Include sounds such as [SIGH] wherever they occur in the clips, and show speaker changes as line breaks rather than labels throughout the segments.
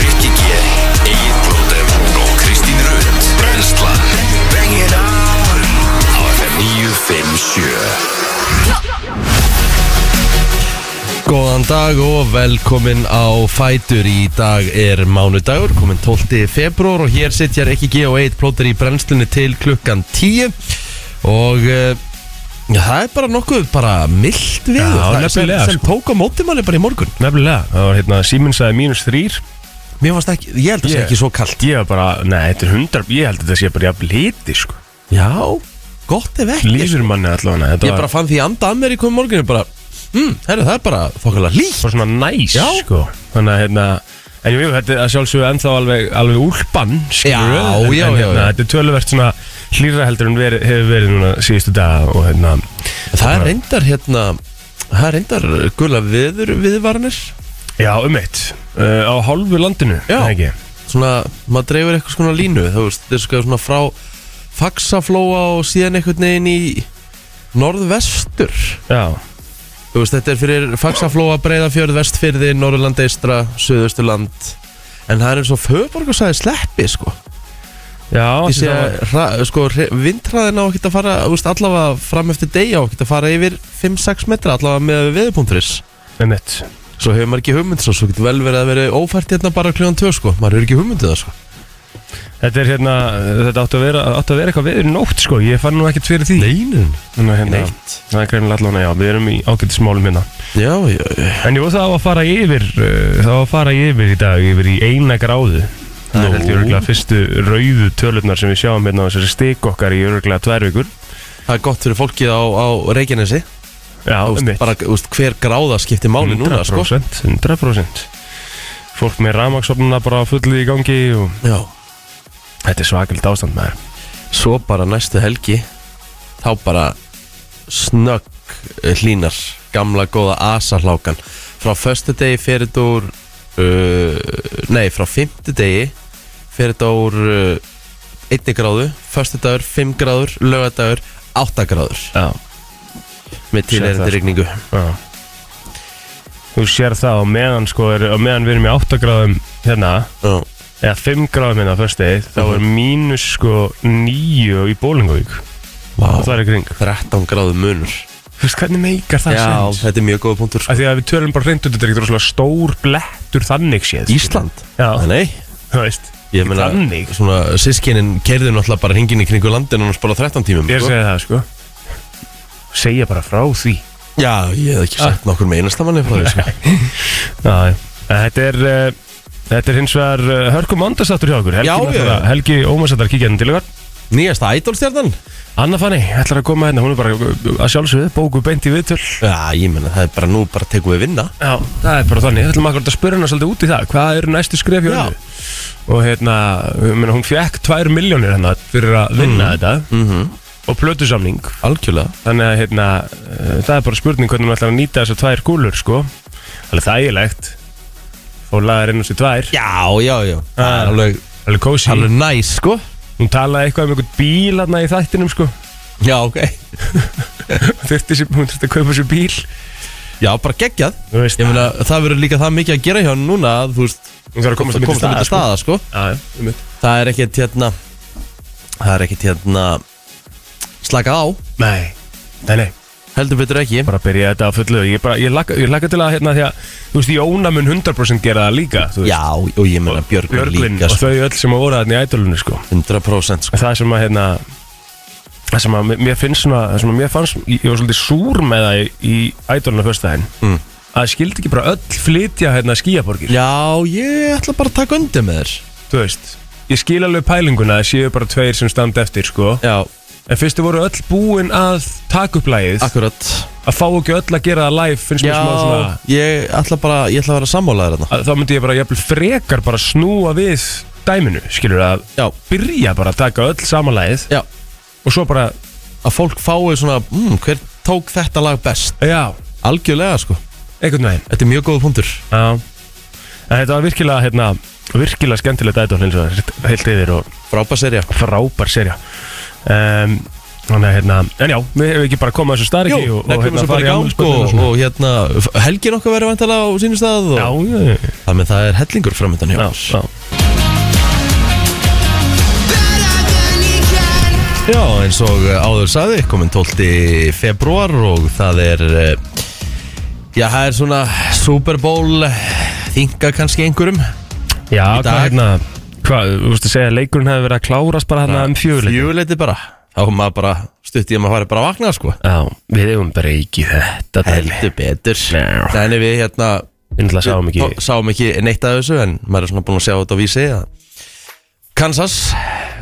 Rikki G, Egil Blóter og Kristín Rund Brenslan Bring it on Á FM 957
Góðan dag og velkomin á Fætur í dag er mánudagur, komin 12. februar og hér sittjar ekki G og 1 plótur í brennslunni til klukkan 10 og uh, það er bara nokkuð bara mildt við
Já,
sem,
nefnilega,
sem tók á mótimanni bara í morgun
Nefnilega, það var hérna Siemens aðeins mínus þrýr
Mér varst ekki, ég held að það sé
Ég-
ekki svo kallt
Ég var bara, nei, þetta er hundar Ég held að þetta sé bara jafn liti, sko
Já, gott ef ekki
Lífur manni allavega Þetta
Ég bara
var,
fann því anda að mér í komum morgunu bara, mm, herru það er bara þokkala líkt
var svona næs,
Já.
sko Þannig að hérna En jú, þetta er að sjálfsögðu ennþá alveg, alveg úlpan skilur
Já,
en,
já,
en,
já, já.
Þetta er töluvert svona hlýra heldur en veri, hefur verið núna síðustu dag og hérna
Það er reyndar hérna, það er reyndar gula viður viðvarnir
Já, um eitt uh, Á hálfu landinu,
Já.
er ekki
svona, maður dreifur eitthvað svona línu þú veist, þetta er sko svona frá Faxaflóa og síðan einhvern veginn í norðvestur
Já,
þú veist, þetta er fyrir Faxaflóa, Breiðafjörð, Vestfyrði, Norðurland eistra, Suðusturland en það er eins og föðborgarsæði sleppi sko,
já
ég sé
þetta var-
að hra- sko, vindræðin á ekkert að fara þú veist, allavega fram eftir degi á ekkert að fara yfir 5-6 metra allavega með viðpunturis
um eitt
svo hefur maður ekki hugmynd svo, svo getur vel verið að vera ófært hérna bara kljóðan 2 sko, maður hefur ekki hugmyndið það sko
Þetta er hérna, þetta átti að vera, átti að vera eitthvað veður í nótt sko, ég fann nú ekkert fyrir því
Neinin,
Þannig að hérna,
neitt
það er greinilega allan að já, við erum í ágættismálum hérna
Já, já, já
En jú, það á að fara yfir, uh, það á að fara yfir í dag, yfir í eina gráðu Það
Nú.
er heldur örgulega fyrstu rauðu tölurnar sem við sjáum hérna á þessari stik okkar í örgulega tvær vikur
Það er gott fyrir fólkið á, á Reykjanesi
Já,
Þú veist,
einmitt.
bara, þú veist, Hver gráða skiptir máli núna sko.
100%, 100% Fólk með rafmaksopnuna bara á fullu í gangi og
Já.
þetta er svakilegt ástand með þér
Svo bara næstu helgi Þá bara snögg eh, hlínar Gamla góða asahlákan Frá föstudegi fyrir þetta úr uh, Nei, frá fimmtudegi Fyrir þetta úr uh, Einni gráðu, föstudagur, fimm gráður Lögadagur, átta gráður
Já
Með
Sér það,
tilherandi
sko.
rigningu
Já. Þú sér það á meðan sko er, á meðan við erum í 8 gráðum hérna
Já.
eða 5 gráðum hérna á föstudegi þá er
Mhm.
mínus sko 9 í Bólingavík
Vá,
og það er í kring
13 gráðu munur
Þú veist hvernig meikar það
Já,
sens?
þetta er mjög góða punktur sko.
Af því að við tölum bara hreint út þetta er ekkert rosalega stór blettur þannig séð
Ísland?
Já,
Ah, Nei,
þú veist
ég meina
Þannig?
svona sískinin kerði náttúrulega bara hringin í kringu landinu og spara 13 tímum
Ég
sko.
segi það sko Segja bara frá því
Já, ég hef ekki sagt nokkur með einastamanni frá því sko.
Já, já. En Þetta er uh, Þetta er hins vegar uh, hörkum andastáttur hjá okkur Helgi,
Já, já.
náttúrulega- Helgi Ómarsættar kíkja henni til okkar
Nýjasta ædolstjarnan?
Anna Fanny, ætlar að koma hérna, hún er bara að sjálfsögðu, bóku beint í viðtöl
Já, ég meina það er bara nú bara tekum við vinna
Já, það er bara þannig, við ætlum akkurat að spyrja hana svolítið út í það, hvað eru næstu skref hjá
Já.
henni? Og hérna, ég meina, hún fekk 2 miljónir hérna fyrir að vinna þetta
mm -hmm.
og plötusamning
Algjörlega
Þannig að hérna, eh, það er bara spurning hvernig hún ætlar að nýta þessar tvær kúlur, sko Alveg þægilegt, og lagar inn á sér tvær,
Já, já, já Það
Ah.
er alveg,
alveg kósi
alveg næs sko
Hún talaði eitthvað um einhvern bíl hérna í þættinum, sko [LAUGHS]
Já, ok
Hún þurfti, sér- hún þurfti að kaupa sér bíl
Já, bara geggjað
Þú veist,
Ég meina það verður líka það mikið að gera hjá honum núna að, Þú veist,
hún þarf að komast að
komast að
mynda
mynda
staða,
staða sko
sko Já, já, einmitt.
Það er ekkert hérna Það er ekkert hérna Slaka á,
Nei, nei, nei
heldur betur ekki
Bara byrja þetta að fullu Ég, bara, ég, laka, ég laka til að hérna því að Þú veist, Jóna mun 100% gera það líka þú veist.
Já, og ég meina Björgvin
Björgvin
líka
og
sko.
þau öll sem að voru þarna í ædolunni sko
100% sko.
En Það sem að hérna Það sem að mér- mér finnst svona Það sem að mér fannst Ég var svolítið súr með það í, í ædolunni Föstaðin
Mm.
Að skildi ekki bara öll flytja hérna skíaborgir
Já, ég ætla bara að taka undir með þér
Þú veist Ég skil alveg pælinguna að séu bara tveir sem standa eftir sko
Já,
En fyrstu voru öll búin að taka upp lagið
akkurat
Að fá ekki öll að gera það live finnst mér
Já,
smá svona
ég ætla bara Ég ætla að vera sammálaður hérna. þarna
að þá myndi ég bara jafnvel frekar bara snúa við dæminu, skilur að
Já,
byrja bara að taka öll samanlægið
já,
og svo bara,
að fólk fái svona mm, Hver tók þetta lag best?
já,
Algjörlega sko,
einhvern veginn
þetta er mjög góð punktur
já. en þetta var virkilega hérna, virkilega skemmtilegt ædol eins og heilt yfir og
Frábær serja
frábær serja um, Þannig að hérna, en já, við hefum ekki bara komað þessu starki
Jú,
og, og
það kemur
hérna
svo bara í gang sko,
afmælisbörnin og
og,
svona.
hérna, helgin okkar verður vantala á sínum stað og,
Já, já, já,
Það með það er hellingur framöndan hjá
já,
okkur.
já.
Já, eins og uh, áður saði, komin 12. februar og það er uh, Já, það er svona Super Bowl eh, þinga kannski einhverjum
Já,
Í
hvað
dag.
hérna, hvað, þú veist að segja að leikurinn hefði verið að klárast bara hérna um fjöguleik
Fjöguleiti bara Þá kom maður bara stutt í að maður fari bara að vakna sko
Já, við hefum bara ekki þetta dæmi
Heldur betur
Já.
Þannig við hérna
Við náttúrulega sáum ekki
tó- sáum ekki neitt af þessu en maður er svona búin að sjá þetta á vísi að Kansas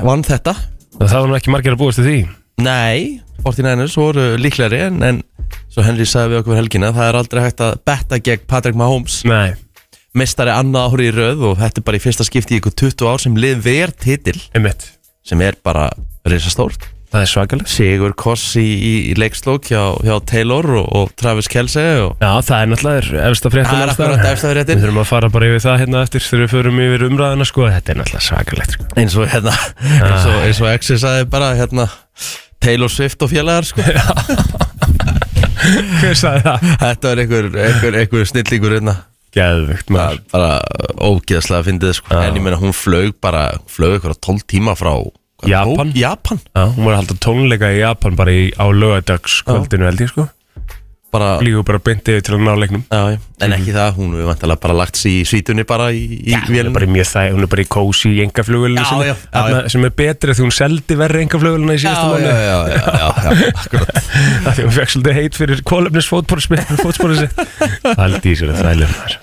vann þetta
Það var nú ekki margir að búast til því
Nei, 49ers voru líklegri en, en svo Henry sagði við okkur um helgina það er aldrei hægt að betta gegn Patrick Mahomes
Nei,
mestari annað ári í röð og þetta er bara í fyrsta skipti í ykkur 20 ár sem lið ver titil
einmitt
sem er bara risastórt
Það er svakalegt
Sigur Koss í, í, í leikslók hjá, hjá Taylor og, og Travis Kelsey og
Já, það er náttúrulega efsta fréttin
það er akkurat eftir að
Við
réttin
þurfum að fara bara yfir það hérna eftir þegar við förum yfir umræðina sko Þetta er náttúrulega
[LAUGHS]
svakalegt sko.
eins og hérna
Ah.
eins og, eins og Exi sagði bara hérna Taylor Swift og félagar sko
Hver sagði það?
þetta er einhver, einhver, einhver snillingur hérna
Geðvögt
Það
maður
er bara ógeðslega að fyndið
Ah.
sko. en ég meina hún flög bara hún flög ykkur 12 tíma frá hvað,
Japan.
Tó- Japan
Já, hún var að halda tónleika í Japan bara í, á lögadagskvöldinu held ég sko
bara,
Lígu bara beintið til að ná leiknum
já, já. en ekki það, hún er vantilega bara lagt sér í svítunni bara í, í
Já, hún er bara í mjög það, hún er bara í kósi í engaflugulina
Já,
sem,
já, já,
þarna- sem er betri því hún seldi verri engaflugulina í síðasta
já, já,
mánu
já, já, já, já, akkurat
því hún fekk svolítið heit fyrir kólefnis fótsporið sitt Haldi í sér að þrælir maður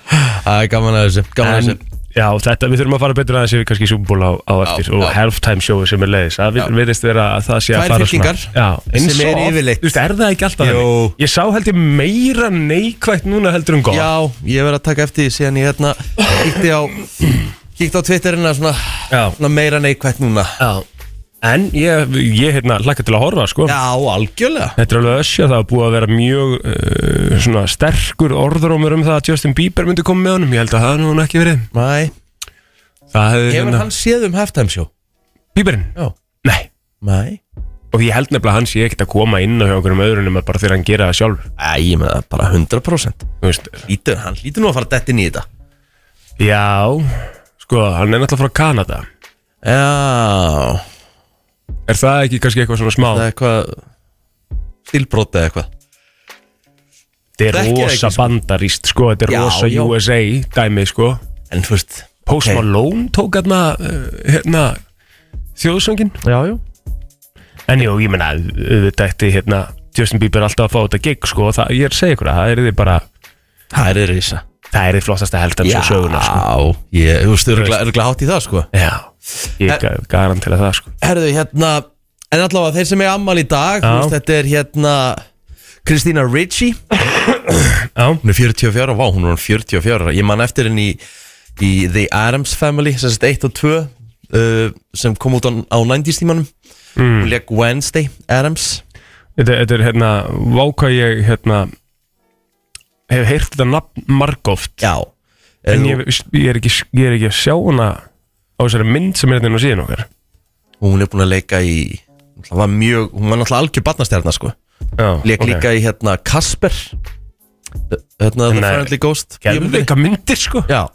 það er gaman að þessu, gaman að
en,
þessu
Já, þetta, við þurfum að fara betur aðeins yfir kannski súbúl á, á eftir og
já.
halftime show sem er leiðis, það
Já.
verðist vera að það sé að
Tvær
fara
fylkingar
já, eins
sem
og
er
oft.
yfirleitt.
Þú veist, er það ekki alltaf
Jú.
þannig? Ég sá held ég meira neikvægt núna heldur um góð
já, ég verð að taka eftir því síðan ég hérna kíkti á kíkti á Twitterina svona,
Já.
svona meira neikvætt núna
já. En ég, ég hérna hlakka til að horfa sko
já, algjörlega
Þetta er alveg össja, það er búið að vera mjög uh, svona sterkur orðrómur um það að Justin Bieber myndi koma með honum, ég held að það hafi nú ekki verið.
Nei.
Það hefði
hefur hann séð um halftime show?
Bieberinn?
já,
Nei.
nei
Og ég held nefnilega að hann sé ekkert að koma inn á hjá einhverjum öðrunum nema bara þegar hann gera það sjálf.
Æ, ég með það bara 100%
Þú veist,
Lítur, hann lítur nú að fara dætt inn í þetta
já, sko, hann er náttúrulega frá Kanada.
Já,
Er það ekki kannski eitthvað svona smá?
það er eitthvað Stilbrot eða eitthvað
Þetta
þekki
er
það ekki,
rosa
sko.
bandaríst, sko, þetta er
Já,
rosa
já.
USA dæmi, sko.
En þú veist
Post
ok.
Malone tók hérna, uh, hérna, þjóðsöngin.
Já, já
En jú, ég meina, auðvitað eftir hérna Justin Bieber alltaf að fá þetta gig, sko og það, ég er að segja ykkur að það er þið bara
Það er risa
það er þið flottasta heldan svo söguna, sko
ég, þú veist, örgla, örgla hátt í það, sko
Já, ég ga garantera það, sko
Herðu, hérna En allavega, þeir sem er ammal í dag þú
Já.
veist, Þetta er hérna Kristína Ritchie
Já,
Hún er 44, vá, hún er orðin 44 Ég man eftir henni í, í The Addams Family sem sagt 1 og 2 uh, sem kom út á, á 90s tímanum
Mm.
Hún leik Wednesday Addams
þetta, þetta er hérna váka ég, hérna hef heyrt þetta nafn margóft
Já
en ég, ég, er ekki, ég er ekki að sjá hana á þessari mynd sem er hérna inn á síðan okkar
Hún er búin að leika í Það var mjög, hún var náttúrulega algjör barnastjarnar sko
Já,
Leik líka í hérna Kasper Hérna The
Nei.
Friendly Ghost
Gerðu
bíómyndinni.
eitthvað myndir, sko
Já,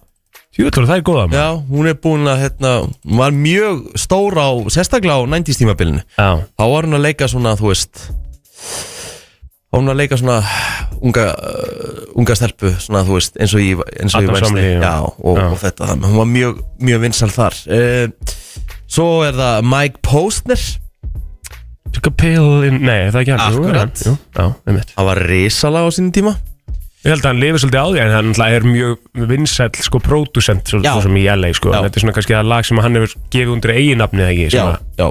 Júlur, það er góða, maður
já, hún er búin að hérna Hún var mjög stór á, sérstaklega á 90s tímabilinu
Já,
Þá var hún að leika svona, þú veist Þá var hún að leika svona unga, uh, unga stelpu svona, þú veist, eins og ég, eins og ég
Adam Sandler, já.
já, og,
Já.
og þetta, þannig að hún var mjög, mjög vinsal þar uh, Svo er það Mike Postner
took a pill in, nei, er það er ekki hann Jú, er hann,
Akkurat.
jú, Já, einmitt
Það var risalag á sínum tíma
Ég held að hann lifir svolítið á því en hann náttúrulega er mjög vinsæll sko pródusent svo,
Já.
svo sem í LA sko
Já.
þetta er svona kannski það lag sem hann hefur gefið undir eiginafnið ekki svona.
já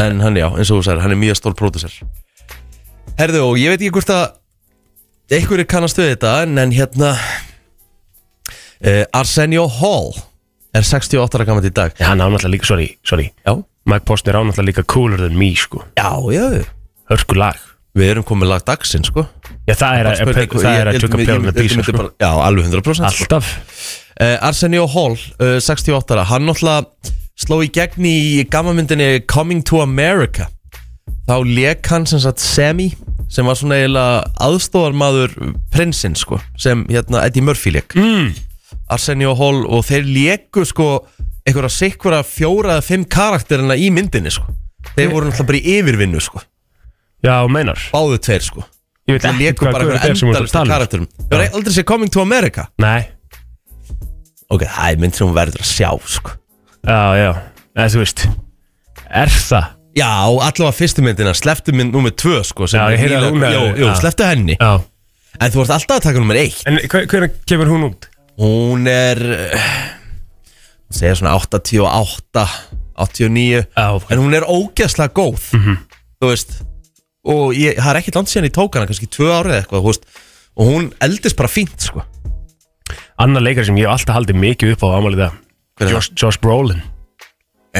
En hann, já, eins og þú sagðir, hann er mjög stór pródusser Herðu, og ég veit ekki hvort að einhverju kannast við þetta en, en hérna uh, Arsenio Hall er 68 ára gammalt í dag
Já, hann á náttúrulega líka, sorry, sorry
Já,
Mike Postner á náttúrulega líka cooler than me sko
já, já
hörku lag
Við erum komið lag dagsinn, sko
Já, það er að,
Bara spurning-
það er
ég-
að
ég-
tjöka
ég-
pjálna
ég- ég- ég-
bísa
myndi
sko
bara- Já, alveg 100% sko.
Alltaf
uh, Arsenio Hall, uh, 68 ára hann náttúrulega sló í gegn í gammamyndinni Coming to America þá lék hann sem sagt Semi sem var svona eiginlega aðstóðarmadur prinsinn sko sem hérna Eddie Murphy lék
Mm.
Arsenio Hall og þeir léku sko einhverja sikkura fjóra eða fimm karakterina í myndinni sko þeir voru náttúrulega bara í yfirvinnu sko
Já, meinar
báðu tveir sko
Ég veit
þeir
ekki
léku
hvað
bara
guður þetta
einhverja
er sem við erum að
endalustu
tala um.
karakterum þeir voru aldrei sé Coming to America
Nei,
ok, það er mynd sem hún verður að sjá sko
já, já Eða þú veist Er það?
já, allavega fyrstu myndina, sleftu mynd nummer tvö sko sem
Já, ég
er
heyrði að hún
nýlega-
er-
jú, jú,
já.
sleftu henni
Já
en þú ert alltaf að taka nummer eitt
En hver- hvernig kemur hún út?
Hún er eh, segja svona 88 89
Já, Mhm.
en hún er ógeðslega góð þú veist og ég, það er ekkert langt síðan ég tók hana kannski tvö árið eitthvað þú veist, og hún eldist bara fínt sko
Annar leikar sem ég hef alltaf haldið mikið upp á ámálið
Hver er
það Josh, Josh Brolin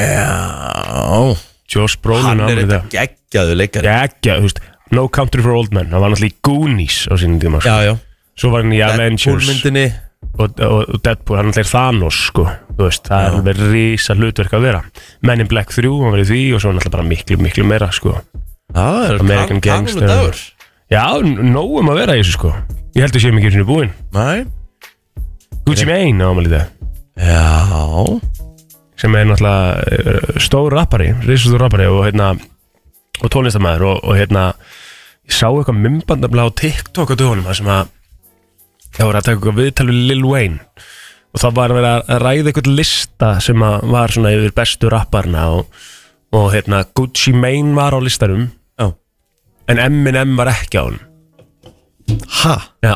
Já,
Josh Brolin
hann er
ámálið
eitthvað
það
geggjaðu leikari
Gekja, þú veist No Country for Old Men Það var náttúrulega í Goonies á sínum tíma sko.
Já, já,
Svo var hann í Avengers
myndinni
og, og, og Deadpool Hann náttúrulega er Thanos sko Þú veist, það er alveg risa hlutverk að vera Men in Black 3, hann verið því Og svo náttúrulega bara miklu, miklu meira sko
Já, er
American
Kan-
Gangster.
Kanadagur.
Já, n- nóg um að vera í þessu sko Ég held að séum ekki einu sinni búinn
Nei
Gucci Mane ámálið það
Já
sem er náttúrulega eh, stór rappari, risastór rappari og hérna og tónlistamæður og, og hérna ég sá eitthvað mymband nefnilega á TikTok á dögunum þar sem að það voru að taka eitthvað viðtal við Lil Wayne og það var að vera að ræða eitthvað lista sem að var svona yfir bestu rapparna og, og hérna Gucci Mane var á listanum
Já.
en Eminem var ekki á hann
Ha?
Já,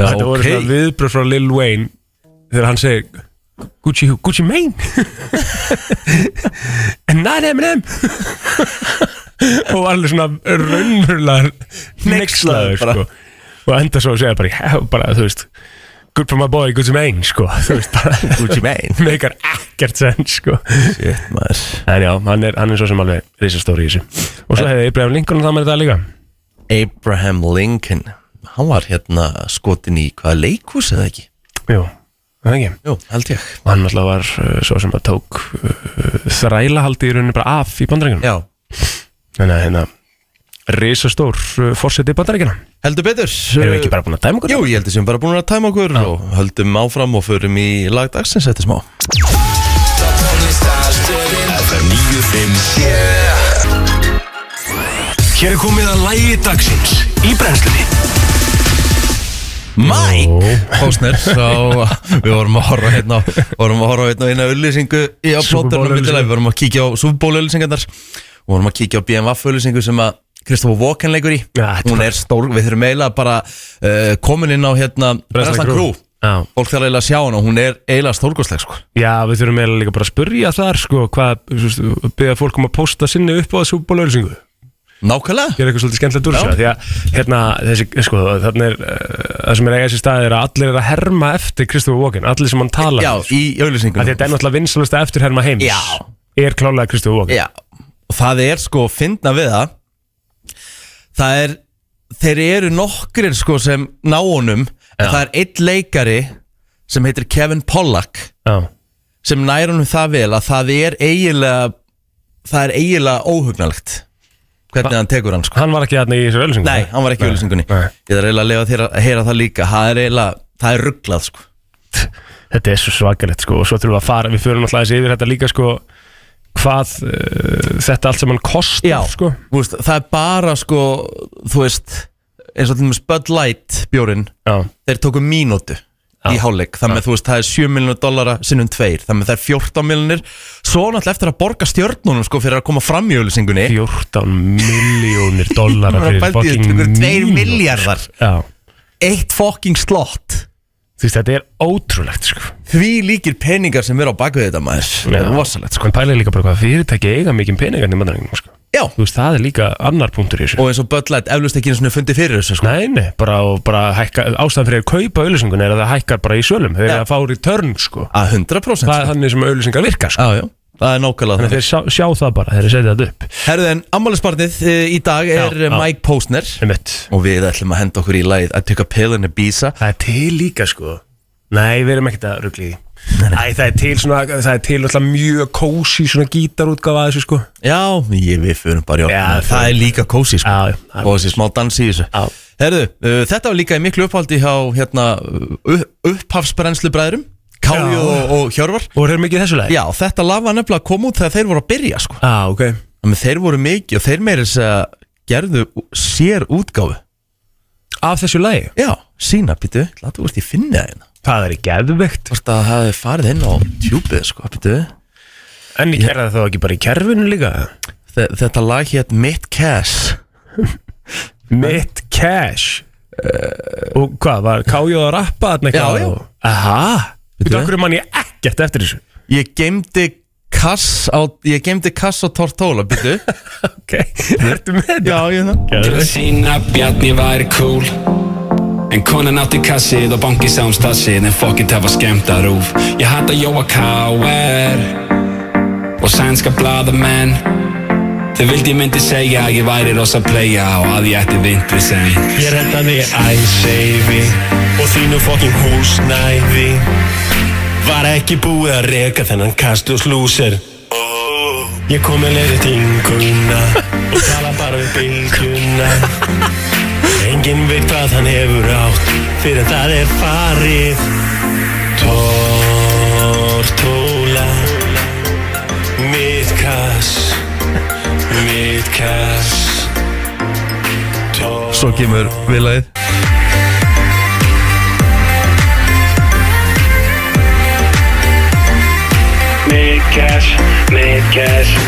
Já,
þetta voru svona viðbröð frá Lil Wayne þegar hann segir Gucci, who? Gucci Mane [LAUGHS] en not Eminem [LAUGHS] og var alveg svona raunverulega nexlaður
bara.
sko. og enda svo að segja bara, já, bara þú veist good for my boy Gucci Mane sko. [LAUGHS] þú veist bara
Gucci Mane
meikar ekkert sens sko.
Shit, maður
en já, hann er, hann er svo sem alveg risastóri í þessu og svo hefði Ibrahim Lincoln og það með þetta líka
Abraham Lincoln hann var hérna skotin í hvaða leikhús eða ekki?
jú, er það ekki
Jú, held ég
og hann alltaf var uh, svo sem að tók uh, þrælahaldi í rauninni bara af í bandaríkjunum
Já,
þannig að hérna risastór uh, fórseti í bandaríkjunum
heldur betur
erum við ekki bara búin að dæma okkur
Jú, ég held að sem bara búin að tæma okkur og höldum áfram og förum í lagdagsins eftir smá
FM 957 Hér er komið að lægi dagsins í brennslunni
Mike Hósner, svo [LAUGHS] við vorum að horfa hérna á- vorum að horfa hérna á eina auðlýsingu í að
Super Bowl
plóturnum
auglýsingu.
við vorum að kíkja á súfból-auðlýsingarnar og vorum að kíkja á BMF auðlýsingu sem að Kristofur Walken leikur í
Já, þetta
hún er stór, við þurfum eiginlega bara uh, komin inn á hérna Breslan Crew
Já.
fólk þarf eiginlega að sjá hana, hún er eiginlega stórgóðsleg sko.
Já, við þurfum eiginlega líka bara að spurja þar sko, hvað, þú veist, beða fólk um að posta sinni upp á þessu bólauðlýsingu
nákvæmlega,
gera eitthvað svolítið skemmtilegt úr
Já.
þessu því að hérna, þessi, sko, þannig er uh, það sem er eiga þessi staði er að allir er að herma eftir Kristofur Walken, allir sem hann talar
já,
sko. af
í auðlýsingunum
því að þetta er náttúrulega vinsalasta eftir herma heims
Já.
er klálega Kristofur Walken
Já, og það er sko fyndna við það Það er Þeir eru nokkrir sko sem ná honum En það er einn leikari Sem heitir Kevin Pollack
Já.
Sem nær honum það vel að það er eiginlega Það er eiginlega óhugnalegt Hvernig hann tekur hann sko
Hann var ekki hérna í þessu ölsingu
Nei, hann var ekki í auðlýsingunni
nei.
Ég þarf eiginlega að lefa þér að heyra það líka Það er eiginlega, það er rugglað sko
Þetta er svo svakalegt sko Og svo þurfum við að fara Við förum alltaf þessi yfir þetta líka sko Hvað uh, þetta allt sem hann kostar
Já,
sko
þú veist, það er bara sko Þú veist, eins og til dæmis Bud Light bjórin
Já
þeir tóku mínútu í hálfleik þannig að þú veist það er 7 miljonur dollara sinnum 2 þannig að það er 14 miljonir svo náttúrulega eftir að borga stjörnunum sko fyrir að koma fram í auðlýsingunni
14 miljónir
[LAUGHS]
dollara
bara
fyrir
bældið
fucking
tökur 2
mínútur.
miljardar
Já
eitt fucking slott
Þú veist þetta er ótrúlegt sko
því líkir peningar sem vera á bakvið þetta maður það er rosalegt sko
En pæla líka bara hvað fyrirtæki eiga mikið peningarni í mandaringunum sko
já
Þú veist það er líka annar punktur í þessu
og eins og Bud Light eflust ekki einu svona fundi fyrir þessu sko
Nei, nei, bara, og bara hækka, ástæðan fyrir að kaupa auðlýsingun er að það hækkar bara í sölum Þeir eru
Já.
að fá return sko
að 100%
Það er
sko.
þannig sem auðlýsingar virka sko
já já það er nákvæmlega
Þannig
þannig
að þeir sjá, sjá það bara, þeir setja það upp
herðu en ammálisbarnið í dag er
Já, já.
Mike Posner
Einmitt.
og við ætlum að henda okkur í lagið I took a pill in Ibiza
Það er til líka sko Nei, við erum ekkert að ruggli því Æ, það er til svona, það er til alltaf mjög kósi svona gítarútgáfa að þessu sko
Já, ég við fyrir bara í okkur
Já,
Það er líka kósi sko
Já, já, það er-
Og þessi smá dans í þessu
Já.
Herðu, uh, þetta var líka í miklu upphaldi hjá hérna, upp, upphafsbrenslu bræðrum Káju
Já.
og, og Hjörvar
Og er mikið í þessu leið?
Já, þetta lag var nefnilega að koma út þegar þeir voru að byrja sko
Já, ok
Þannig að þeir voru mikið og þeir meira þess að gerðu ú- sér útgáfu
Af þessu leið?
Já, sína, býtu, láttu úrst ég finna það hérna
Það er geðveikt
Hvort að það hefði farið inn á tjúpið sko, býtu
En ég gerði það þá ekki bara í kerfinu líka
Þe- Þetta lag hétt Mitt Cash
Mitt cash Og hvað, var Kájó að rappa þarna eitthvað?
Já, já.
og- Aha Þú
Veitu
veit, okkur mann ég ekkert eftir þessu
Ég geymdi kass á, ég geymdi kass á Tortóla, [LAUGHS] býtu
Ok, ertu með þetta?
ég það
Til að sína Bjarni væri cool En konan átti kassið og banki sá um stassið En fokkitt hafa skemmt að rúf Ég hata Jóa K.R. Og sænska bladamenn Þau vildi ég myndi segja að ég væri rosa playa Og að ég ætti vintri sen
Ég redda mig æseifi Og þínu fokkin húsnæði Var ekki búið að reka þennan kastus lúser Ég kom með leiri tinguna Og tala bara við bylgjuna Enginn veit hvað hann hefur átt Fyrir en það er farið Tortóla Mitt kass Mitt kass Tortóla
Svo kemur viðlagið
Mid cash, mid cash
[LAUGHS]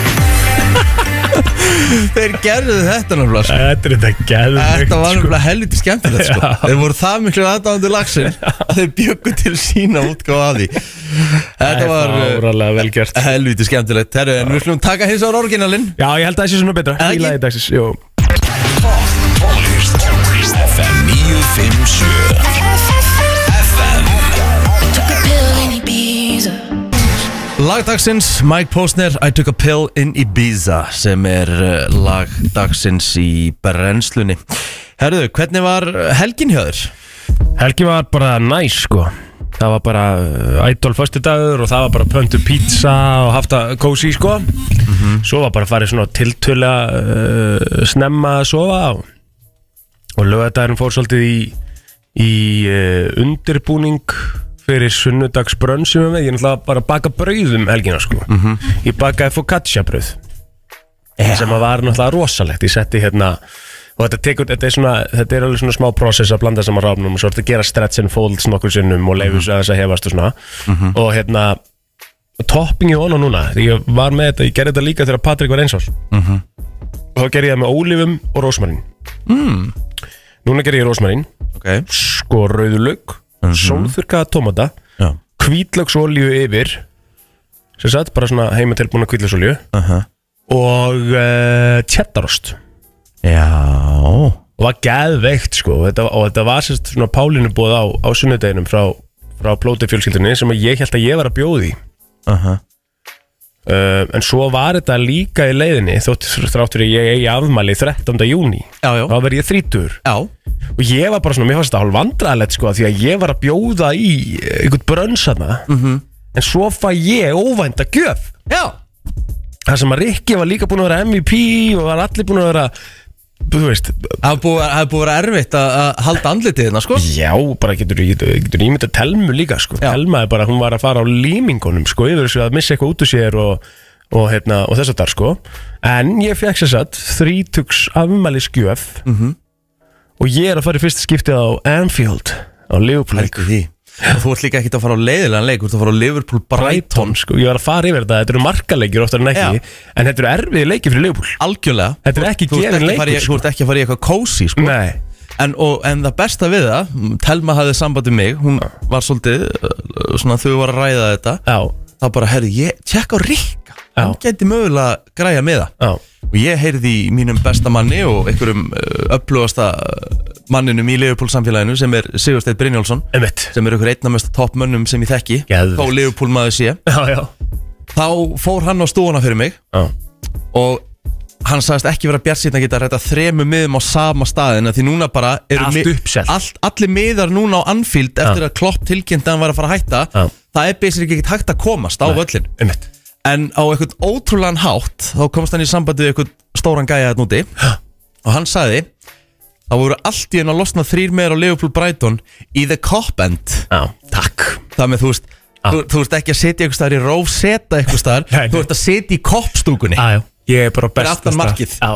Þeir gerðu þetta náttúrulega sko.
Þetta er þetta geðveikt
Þetta var
sko.
náttúrulega helviti skemmtilegt sko. Þeir voru það miklu aðdáðandi lagsin [LAUGHS] að þeir bjöggu til sína útgáð að því Þetta var
Það er
uh,
fáralega vel gert
helviti skemmtilegt Herru, en við slumum taka hins á orginalinn
Já, ég held að það sé svona betra
Eða
Í
ekki?
lagi dagsins, jú
FM 957
Took a pill in Ibiza.
Lagdagsins, Mike Posner, I took a pill in Ibiza sem er uh, lagdagsins í brennslunni Herru, hvernig var uh, helgin hjá þér?
Helgi var bara næs sko Það var bara uh, idol föstu dagur og það var bara pöntu pizza og haft að kósi sko Svo var bara farið svona tiltöla uh, snemma að sofa á Og lögadagurinn fór svolítið í, í uh, undirbúning fyrir sunnudagsbrönn sem við með Ég er náttúrulega bara að baka brauð um helgina sko Ég bakaði focaccia brauð sem að var náttúrulega rosalegt ég setti hérna og þetta, tekur, þetta, er svona, þetta er alveg svona smá process að blanda saman ráfnum og svo ertu að gera stretch and folds nokkur sinnum og leifu þess að þess að hefast og svona og hérna toppingi honum núna, þegar ég var með þetta ég gerði þetta líka þegar Patrik var einsás og þá gerði ég það með ólifum og rósmarin mm. núna gerði ég rósmarin
Okay.
sko rauðulög mm -hmm. sólþurkaða tómata
Já.
kvítlöksolju yfir sem sagt, bara svona heimatilbúna kvítlöksolju
Aha.
og uh, cheddarost
Já
og var geðveikt sko og þetta, og þetta var sérst svona Pálinu búið á, á sunnudeginum frá, frá plóti fjölskyldunni sem að ég held að ég var að bjóði í
Aha.
uh, en svo var þetta líka í leiðinni þótt þrátt fyrir að ég eigi afmæli 13. júni
Já, já.
þá verð ég þrítur
Já,
og ég var bara svona, mér fannst þetta hálf vandræðilegt sko, því að ég var að bjóða í eh, einhvern brönsana
Mhm.
-hmm. en svo fæ ég óvænta gjöf
já.
þar sem að Rikki var líka búin að vera MVP og var allir búin að vera þú veist,
Það er búið það er búið að vera erfitt að- að halda andlitið hérna sko
já, bara getur, getur, getur ímyndað Telmu líka sko,
Já.
Telma er bara hún var að fara á límingunum sko, yfir þessu að missa eitthvað út úr sér og, og, hérna, og þess að þar sko en ég fekk sér satt þrítugs afmælisgjöf mm -hmm. og ég er að fara í fyrsta skiptið á Anfield á Liverpool
Helgu því Og Þú ert líka ekkert að fara á leiðilegan leik Þú ert að fara á Liverpool Brighton
Brighton sko, ég var að fara yfir þetta, þetta eru markaleikir oftar en ekki, en þetta eru erfiði leikir fyrir Leopold
Algjörlega
Þetta er ekki
Þú- þú ert
gefin
ekki að fara í-
leikur, sko.
Þú ert ekki að fara í eitthvað kósi sko.
Nei,
en, og, en það besta við það mm, Telma hafði sambandi mig Hún var svolítið uh, svona, Þau var að ræða þetta
á,
Það bara, herri, ég tjekka á Rikka
Já.
Hann geti mögulega að græja með það
á
Og ég heyrði í mínum besta manni Og einhverjum uh, upplúðasta uh, manninum Í Leifupúl samfélaginu Sem er Sigursteinn Brynjálsson
Emmett
Sem er einhver einna mesta toppmönnum sem ég þekki
Geðveikt.
Þá Leifupúl maður sé
Já, já,
Þá fór hann á stúana fyrir mig
á,
og hann sagðist ekki vera bjart síðan að geta að ræta þremu miðum á sama staðin af Því núna bara eru
Allt
mi-
uppselt.
allt, Allir miðar núna á Anfield eftir að Klopp tilkynnt að hann var að fara að hætta
Já.
Það er basically ekki hægt að komast á völlin
einmitt
En á einhvern ótrúlegan hátt Þá komst hann í sambandi við einhvern stóran gæja þetta úti Og hann sagði Það voru allt í enn að losna þrýr meður á Liverpool Brighton Í the cop end
Já, takk
Það með þú veist Þú, þú ert ekki að sitja einhvers staðar í róf seta einhvers staðar
Ah. Nei, nei. Ah,
Þú ert að sitja í koppstúkunni
Já, já, ég er bara best
aftan markið.
Já,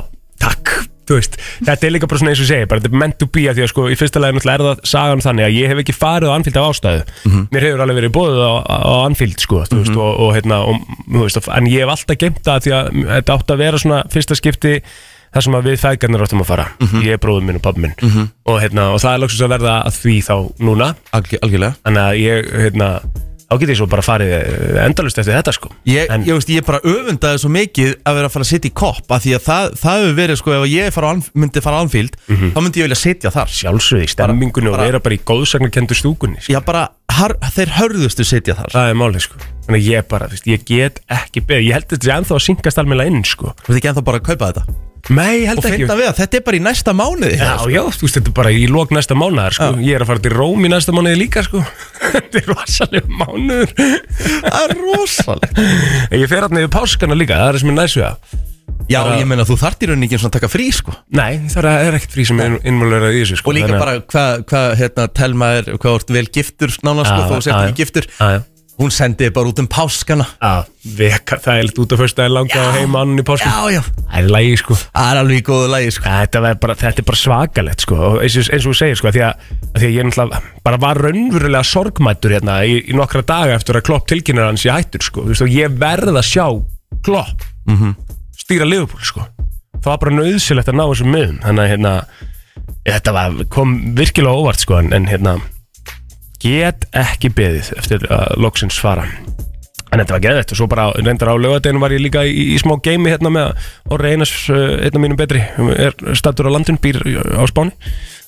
takk Þú veist, þetta er líka bara svona eins og ég segi bara þetta er meant to be að því að sko í fyrsta lagi náttúrulega er það sagan þannig að ég hef ekki farið á Anfield af ástæðu
Mhm.
mér hefur alveg verið bóðið á, á Anfield sko, þú veist, og, og hérna og, þú veist, en ég hef alltaf geimt það af því að þetta átt að vera svona fyrsta skipti þar sem að við fæðgarnir áttum að fara
Mhm.
ég er bróður minn og pabbi minn og, hérna, og það er lóksins að verða að því þá núna
Alg, Algjörlega
þannig að ég, hérna, þá get ég svo bara farið endalust eftir þetta sko
Ég,
en,
ég, veist, ég bara öfundaði svo mikið að vera að fara að sitja í kopp af því að það, það hefur verið sko ef ég fara á, Anf- myndi fara á Anfield þá myndi ég vilja sitja þar
sjálfsögði í stemmingunni
bara-
og vera bara í góðsagnarkendu stúkunni sko.
Já bara, har, þeir hörðustu sitja þar
það er málið sko þannig að ég bara, þú veist, ég get ekki beðið ég held þetta sé ennþá að syngast almenna inn sko
Þú veit ekki ennþá bara að kaupa þetta
nei, ég held
Og
ekki
finna við að þetta er bara í næsta mánuði
já, já, þú veist, þetta er bara í lok næsta mánuðar sko ég er að fara til Róm í næsta mánuði líka [LAUGHS] sko þetta er rosalega mánuður
Það er rosalegt
ég fer hérna yfir páskana líka, það er það sem er næsvega
[LAUGHS] Já ég meina þú þart í rauninni ekki einu sinni að taka frí sko
nei, það er ekkert frí sem er innmálverðað í þessu sko
Og líka
þannig að-
bara hvað hva, hérna, telma er, hvað orð vel giftur nánast sko,
Já,
þó þú sért
já,
ekki giftur
já, já.
Hún sendiði bara út um páskana
að veka þægild út af fyrsta en langa og heima annan í pásku
Já, já,
það er lægi sko
það er alveg í góðu lægi sko
þetta, var bara, þetta er bara svakalett sko og eins, og- eins og þú segir sko af því að, af því að ég náttúrulega bara var raunverulega sorgmættur hérna í, í nokkra daga eftir að Klopp tilkynnar hans í hættur sko þú veist og ég verð að sjá Klopp stýra Liverpool sko það var bara nöðsilegt að ná þessum miðum þannig að hérna þetta var, kom virkilega á óvart sko en, en hérna get ekki beðið eftir að loksins fara en þetta var geðvægt og svo bara á- reyndar á lögadeginu var ég líka í, í smá geimi hérna með Orri Einars, uh, einn af mínum betri er stattur á landun, býr á Spáni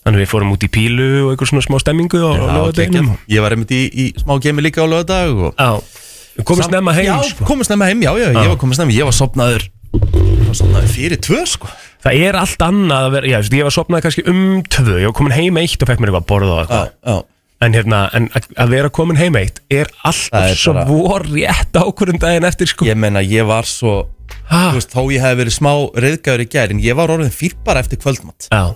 þannig við fórum út í pílu og einhver svona smá stemmingu á
Já,
lögadeginu
geggjað. Ég var einmitt í, í smá gemi líka á lögadag og...
Já, við komum snemma heim
Já,
sko.
komið snemma heim, já, já, ég var komið snemma Ég var sopnaður ég var sofnaður fyrir tvö, sko
það er allt annað að vera, já, þú veist, ég var sopnaði kannski um tvö, ég var komin heim eitt og fekk mér eitthvað að borða og eitthvað
Já, já
En hérna, en að- að vera komin heim eitt er alltaf
Það er
svo
bara-
vor rétt ákvörðum daginn eftir sko
Ég meina, ég var svo
Ha?
Þú veist, þó ég hef verið smá reyðgæður í gær En ég var orðin fýr bara eftir kvöldmatt
Já
og,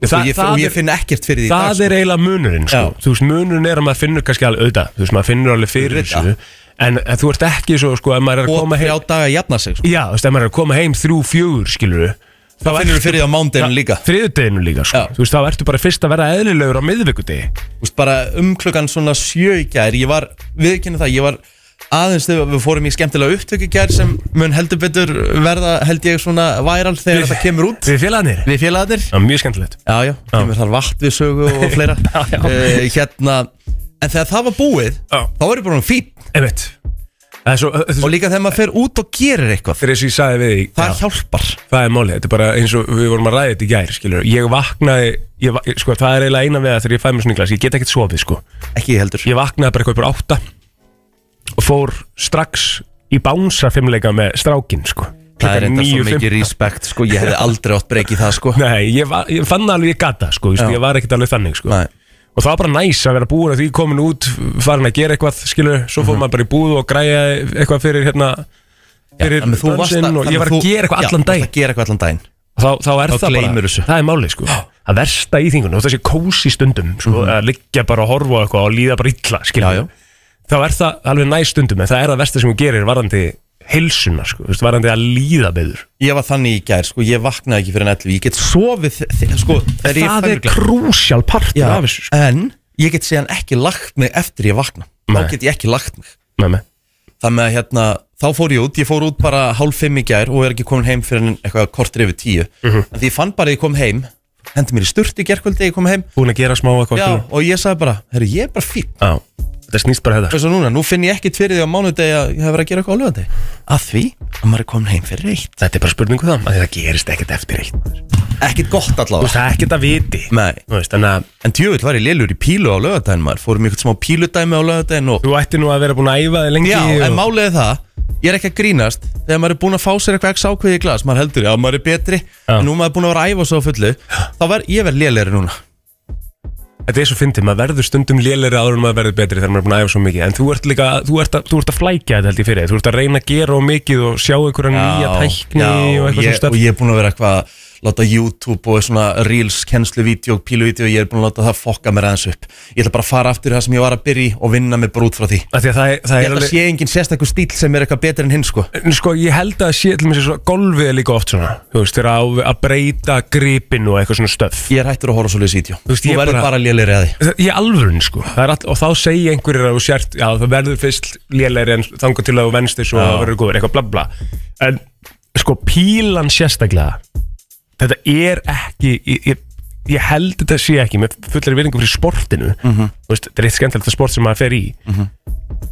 ég, og
það,
ég
er,
finn ekkert fyrir því í
það
dag, sko.
er eiginlega munurinn sko.
Já.
Þú veist, munurinn er að maður finnur kannski alveg auðvitað Þú veist, maður finnur alveg fyrir
Auðvitað.
þessu En en þú ert ekki svo sko, ef maður er
sko.
að
Og
koma
þrjá
heim
daga jafna sig, sko
Já, þú veist, ef maður er að koma heim þrjú, fjögur, skilur Þá
Það finnur fyrir því á mándeginu líka
Þriðudeginu líka, sko
Já.
Þú veist, þá ertu bara fyrst að vera eðlilegur á miðvikudegi
Þú veist, bara um klukkan svona sjö í gær ég var, viðkynna það, ég var aðeins þegar við fórum í skemmtilega upptöku í gær sem mun heldur betur verða held ég svona væral þegar þetta kemur út
Við félagarnir
við félagarnir
Já, mjög skemmtilegt
já, já, kemur þar vakt við sögu og fleira
[LAUGHS] já.
Eh, hérna en þegar það var búið
Já.
þá var ég bara um fín
Einmitt Það er svo, það er svo
og líka þegar maður fer út og gerir eitthvað
Þegar þessu ég sagði við þig
það
Já.
hjálpar
Það er málið, þetta er bara eins og við vorum að ræða þetta í gær, skilur Ég vaknaði, ég, va- sko, það er eiginlega eina við að þegar ég fæ mér svona í glas Ég get ekkert sofið, sko
ekki ég heldur
Ég vaknaði bara eitthvað bara átta Og fór strax í bánsa fimmleika með strákin, sko
það er
Klukkan
enda svo
9:15.
mikið respekt sko ég hefði aldrei átt breyki það sko
Nei, ég, va- ég fann alveg ég gata, sko,
Já.
vístu, ég var ekkert alveg þannig, sko
Nei.
Og það var bara næs að vera búin að því komin út, farin að gera eitthvað, skilur Svo
Mhm.
fór maður bara í búð og græja eitthvað fyrir, hérna, fyrir
Þannig að þú varst að-
dansinn og
þannig
ég var
þú-
að gera eitthvað
já,
allan
þú varst
daginn
að gera eitthvað allan daginn
þá, þá er
Þá
það bara,
gleymir þessu.
það er málið sko að versta í þingunum, þessi kósi stundum sko, að liggja bara og horfa á eitthvað og líða bara illa
Já, já.
skiljum, þá er það alveg næ stundum, en það er það versta sem hún gerir varðandi heilsuna, sko, þú veist, varðandi að líða beður,
Ég var þannig í gær, sko, ég vaknaði ekki fyrir en 11 Ég get sofið, þe- þe- sko þegar ég
það er
fæðuglega-
krúsjál partur
Já,
af þessu, sko
En ég get síðan ekki lagt mig eftir ég vakna
Nei.
Þá get ég ekki lagt mig
Nei, nei.
Þannig að hérna, þá fór ég út Ég fór út bara hálf fimm í gær og er ekki komin heim fyrir en eitthvað kortir yfir tíu
Mhm.
En því ég fann bara að ég kom heim Hendi mér í sturt í gærkvöldi, ég kom heim
búin að gera smá eitthvað
Já,
skilur.
og ég sagði bara, herru, ég er bara fín
já, þetta snýst bara um þetta
Þess að núna, nú finn ég ekkit fyrir því á mánudegi að ég hef verið að gera eitthvað á lögandi Að því að maður er komin heim fyrir eitt
þetta er bara spurningu það, að það gerist ekkert eftir eitt maður.
Ekkit gott
þú
allavega
veist, það er ekkert að viti
Nei.
Þú veist, þannig að
En djövill var ég lélur í pílu á lögadaginn maður Fórum í eitthvað smá píludæmi á lögadaginn og
þú ætti nú að vera búin að æfa þig lengi
Já,
og...
en máliði það Ég er ekki að grínast Þegar maður er búin að fá sér eitthvað ekki sákveði í glas Maður heldur, já, maður er betri
Já.
En nú maður er búin að vera að æfa svo á fullu Þá verð ég verð lélegri núna
Þetta er svo fyndið, maður verður stundum lélegri áður en maður verður betri þegar maður er búin að æfa svo mikið En þú ert líka, þú ert að, þú ert að flækja þetta held ég fyrir þér. Þú ert að reyna að gera og mikið og sjá einhverja nýja tækni og eitthvað
ég,
svona stöf
Og ég er búin að vera eitthvað að Láta YouTube og svona reels, kennsluvídeó, píluvídeó Ég er búin að láta það fokka mér aðeins upp Ég ætla bara að fara aftur í það sem ég var að byrja í Og vinna mig bara út frá því Ég
Af því að Það er- það er
held að
alveg-
sé engin sérstakur stíl sem er eitthvað betur en hinn sko
En Sko, ég held að sé, til mér svo, golfið er líka oft svona Þú veist, þegar á- að breyta gripinu og eitthvað svona stöf
Ég er hættur að horfa svolítið vídeó
Þú
Þú
veist, ég
verður
bara-
bara lélegri að því
Það- Í alvörun sko Það er all, Og þá segja einhverjir að þú sért Já það verður fyrst lélæri en þangar til að þú venst þessu og það verður góður eitthvað bla bla En sko pílan sérstaklega Þetta er ekki Ég, ég, ég held þetta sé ekki Með fullari vinningum fyrir sportinu Þú veist, Þetta er eitt skemmtilegt að sport sem maður fer í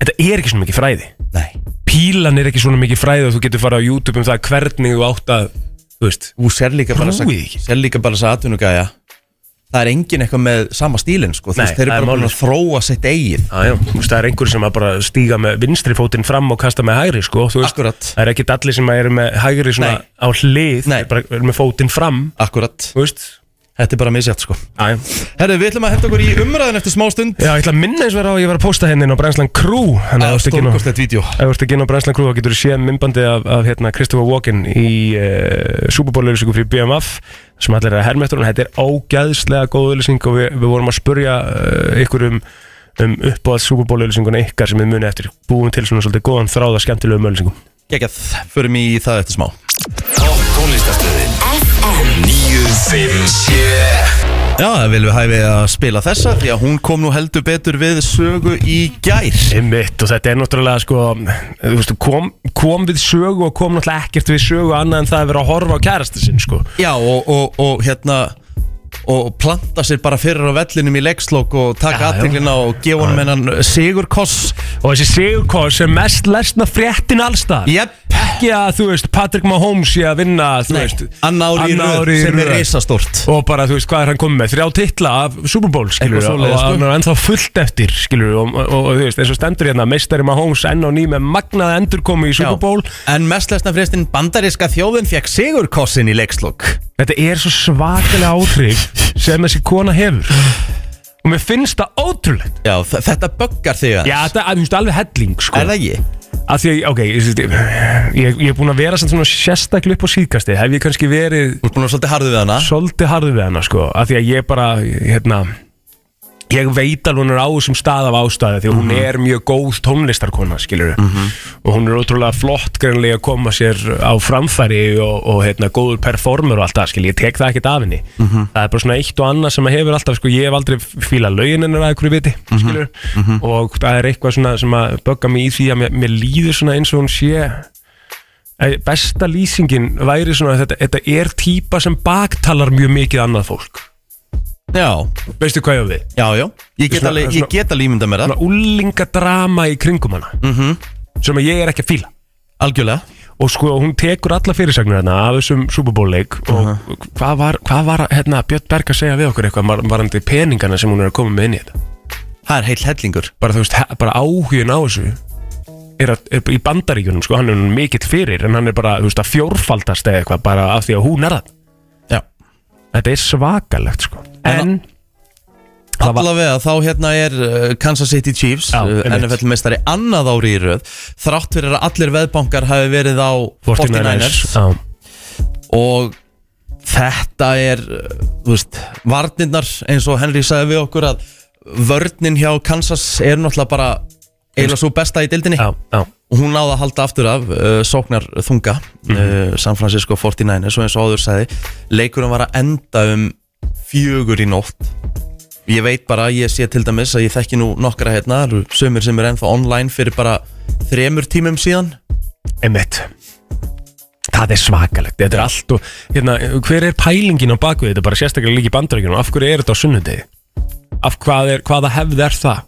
Þetta er ekki svona mikið fræði
Nei,
Pílan er ekki svona mikið fræði og þú getur farið á YouTube um það hvernig þú átt að Þú veist
þú sér líka bara
Trúi því ekki.
sér líka bara þess að atvinnugæja það er engin eitthvað með sama stílinn sko. Þú
Nei,
veist, þeir eru
það er
bara búin að þróa sitt eigið
Já, já, þú veist, það er einhverjum sem að bara stíga með vinstri fótinn fram og kasta með hægri, sko, þú veist,
Akkurat.
það er ekki allir sem eru með hægri svona
Nei.
á hlið,
Nei.
er bara eru með fótinn fram,
Akkurat,
þú veist.
þetta er bara misjátt sko.
Já,
Herru, við ætlum að henda okkur í umræðin eftir smá stund
ég ætla að minna eins vera á að ég var að posta henni á Brænslan Crew, þannig að
að
þú veist ekki nú.
stórkostlegt vídeo
Ef þú ert ekki inn á Brænslan Crew þá getur þú séð myndbandið af, af hérna, Christopher Walken í uh, Superbowl-auðlýsingu fyrir BMF sem allir er að herma eftir hún. Þetta er ógæðslega góð auðlýsing og við, við vorum að spurja uh, ykkur um, um uppáðað Superbowl-auðlýsinguna ykkar sem við munið eftir búum til svona svolítið góðan þráða skemmtilegum auðlýsingum.
Gekkað, förum í það eftir smá
Topp tónlistastöðin FM 957
Já, það viljum við hæfi að spila þessa því að hún kom nú heldur betur við sögu í gær
Einmitt, og þetta er náttúrulega sko, þú veist, kom, kom við sögu og kom náttúrulega ekkert við sögu annað en það að vera að horfa á kærasta sinn sko.
Já, og, og, og hérna og planta sér bara fyrir á vellinum í leikslokk og taka
Já, já.
aðtinglina og gefa honum hennan sigur koss
og þessi sigurkors er mest lesna fréttin allstað
Jep
ekki að þú veist Patrick Mahomes sé að vinna þú veist
annar ári í
annað
röð
árið í
sem er
röð.
reysastort
og bara þú veist hvað er hann komið með þrjá titla af Super Bowl skilur
Eitthvað
og
svoleiðis, sko.
hann er ennþá fullt eftir skilur og, og, og, þú veist eins og stendur hérna meistari Mahomes enn á ný með magnaða endurkomi í Super Bowl
En mestlæsna fréstinn bandaríska þjóðin fekk sigurkossin í leikslokk
þetta er svo svakalega áhrif sem þessi kona hefur og mér finnst það ótrúlegt
Já, þ- þetta böggar þig að
já þetta er þú veist, alveg helling sko
Er það ekki?
að því að, ok, ég, ég, ég er búin að vera samt svona sérstaklega upp á síðkasti hef ég kannski verið
Þú ert búin að vera svolítið harðu við hana
svolítið harðu við hana sko að því að ég bara, hérna ég veit alveg hún er á þessum stað af ástæði því að hún er mjög góð tónlistarkona skilur og hún er ótrúlega flott greinlega að koma sér á framfæri og, og hérna góður performer og allt það skilur, ég tek það ekkert af henni það er bara svona eitt og annað sem að hefur alltaf sko, ég hef aldrei fílað lögin hennar að einhverju viti skilur, og það er eitthvað svona sem að bögga mig í því að mér, mér líður svona eins og hún sé Æ, besta lýsingin væri svona að þetta, þetta er típa sem baktalar mjög mikið annað fólk
Já,
veistu hvað ég á við?
já, já Ég get
Svona-
alveg,
svona-
ég get alveg ímynda mér það
Svona úlingadrama í kringum hana -hmm. sem að ég er ekki að fíla
Algjörlega
og sko hún tekur alla fyrirsagnir hérna af þessum Super Bowl leik og hvað var, hvað var hérna, Björn Berg að segja við okkur eitthvað var- varandi peningana sem hún er að koma með inn í þetta
Það er heil hellingur
bara þú veist, he- bara áhugin á þessu er, að, er í bandaríkjunum sko, hann er nú mikill fyrir en hann er bara, þú veist, að fjórfaldast eða eitthvað bara af því að hún er það
Já
þetta er svakalegt sko en, það var-
Allavega þá hérna er uh, Kansas City Chiefs
Já,
uh,
einmitt.
NFL meistari annað ári í röð Þrátt fyrir að allir veðbankar hafi verið á 49ers
Já.
og þetta er uh, þú veist, varnirnar eins og Henry sagði við okkur að vörnin hjá Kansas er náttúrulega bara eiginlega svo besta í dildinni
já, já,
og hún náði að halda aftur af uh, sóknar þunga
Mhm.
uh, San Francisco 49 svo eins og áður sagði leikurinn var að enda um fjögur í nótt ég veit bara, ég sé til dæmis að ég þekki nú nokkra hérna, það eru sömur sem er ennþá online fyrir bara þremur tímum síðan
einmitt það er svakalegt, þetta er allt og hérna, hver er pælingin á bakvið þetta bara sérstaklega líka í bandaríkjunum, af hverju er þetta á sunnudegi af hvað er, hvaða hefð er það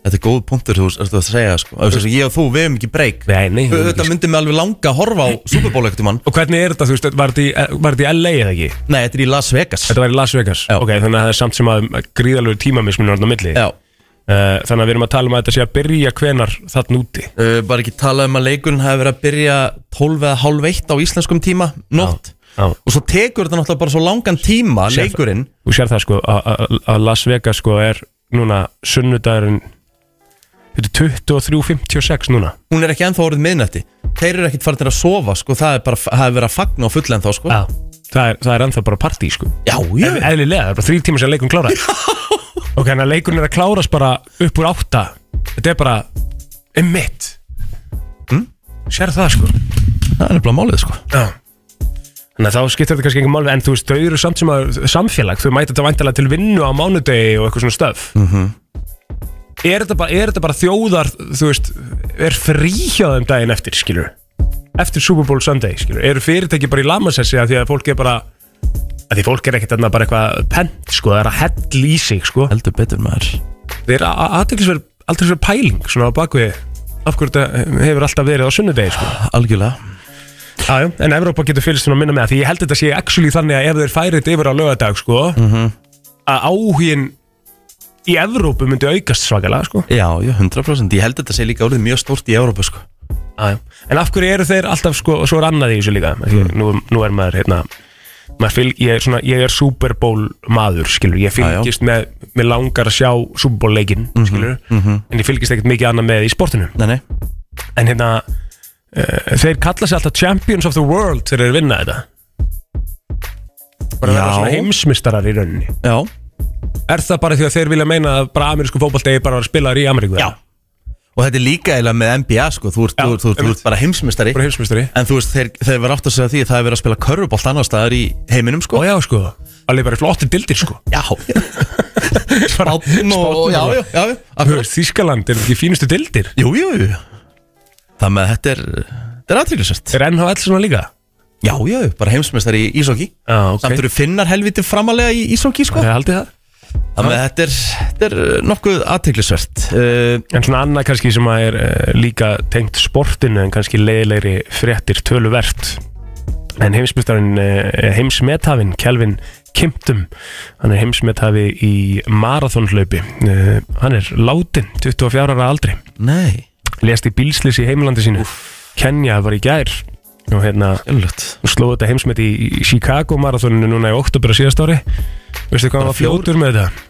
Þetta er góð punktur þú veist að segja sko. Þú veist, Ég og þú, við hefum ekki breyk
Nei, nei, við höfum ekki,
Þetta myndi mig alveg langa að horfa á Super Bowl ekkert um hann
og hvernig er þetta, þú veist, var þetta í, var þetta í LA eða ekki
Nei, þetta er í Las Vegas
þetta var í Las Vegas,
Já.
ok, þannig að það er samt sem að gríðalegu tímamismunur á milli
Já,
Eh, Þannig að við erum að tala um að þetta sé að byrja hvenar þann úti
uh, Bara ekki tala um að leikurinn hafi verið að byrja 12 eða hálf eitt á íslenskum tíma Nótt
Já, já.
Og svo tekur þetta náttúrulega bara svo langan tíma
Sér það.
Leikurinn
Þú sér það sko að- að að Las Vegas sko er núna sunnudagurinn Þetta er 23.56 núna
Hún er ekki ennþá orðið miðnætti Þeir eru ekkit farin að sofa sko Það er bara, það er verið að fagna og fulla ennþá sko
Já Það er, það er ennþá bara partí sko
Já, já
Eðlilega, það er bara þrjú tíma sem leikun kláraði Ok, þannig að leikun er að klárast bara upp úr átta Þetta er bara um mitt Sér það sko
Það er nefnilega málið sko
Já Þannig að þá skiptir þetta kannski engin málfi En þú veist, þau eru samt sem að samfélag Þau mæta þetta væntalega til vinnu á mánudegi og eitthvað svona stöf -hmm. er, þetta bara, er þetta bara þjóðar Þú veist, er frí hjá þeim daginn eftir, skilur Eftir Super Bowl Sunday, skilur Eru fyrirtæki bara í lamasessi að því að fólk er bara að Því fólk er ekkert þarna bara eitthvað pent, sko Það er að hell í sig, sko
Heldur betur maður
Það er aðeinsverð, aðeinsverð pæling Svona á bakvið Af hverju þetta hefur alltaf verið á sunnudegi, sko
Algjörlega
Jájú, en Evrópa getur fylgst svona minna með það Því ég held þetta sé actually þannig að ef þeir færið yfir á lögadag sko,
Mhm.
að áhugin í Evrópu myndi aukast svakalega sko.
Já, já, 100% Ég held að þetta sé líka orðið mjög stórt í Európa sko
Jájú. En af hverju eru þeir alltaf sko, og svo er annað í þessu líka
Mhm.
mm. nú, nú er maður hérna maður fylg, ég, er svona, ég er Super Bowl maður skilur, ég
já. Mhm,
fylgist með mér langar að sjá Super Bowl leikinn skilur, en ég fylgist ekkert mikið annað með í sportinu
Nei, nei
en hérna uh, þeir kalla sig alltaf Champions of the World þegar þeir vinna þetta bara
Já.
verða svona heimsmistarar í rauninni
Já
er það bara því að þeir vilja meina að bara amerísku fótbolti eigi bara að vera spilaður í Ameríku
Já.
Og þetta er líka eiginlega með NBA sko, þú ert,
Já,
þú, þú, þú,
einmitt.
ert bara heimsmystari
bara heimsmistari
En þú veist, þeir, þeir verða átt að segja því að það er verið að spila körfubolt annar staðar í heiminum sko
og já sko alveg bara í flottir dildir sko
Já, spátn og,
Spánn
já,
og-
já, já,
Þú
akkurat
veist, Þískaland er ekki í fínustu dildir
Jú, jú, jú Það með þetta er, þetta er aðtryggisvært
er NHL svona líka
Já, já, bara heimsmystari í ísóki
Já, ok.
Samt eru finnar helviti framalega í ísóki sko
það haldið það
Það með þetta er, þetta er nokkuð aðtryggisvært uh,
En svona annað kannski sem að er uh, líka tengt sportinu en kannski leiðilegri fréttir töluvert en heimsmyndarinn uh, heimsmethafinn Kelvin Kimptum hann er heimsmethafi í marathonhlaupi uh, hann er látin 24 ára að aldri
Nei,
lest í bílslis í heimilandi sínu Kenya var í gær og hérna
jöllut
sló þetta heimsmet í í Chicago marathoninu núna í oktober á síðast ári veistu hvað hann var
fjór-
fljótur með þetta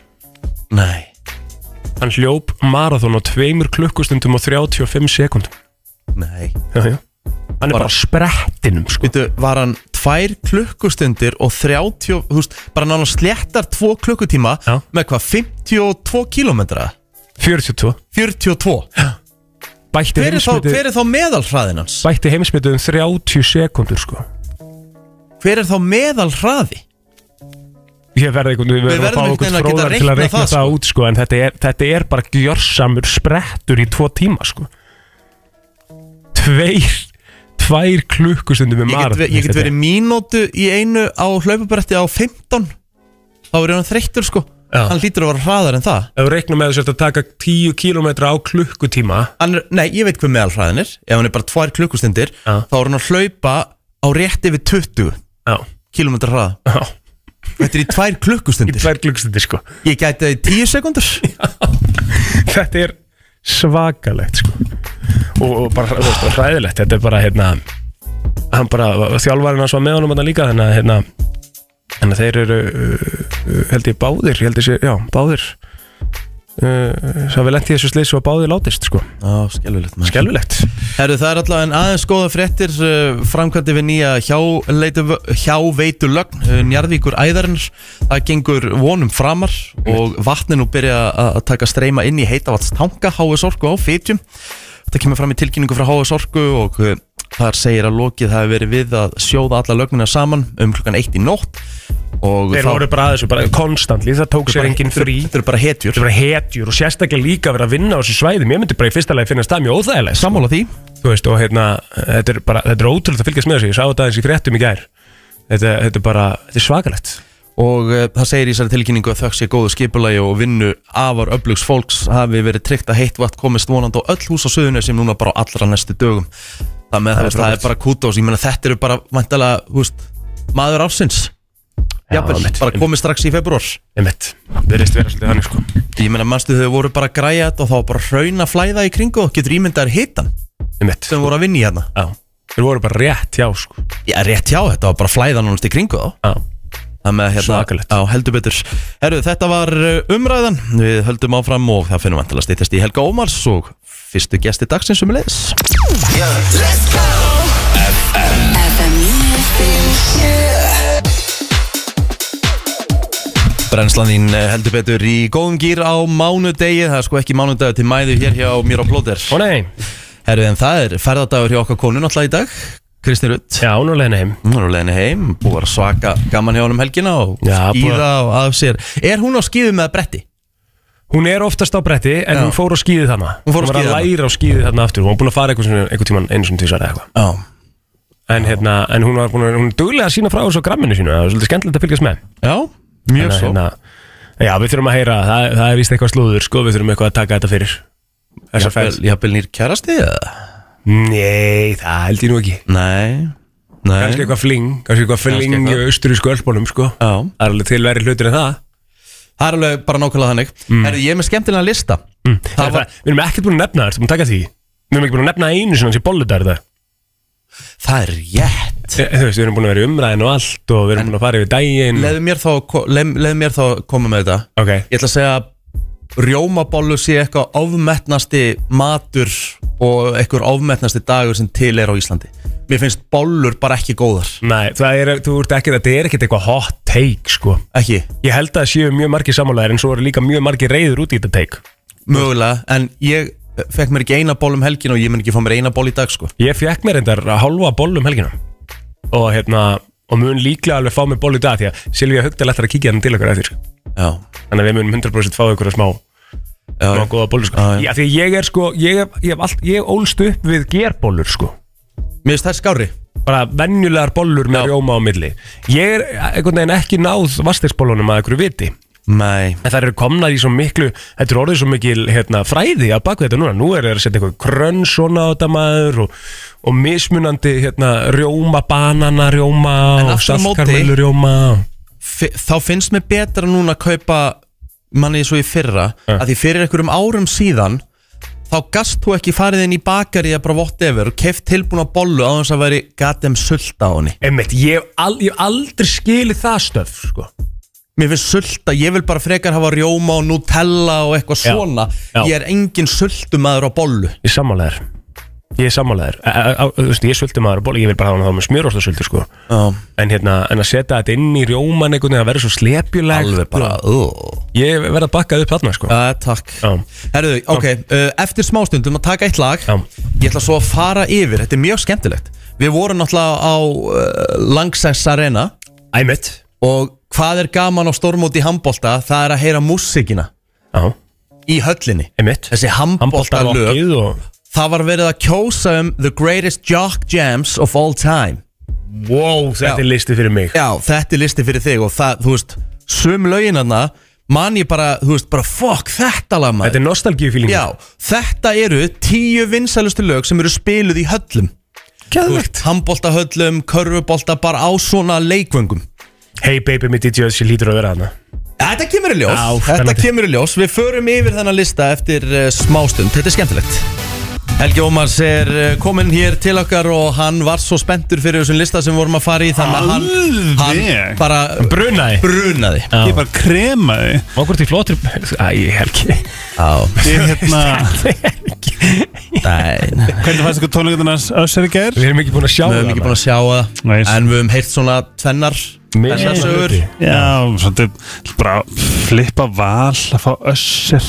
Nei,
hann hljóp marathon á tveimur klukkustundum og 35 sekundum
nei
já, já. Hann er bara, bara sprettinum sko.
Býtu, var hann tvær klukkustundir og 30, þú veist, bara náttúrulega sléttar tvo klukkutíma
Já.
með hvað, 52 kilometra?
42
42.
Bætti
Hver er, þá,
heimsmyndið
hver er þá meðalhraðin hans?
Bætti heimsmyndið um 30 sekundur sko.
Hver er þá meðalhraði?
Ég verði einhvern við verðum að
verðum einhvern
fá
veginn að
einhvern
geta
fróðar til að
reiknað
reikna
það,
það, út sko, en þetta er, þetta er bara gjörsamur sprettur í tvo tíma sko. Tveir Tvær klukkustundum með
Ég get,
marathon
ve- ég get
þetta er-
verið mínútu í einu á hlaupabrætti á 15. Þá er hann þreyttur, sko.
Já.
Hann lítur að vera hraðar en það.
Ef við reiknum með þess að taka 10 km á klukkutíma
Hann er, nei, ég veit hvað meðalhraðin er. Ef hann er bara tvær klukkustundir,
Já.
þá er hann að hlaupa á rétt yfir 20
Já,
kilometra hraða.
já
Þetta er í tvær
Í
klukkustundir.
tvær klukkustundir sko
Ég gæti það í 10 sekundur.
þetta er svakalegt sko. og, og bara þú veist, bara hræðilegt þetta er bara hérna hann bara, þjálfarinn hans var með honum þarna líka þannig að hérna, hérna þeir eru uh, uh, held ég báðir held ég sé, já, báðir uh, svo við lenti þessu slis og báðir látist sko.
Já, skelvilegt maður
skelvilegt
Herru, það er allavega en aðeins góða fréttir uh, framkvæmdi við nýja hjáleitu- hjáveitulögn hjá Njarðvíkur æðarinn Það gengur vonum framar og vatnin nú byrja að að taka streyma inn í heitavatstanka HS Orku á Fitjum Þetta kemur fram í tilkynningu frá HS Orku og uh, þar segir að lokið hafi verið við að sjóða alla lögnina saman um klukkan eitt í nótt og
þeir
þá-
voru bara að þessu, bara konstantli það tók sér engin
Þetta eru-
frí
Þetta eru bara hetjur
þetta er bara hetjur og sérstaklega líka að vera að vinna á þessu svæðum ég myndi bara í fyrsta lagi finnast það mjög óþægilegt
Sammála því
þú veist, og hérna, þetta er bara, þetta er ótrúlega að fylgjast með þessu, ég sá þetta aðeins í fréttum í gær þetta, þetta er bara, þetta er svakalegt
og uh, það segir í þessari tilkynningu að þökk sé góðu skipulagi og vinnu afar öflugs fólks hafi verið tryggt að heitt vatn komist vonandi á öll hús á söðunni sem núna bara á allra næstu dögum það með það, það, það er bara kútós, ég meina þetta eru bara vantalega, húst, maður ársins Jafnvel,
einmitt,
bara komið strax í februar
Einmitt, það reist vera svolítið þannig sko
Ég meina, manstu þau voru bara að græja þetta og þá var bara hraun að flæða í kringu og getur ímyndaður hitan
Einmitt,
sem voru að vinna í hérna
já Þeir voru bara rétt hjá sko
Já, rétt hjá, þetta var bara flæðan húnst í kringu þá
Já,
Það með hérna,
Svakalegt.
á heldur betur Herru, þetta var uh, umræðan Við höldum áfram og það finnum vantilega stýttast í Helga Ómars og fyrstu gesti dagsins um leðis
FM 957
Brennslan þín uh, heldur betur í góðum gýr á mánudegi Það er sko ekki mánudagur til mæðu hér hjá mér á Plóter
ó nei,
Herru, en það er ferðardagur hjá okkar konu náttúrulega í dag Kristi Rutt
já, nú leiðin heim
Hún er á leiðinni heim, búið að vera svaka gaman hjá hún um helgina og
Já, búið
skýða og af sér Er hún á skýðu með bretti?
Hún er oftast á bretti en
Já.
hún fór á skíði þarna
Hún fór á
var
skíði
að
þarna.
læra á skíði þarna aftur Hún var búin að fara eitthvað, sinni- eitthvað tíman einu sem tvisar eða eitthvað
Já,
En, hérna, en hún, var búin, að- hún er duglega að sína frá þessu á gramminu sínu Það er svolítið skemmtilegt að fylgjast með
já, mjög
Þannig að, hérna,
svo
Já, við þurfum að heyra, það, það er víst eitthvað slúður sko, Við þurfum eitthvað að taka þetta fyrir Þessar
Jafnvel-
ferð
Jafnvel nýr kærasti eða?
Nei, það held ég nú ekki
Nei, nei
Kannski eitthvað fling, kannski eitthvað fling í
eitthvað.
austurísku öllbólum sko.
Já.
Það er alveg til verið hlutur en það
Það er alveg bara nákvæmlega þannig
Mm.
Herru, ég er með skemmtilega lista
Það
það,
var,
var,
við erum ekkert búin að nefna það, ertu búin að taka því Við erum ekki búin að nefna einu sinna sem bollutar þetta
það er rétt
Þe- Þú veist, við erum búin að vera í umræðin og allt og við erum búin að fara yfir daginn
Leðu mér, þá, ko- leið, leið mér þá að koma með þetta
Ok,
Ég ætla að segja að Rjómabollu sé eitthvað ofmetnasti matur og eitthvað ofmetnasti dagur sem til er á Íslandi Mér finnst bollur bara ekki góðar
nei, það er, þú ert ekki, þetta er ekkert eitthvað hot take sko
Ekki,
Ég held að það séu mjög margir samanlegar en svo eru líka mjög margir reyður út í þetta take
mögulega En ég eh, fekk mér ekki eina boll um helgin og ég mun ekki fá mér eina boll í dag sko
Ég fekk mér reyndar að hálfa boll um helgina og hérna, og mun líklega alveg fá mér boll í dag því að Silvíu Haugdal ætlar að kíkja hann til okkar eftir
Já,
Þannig að við munum 100% fá ykkur að smá
já,
Má góða bólur sko
Já, já.
Já, því að ég er sko, ég, hef- ég, hef allt, ég ólst upp við gerbólur sko
Mér finnst það skári
Bara venjulegar bólur með rjóma á milli Ég er eh, einhvern veginn ekki náð vastegsbólunum að einhverju viti
Nei,
En það eru komnar í svo miklu, þetta er orðið svo mikil hérna, fræði að baka þetta núna Nú er það að setja eitthvað krönn svona á þetta maður og, og mismunandi hérna, rjóma, banana rjóma
En
og
aftur á móti-
saltkarmelu rjóma
fi- þá finnst mér betra núna að kaupa manni svo í fyrra að því fyrir einhverjum árum síðan þá gast þú ekki farið inn í bakari eða bara vott yfir og keft tilbúna bollu á þess að veri gatem sulta á henni
Einmitt, ég hef al, ég hef aldrei skilið það stöf sko.
mér finnst sulta, ég vil bara frekar hafa rjóma og nutella og eitthvað
Já,
svona
já.
ég er engin sultumæður á bollu
Ég er sammálaður Ég er sammálaður Æ, æ, æ, Þú veist, ég sulti maður að bóla Ég vil bara hafa hann þá með smjörostasöldi sko
Já.
En hérna, en að setja þetta inn í rjóman einhvern veginn að vera svo slepjulegt
alveg bara uh.
Ég verð að bakka upp þarna sko
uh, takk
Já.
Herðu, ok, uh, eftir smástundum að taka eitt lag
Já.
Ég ætla svo að fara yfir, þetta er mjög skemmtilegt Við vorum náttúrulega á uh, Langsess Arena
Æmitt
og hvað er gaman á stórmóti í handbolta það er að heyra músikina
Já,
í höllinni
æmitt
þessi handbolta lög
Handbóltalokkið og
það var verið að kjósa um the greatest jock jams of all time
Wow, þetta
Já.
er listi fyrir mig
já þetta er listi fyrir þig og það þú veist sum löginarna man ég bara þú veist bara fuck þetta lag maður
Þetta er nostalgíufíling
já þetta eru tíu vinsælustu lög sem eru spiluð í höllum
Gæðvegt
handbolta höllum körfubolta bara á svona leikvöngum
Hey baby, mitt DJ Össi lítur að vera þarna
Þetta kemur í ljós,
Já,
þetta
spennandi.
kemur í ljós Við förum yfir þennan lista eftir uh, smástund Þetta er skemmtilegt Helgi Ómars er uh, kominn hér til okkar og hann var svo spenntur fyrir þessum lista sem við vorum að fara í þannig að hann, hann
Alveg.
bara
Brunaði
brunaði
[LAUGHS]
Ég bara kremaði
Okkur til flottur Æ, helgi
Já,
Ég [LAUGHS] hérna
nein
Hvernig fannst ykkur tónleikundarnas össar í gær?
Við erum ekki búin að sjá
Við höfum ekki búin að sjá það
Nei.
En við höfum heyrt svona tvennar Þessar sögur
Já, svolítið bara flippa val að fá össir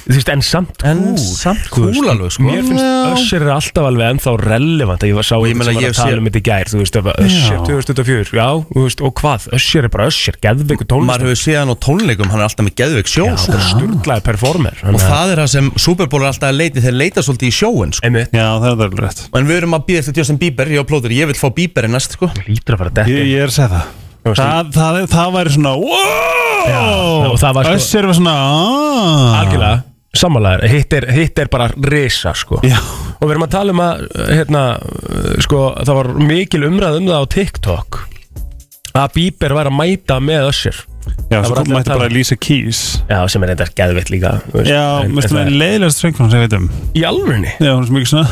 Þú veist, en samt
En
kúl.
samt
Þú veist,
kúl alveg, sko.
Mér finnst
Já.
Össir er alltaf alveg ennþá relevant að ég var sá
ég
einhvern
meina,
sem var
ég
að tala
sé-
um þetta í gær Þú veist, það var Össir 2004 Já, þú veist, og hvað? Össir er bara Össir, geðveiku tónlist
Maður hefur séð hann á tónleikum, hann er alltaf með geðveik sjó sko.
bara sturglaði performer
Og það er það sem Super Bowl er alltaf að leiti Þeir leita svolítið í sjóin sko.
Einmitt,
Já, það er alveg rétt
En við erum að býða eftir Justin Bieber, ég og plóður Ég vil fá Bieber í næst sko.
lítur að fara að
Ég,
dekka
ég er að segja það
Þú veist,
Það, það, er- það væri svona wow!
og það var sko-
Össir var svona "Ah." aah.
Algjörlega, sammálaður, hitt er, hitt er bara risa sko
Já.
Og við erum að tala um að, hérna, uh, sko, það var mikil umræð um það á TikTok að Bieber væri að mæta með Usher
Já,
Það
svo
voru allir að
mætti
tala.
bara Lisa Keys
Já, sem er eitthvað geðveitt líka þú veist.
Já,
En-
veistu
en
með
það-
leiðilegast söngkvæm sem ég veit um
Í alvörinni?
Já, hún er svo mikið svona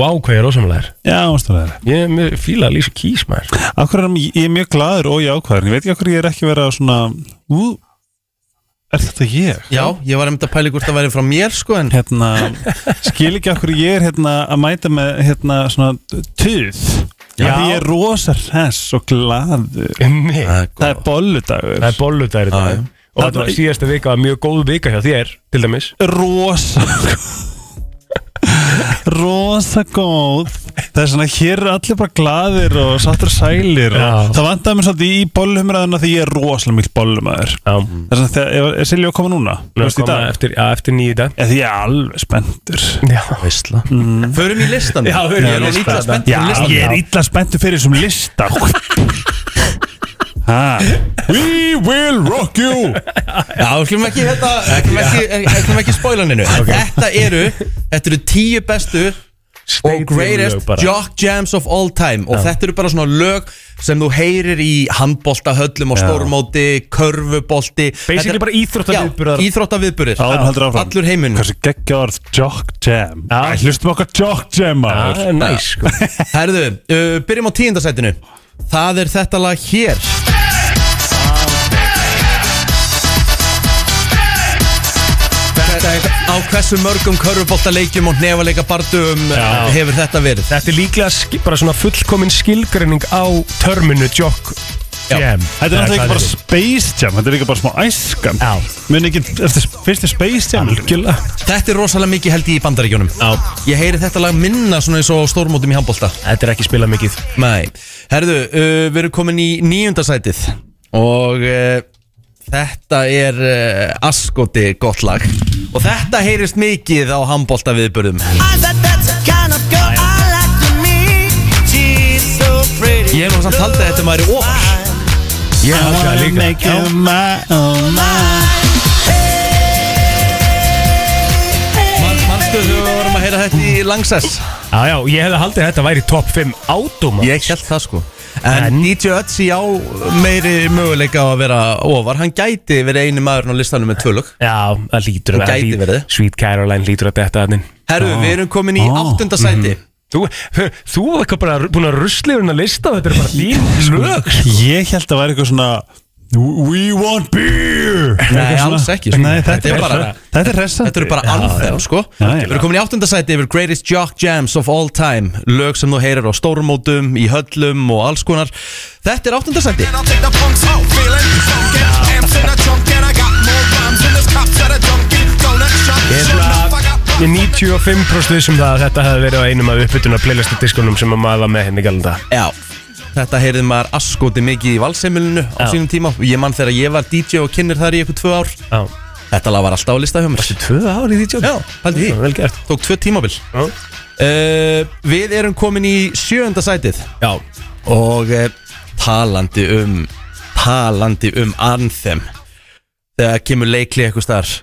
Vá, hvað ég er ósamlegar
Já, hún stóðar
Ég mér fíla Lisa Keys, maður
[LAUGHS] Akkur er ég er mjög gladur og jákvæður Ég veit ekki akkur ég er ekki verið að svona Ú, er þetta ég?
Já, ég var einmitt að pæli hvort það væri frá mér sko en
Hérna, skil ekki akkur ég er hérna að mæta með hérna svona tuð Já Því ég er rosa hress og gladur
Nei
Það er bolludagur
Sko. Það er bolludagur í
Já,
dag
já.
Og þetta var síðasta vika var mjög góð vika hjá þér, til dæmis
rosa rosa góð það er svona hér er allir bara glaðir og sattur sælir
Já.
og það vantaði mér svolítið í bollumræðuna því ég er rosalega mikill bollumæður
Já
það er svona þegar, er Silja að koma núna? Þú
Nú
veist í
koma
Mm. dag?
eftir, já, eftir nýju dag
Eða ég er alveg spenntur
Já
Veistla Förum í listan
Já, förum í
Ég er
listan.
líka spennt
Já,
fyrir listan
ég er illa spenntur fyrir þessum lista Ha. We will rock you
Já, við skulum ekki þetta Skulum ekki, ekki, ekki, ekki spoilaninu okay. Þetta eru Þetta eru tíu bestu Og
lög
greatest
bara.
jock jams of all time Og þetta eru bara svona lög Sem þú heyrir í handboltahöllum Og stórmóti, körfubolti
Basically bara íþróttaviðburðar.
Íþróttaviðburðir
[LAUGHS] Áður en heldur áfram.
Allur heiminn
Hversu geggja orð Jock Jam
Já.
Æ, Hlustum okkar Jock Jam
Það
maður.
er næs, sko
Herðu, uh, byrjum á tíundasætinu Það er þetta lag hér Þetta er á hversu mörgum körfuboltaleikjum og nefaleika bardum
Já.
hefur þetta verið
Þetta er líklega sk- bara svona fullkomin skilgreining á törminu Jock
Já.
Jam
Þetta er náttúrulega
Eða
ekki bara
hvað
Space Jam, þetta er líka bara smá æskan
Já.
Muni ekki eftir fyrstu Space Jam Algjörlega
Þetta er rosalega mikið held í bandaríkjónum
Já.
Ég heyri þetta lag minna svona eins og á stórmótum í handbolta
Þetta er ekki spilað mikið
Nei, herðu, uh, við erum komin í nýjundasætið og uh, þetta er uh, askoti gott lag og þetta heyrist mikið á handbólta viðbörðum Ég hef nú samt haldið að þetta maður er ofar
Ég
hugsa það líka.
make you my, oh my
Man, Manstu þegar við vorum að heyra þetta í langsess
Já, já, ég hefði haldið að þetta væri top 5 átum
Ég held það sko En, DJ Ötzi á meiri möguleika á að vera ofar Hann gæti verið eini maðurinn á listanum með tvölug
Já, það lítur að
Það gæti
lít-
verið.
Sweet Caroline lítur að detta þannig
Herru, við erum komin í
Ó.
áttunda sæti
Þú, hör, þú er eitthvað bara búin að rusli úr hennar lista Þetta er bara þín lög sko.
Sko.
Ég held að það væri eitthvað svona We want beer
Nei,
Eitthvað
alls
svona-
ekki, sko.
Nei, þetta
Þetta er
er
bara-
bara Þetta er hressa
Þetta eru bara alþem, sko
Já, já.
Við erum komin í áttundasæti yfir Greatest Jock Jams of All Time Lög sem þú heyrir á stórmótum, í höllum og alls konar Þetta er áttundasæti
Ég er 95% vissum um það að þetta hefði verið á einum af uppbytuna playlista diskunum sem að maður var með henni galda
Já Þetta heyrði maður askoti mikið í valseimilinu á
Já.
sínum tíma og Ég mann þegar ég var DJ og kynir þar í eitthvað tvö ár
Já
Þetta lag var alltaf á lista hjá mér
Tvö ár í því tjóð
Já, haldið því
Vel gert
Tók tvö tímabil
Já.
uh, Við erum komin í sjöunda sætið
Já
Og uh, talandi um Talandi um Anthem Þegar kemur leikli eitthvað starf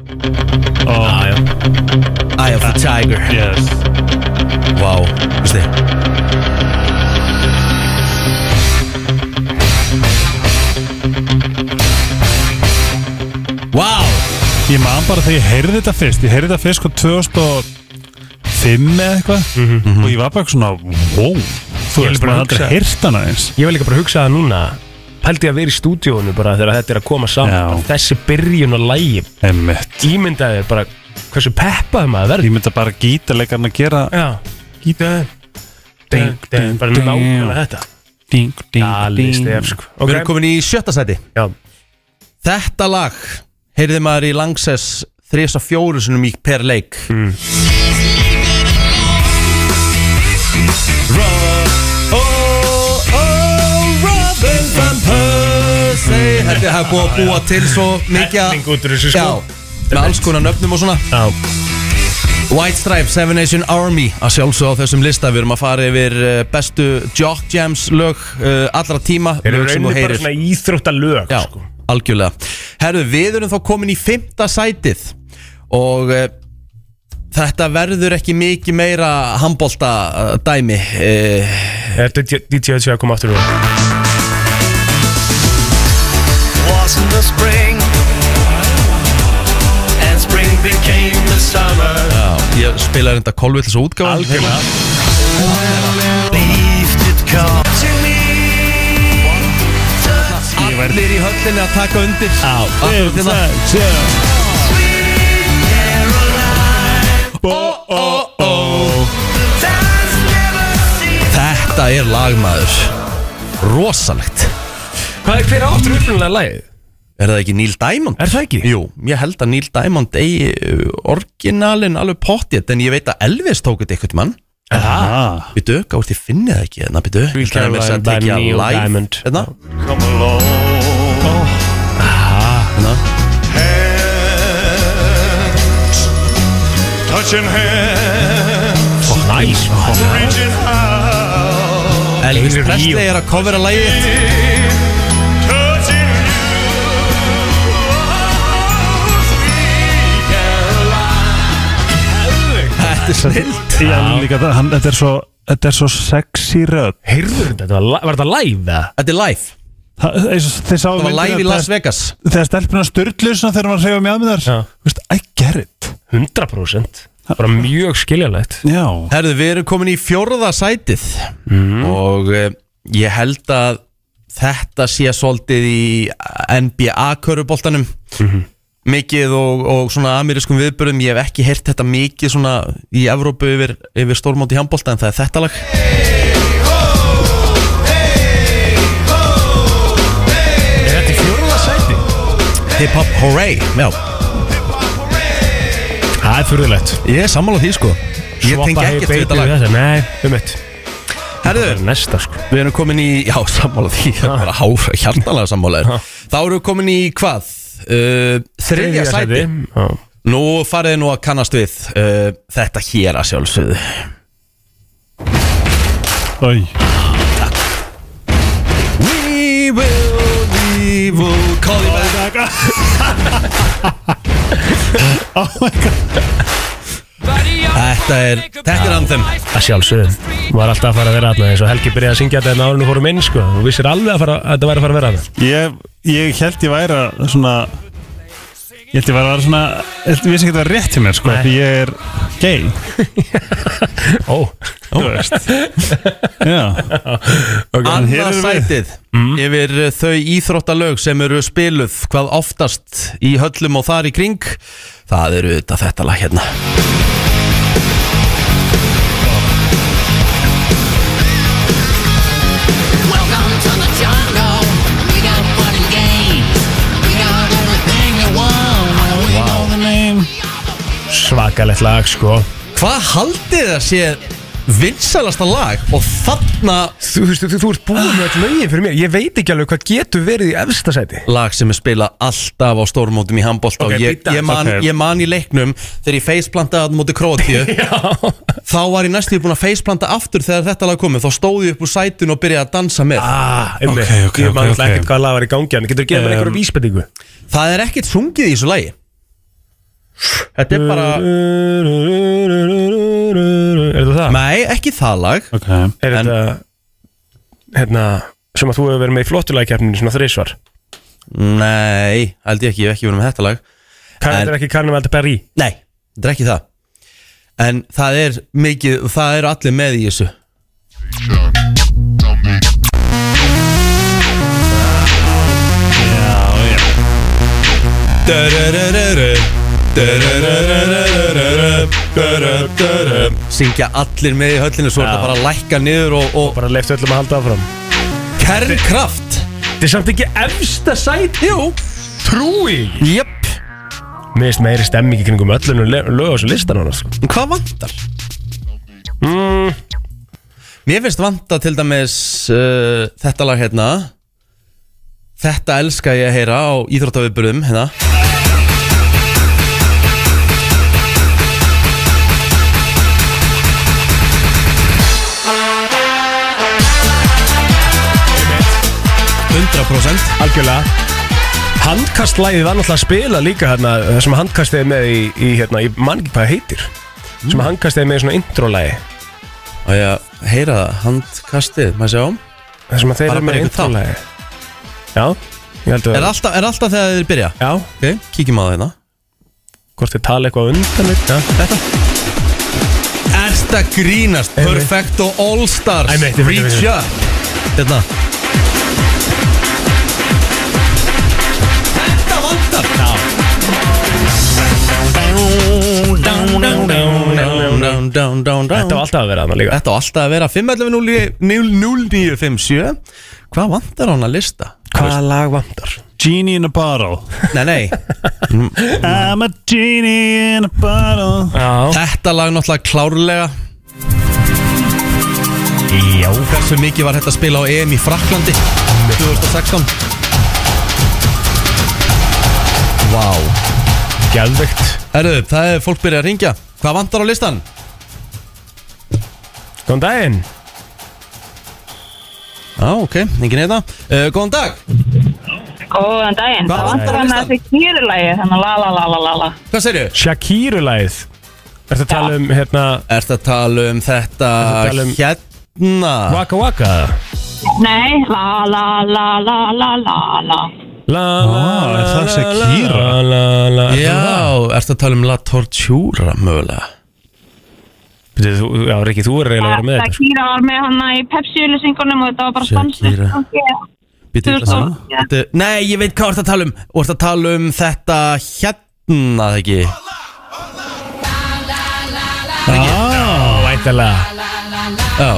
Já, já
Eye of the Tiger
Yes
Vá, veist þið Vá
Ég man bara þegar ég heyrði þetta fyrst Ég heyrði þetta fyrst sko 2005 eða eitthvað
Mhm,
Og ég var bara eitthvað svona Wow Þú
Ég
veist,
vil bara
maður aldrei
hugsa-
heyrt hana eins
Ég var líka bara að hugsa það núna Pældi ég að vera í stúdíónu bara þegar þetta er að koma saman
Já.
Bara Þessi byrjun á lægi
Emmett
Ímyndaði þér bara hversu peppaði maður verði
Ég myndi bara gítarleikarn að gera
Já Gítaði Ding, ding, bara
Ding.
nákvæmlega þetta
Ding, ding,
Dali, stef, sko
Við erum
Ok,
komin í sjötta sæti
já
Þetta lag heyrði maður í Langsess þrjus og fjóru sinum í per leik
Mm.
Ro- oh, oh, Robin van Persie. Þetta er búið að búa til svo mikið að-
Helling út úr þessu, sko.
Já, með alls konar nöfnum og svona
Já
White Stripes, Seven Nation Army að sjálfsög á þessum lista, við erum að fara yfir eh, bestu Jock Jams lög eh, allra tíma,
Þeir eru
lög sem þú
rauninni bara
heyrir
svona íþrótta lög
Já,
sko.
algjörlega Herðu, við erum þá komin í fymta sætið og uh, þetta verður ekki mikið meira handbolta uh, dæmi uh,
Er DJ DJ Ötzi að koma aftur úr?
was in the spring And spring became the summer
Já, ég spilaði þetta kolvillis og útgáð
Algjörlega.
Believed it come to me
Allir í höllinni að taka undir Já, hérna. allir til það
Oh,
Þetta er lagmaður Rosalegt
Hvað er hver áttur upprunalega lagið?
Er það ekki Neil Diamond?
Er það ekki?
Jú, ég held að Neil Diamond eigi uh, orginalinn alveg pottið En ég veit að Elvis tók þetta eitthvað mann
Ah,
Býtu, gáðist ég finni það ekki hérna, Þannig býtu,
Sweet
það er með þess að
Caroline by
tekja
Neil
live
Diamond.
Hérna,
Come along
hérna
Hands Touching hands
Næs
Reaching out
Elvis
Einir
Presley
Ríó.
er að covera lagið
Touching you Oh, sweet
Þetta er snill
ég alveg líka það, hann, þetta er svo Þetta er svo sexy rödd
Heyrður þetta, þetta? Var var þetta live eða?
Þetta er live
Það eins og þið sáum
Það var
myndina,
live í
þegar-
Las Vegas
Þegar stelpina störtlusna þegar hann var að segja um jámiðar
Já.
Þú veist, I get it
100% Það var mjög skiljanlegt
Já,
Herðu, við erum komin í fjórða sætið
Mhm.
og eh, ég held að þetta sé svolítið í NBA-köruboltanum
Mhm.
mikið og, og svona amerískum viðbörðum, ég hef ekki heyrt þetta mikið svona í Evrópu yfir, yfir stórmóti handbolta en það er þetta lag
Er þetta í fjórða sæti?
Hip Hop Hooray Já,
Það er fyrirlegt
ég er sammála því sko Ég tengi ekkert við þetta lag
þetta Nei, um eitt Það er
Herðu,
næsta sko
við erum komin í, já sammála því það er bara háfra hjartalega sammála er Þá erum við komin í hvað? Uh, þriðja sæti
Já.
Nú farið þið nú að kannast við uh, Þetta hér að sjálfsögðu
Æ.
We will, we will call you back Þetta er, þetta er anthem
Að sjálfsögðu Var alltaf að fara að vera aðna eins og Helgi byrjaði að syngja þetta en árinu fórum inn sko Þú vissir alveg að, fara, að þetta væri að fara að vera aðna
Ég, ég held ég væri að svona Ég held ég væri að vera svona Ég vissi ekki að það var rétt hjá mér sko
Nei.
Því ég er gay
Ó,
Þú
[LAUGHS]
veist Já, En hér
Annað
erum við.
sætið yfir uh, þau íþróttalög sem eru spiluð hvað oftast í höllum og þar í kring Það eru þetta, þetta lag hérna
Welcome to the jungle. We got fun and games. We got everything you want. Well, we know the name.
svakalegt lag sko
Hvað haldið það sé vinsalasta lag og þarna
Þú veist, þú, þú ert búin með öll lögin fyrir mér Ég veit ekki alveg hvað getur verið í efsta sæti
lag sem er spilað alltaf á stórmótum í handbólta
Ok,
og ég,
bíddu
ég, man,
aðeins, ok.
ég man í leiknum þegar ég faceplantaði að móti
[LAUGHS]
Króatíu þá var ég næstu búin að faceplanta aftur þegar þetta lag komið þá stóð ég upp úr sætun og byrjaði að dansa með
Ah, einmitt.
Ok, ok,
Ég man
ok,
alltaf
ok.
ekkert hvað lag var í gangi hann Getur þú gefið mér
Um,
einhverja vísbendingu?
það er ekkert sungið í þessu lagi þetta er bara
Er þetta það?
nei, ekki það lag
ok
Er þetta Hérna Sem að þú hefur verið með í flottulægkeppninu Svona þrísvar
nei, held ég ekki, ég hef ekki verið með þetta lag En-
Þetta er ekki Carnival de Paris
nei, þetta er ekki það en það er mikið, það eru allir með í þessu syngja allir með í höllinu svo er
Já.
þetta bara að lækka niður og, og
Bara leift öllum að halda áfram
kernkraft
Þetta er samt ekki efsta sæti
Jú,
Trúi
jöpp
Mér finnst meiri stemming í kringum öllunum lög á þessu listan hann sko.
En Hvað vantar? Mm. Mér finnst vanta til dæmis uh, þetta lag hérna Þetta elska ég að heyra á íþróttaviðburðum hérna Hundra prósent
Algjörlega Handkastlæðið var náttúrulega að spila líka hérna Það sem handkastið er með í, í hérna Ég man ekki hvað það heitir Sem handkastið er með í svona intro-lægi
Á ég að heyra það, handkastið, maður sjá
Það sem að þeir
Bara
eru með
bara einhvern
einhvern þátt Já, ég held að
Er alltaf, er alltaf þegar þeir byrja?
Já
Ok, kíkjum á það hérna
Hvort þið tala eitthvað á undan eitt Já, þetta
Ersta grínast, Perfecto All Stars
Æ, meitt, ég veit, ég veit,
Reach
ég
up Hérna Þetta vantar Down, down, down,
Þetta
down
var alltaf að vera þarna líka
Þetta á alltaf að vera 5.11.09.57 Hvað vantar á hann að lista?
Hvaða lag vantar?
Genie in a bottle
Nei, nei
Mm.
I'm a genie in a bottle
Já
Þetta lag náttúrulega klárlega
Já
Hversu mikið var þetta að spila á EM í Fraklandi 2016 Vá
Gæðvegt
Herðu, það er fólk byrjað að ringja Hvað vantar á listan?
Góðan daginn
Já, ok, enginn eða uh, Góðan dag,
Góðan daginn,
Hvað
það vantar
vantar á
hann að þessi kýrulægi, þannig la la la la la la.
hvað segirðu?
Shakíru-læð Ertu að tala um hérna
Ertu að tala um þetta
Ertu að tala um-
hérna?
Waka Waka
Nei, la la la la la la la.
La la
Ah, er það Shakira?
La la la
Já, ertu að tala um La Tortura mögulega?
Bíddu, þú- Já, Rikki, þú er reyna að vera með þetta sko.
Shakira var með hann í Pepsi-ulisingunum og þetta var bara
Shakira.
sponsor. Shakira.
Býtu illa
Þú-
saman
Já.
Þetta- Nei, ég veit hvað ertu að tala um Þú ert að tala um þetta hérna, það ekki?
Já, væntalega
Já,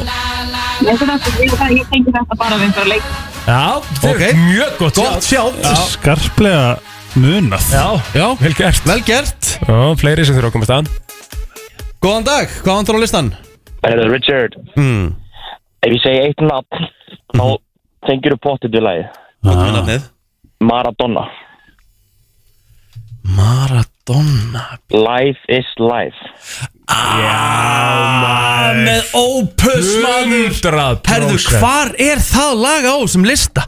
Ég veit þetta, ég, ég- ég tengi þetta bara við einhverja leik.
Já, þau-
Ok.
mjög gott
gott sjátt
Skarplega munað
Já,
Já,
vel gert
vel gert
Já, fleiri sem þurfa að komast að
Góðan dag, hvað vantar á listan?
Herðu, Richard,
Mm.
ef ég segi eitt nafn, þá tengir þú pottið við lagi.
Hvað er nafnið?
Maradona.
Maradona
Life is life.
Með Opus maður
100%
Herðu, hvar er það lag á sem lista?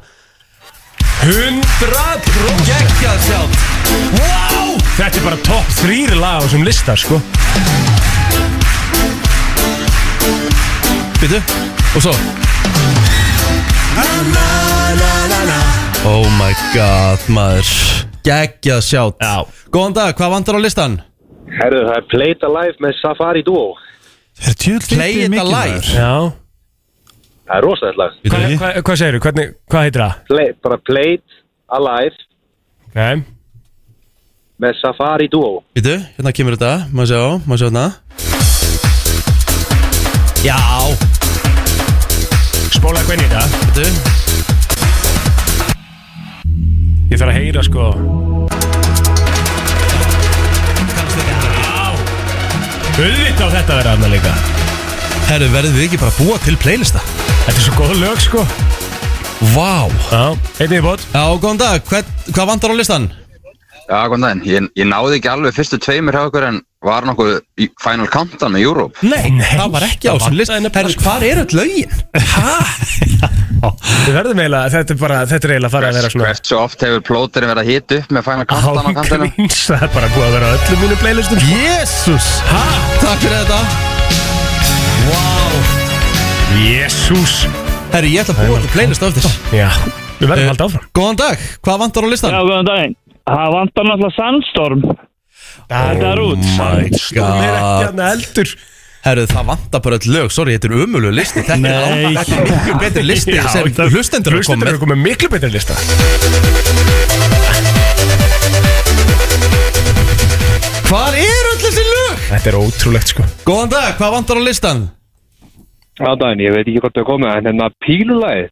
100%
Gekkjað sjálf Wow
Þetta er bara topp þrýri lag á þessum lista, sko
Býtu, og svo Oh my god, maður Gekkjað sjátt
Já.
Góðan dag, hvað vantar á listan?
Herðu, það er Play It Alive með Safari Duo.
Er tjöld
Play it alive.
Já
Það er rosalegt lag.
Hva, hva, Hvað segirðu? Hvernig, hvað heitir það?
Play, bara Play It Alive
Okay.
með Safari Duo.
Býtu, hérna kemur þetta, maður sjá, maður sjá hérna Já,
Spóla eitthvað inn í það
býtu
Ég þarf að heyra sko Uðvita á þetta að vera annað líka
Herru, verðum við ekki bara að búa til playlista?
Þetta er svo góð lög sko
Vá
Já, einnig í bót
Já, góðan dag, hvað, hvað vantar á listan?
Já, góðan daginn. Ég, ég náði ekki alveg fyrstu tveimur hjá okkur en var nokkuð í Final Countdown með Europe.
Nei, það var ekki á sem listan Herru, hvað eru öll lögin?
Við verðum eiginlega, þetta er bara, þetta er eiginlega að fara að vera svona
Hversu oft hefur plóterinn verið að hita upp með Final Countdown á kantinum?
Ángríns, það er bara búið að vera á öllum mínu playlistum sko.
Jésús Takk fyrir þetta
Jésús
Herru, ég ætla að búa til playlist á eftir
Já, við verðum
Eh,
að halda áfram
Góðan dag, hvað vantar á listan?
góðan daginn. Það vantar náttúrulega Sandstorm.
Þetta
er út.
Sandstorm er ekki hann eldur
Herru, það vantar bara öll lög, sorry, þetta er umölu listi Þetta er
Nei.
langt- þetta er miklu betri listi
Já,
sem
það-
hlustendur er
Hlustendur
komið
eru komið miklu betri lista
Hvað eru öll þessi lög?
Þetta er ótrúlegt sko
Góðan dag, hvað vantar á listan?
Já, daginn, ég veit ekki hvort það komið, en hérna pílulagi.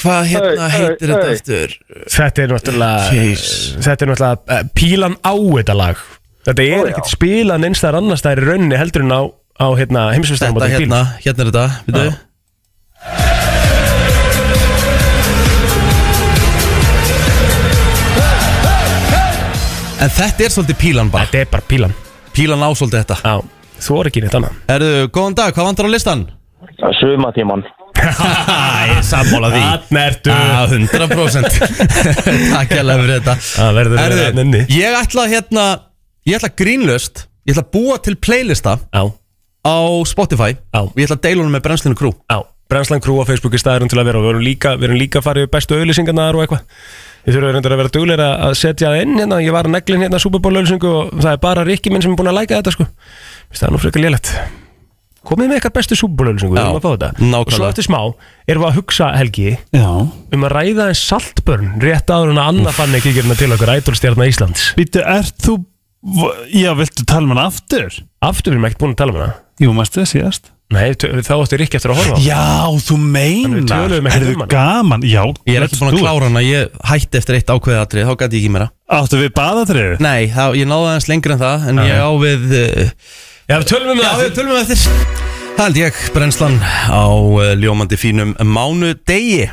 Hvað hérna
Hey, hey,
heitir þetta
hey.
eftir?
Þetta er náttúrulega
Jeez.
Þetta er náttúrulega eh, pílan á þetta lag Þetta er ekkert spilan eins þar annars Það er rauninni heldur en á, á hérna, heimsumstæðum
Þetta hérna, hérna er þetta, við þau En þetta er svolítið pílan bara
Þetta er bara pílan
Pílan á svolítið þetta
Já, þú er ekki neitt annað
Erðu, góðan dag, hvað vantar á listan?
Sumatíman.
Æ, sammála
Þarna ertu
Ah, [LAUGHS] 100% Takk hérlega fyrir þetta
Það verður að vera þarna inni.
Ég ætla hérna Ég ætla grínlöst
Ég ætla að búa til playlista
Já.
á Spotify
Já. og
ég ætla að deila hún með brennslinu krú
Já, brennslan krú á Facebook er staðurinn til að vera og við erum líka, við erum líka að fara yfir bestu auðlýsingarnar og eitthvað Við þurfum reyndar að vera dugleira að setja það inn hérna, ég var að neglin hérna Super Bowl auðlýsingu og það er bara Rikki minn sem er búin að læka þetta sko Vist, Það er nú frekar lélegt Komið með eitthvað bestu Super Bowl auðlýsingu, við
Já,
erum að fá þetta Og svo
nákvæmlega.
eftir smá erum við að hugsa Helgi
Já.
um að ræða en saltbörn rétt áður en að Anna fann ekki hérna til okkur ædolstjarna Íslands
Býttu, ert þú v- Já, viltu tala um hana aftur?
Aftur við erum ekkert búin að tala um hana
Jú, mæstu það síðast
Nei, tö- þá áttu Rikki eftir að horfa á hana.
Já, þú
við
meinar
töluðum ekkert um
Herðu
hana.
gaman, já
Ég er ekki búin að klára hana, ég hætti eftir eitt ákveðið atrið, þá gæti ég ekki meira
Áttu við baðatriðu?
Nei, það, ég náði aðeins lengur en það, en ég á við uh,
Já, við tölum um
Já,
það
við tölum við eftir Það held ég, brennslan á uh, ljómandi fínum mánudegi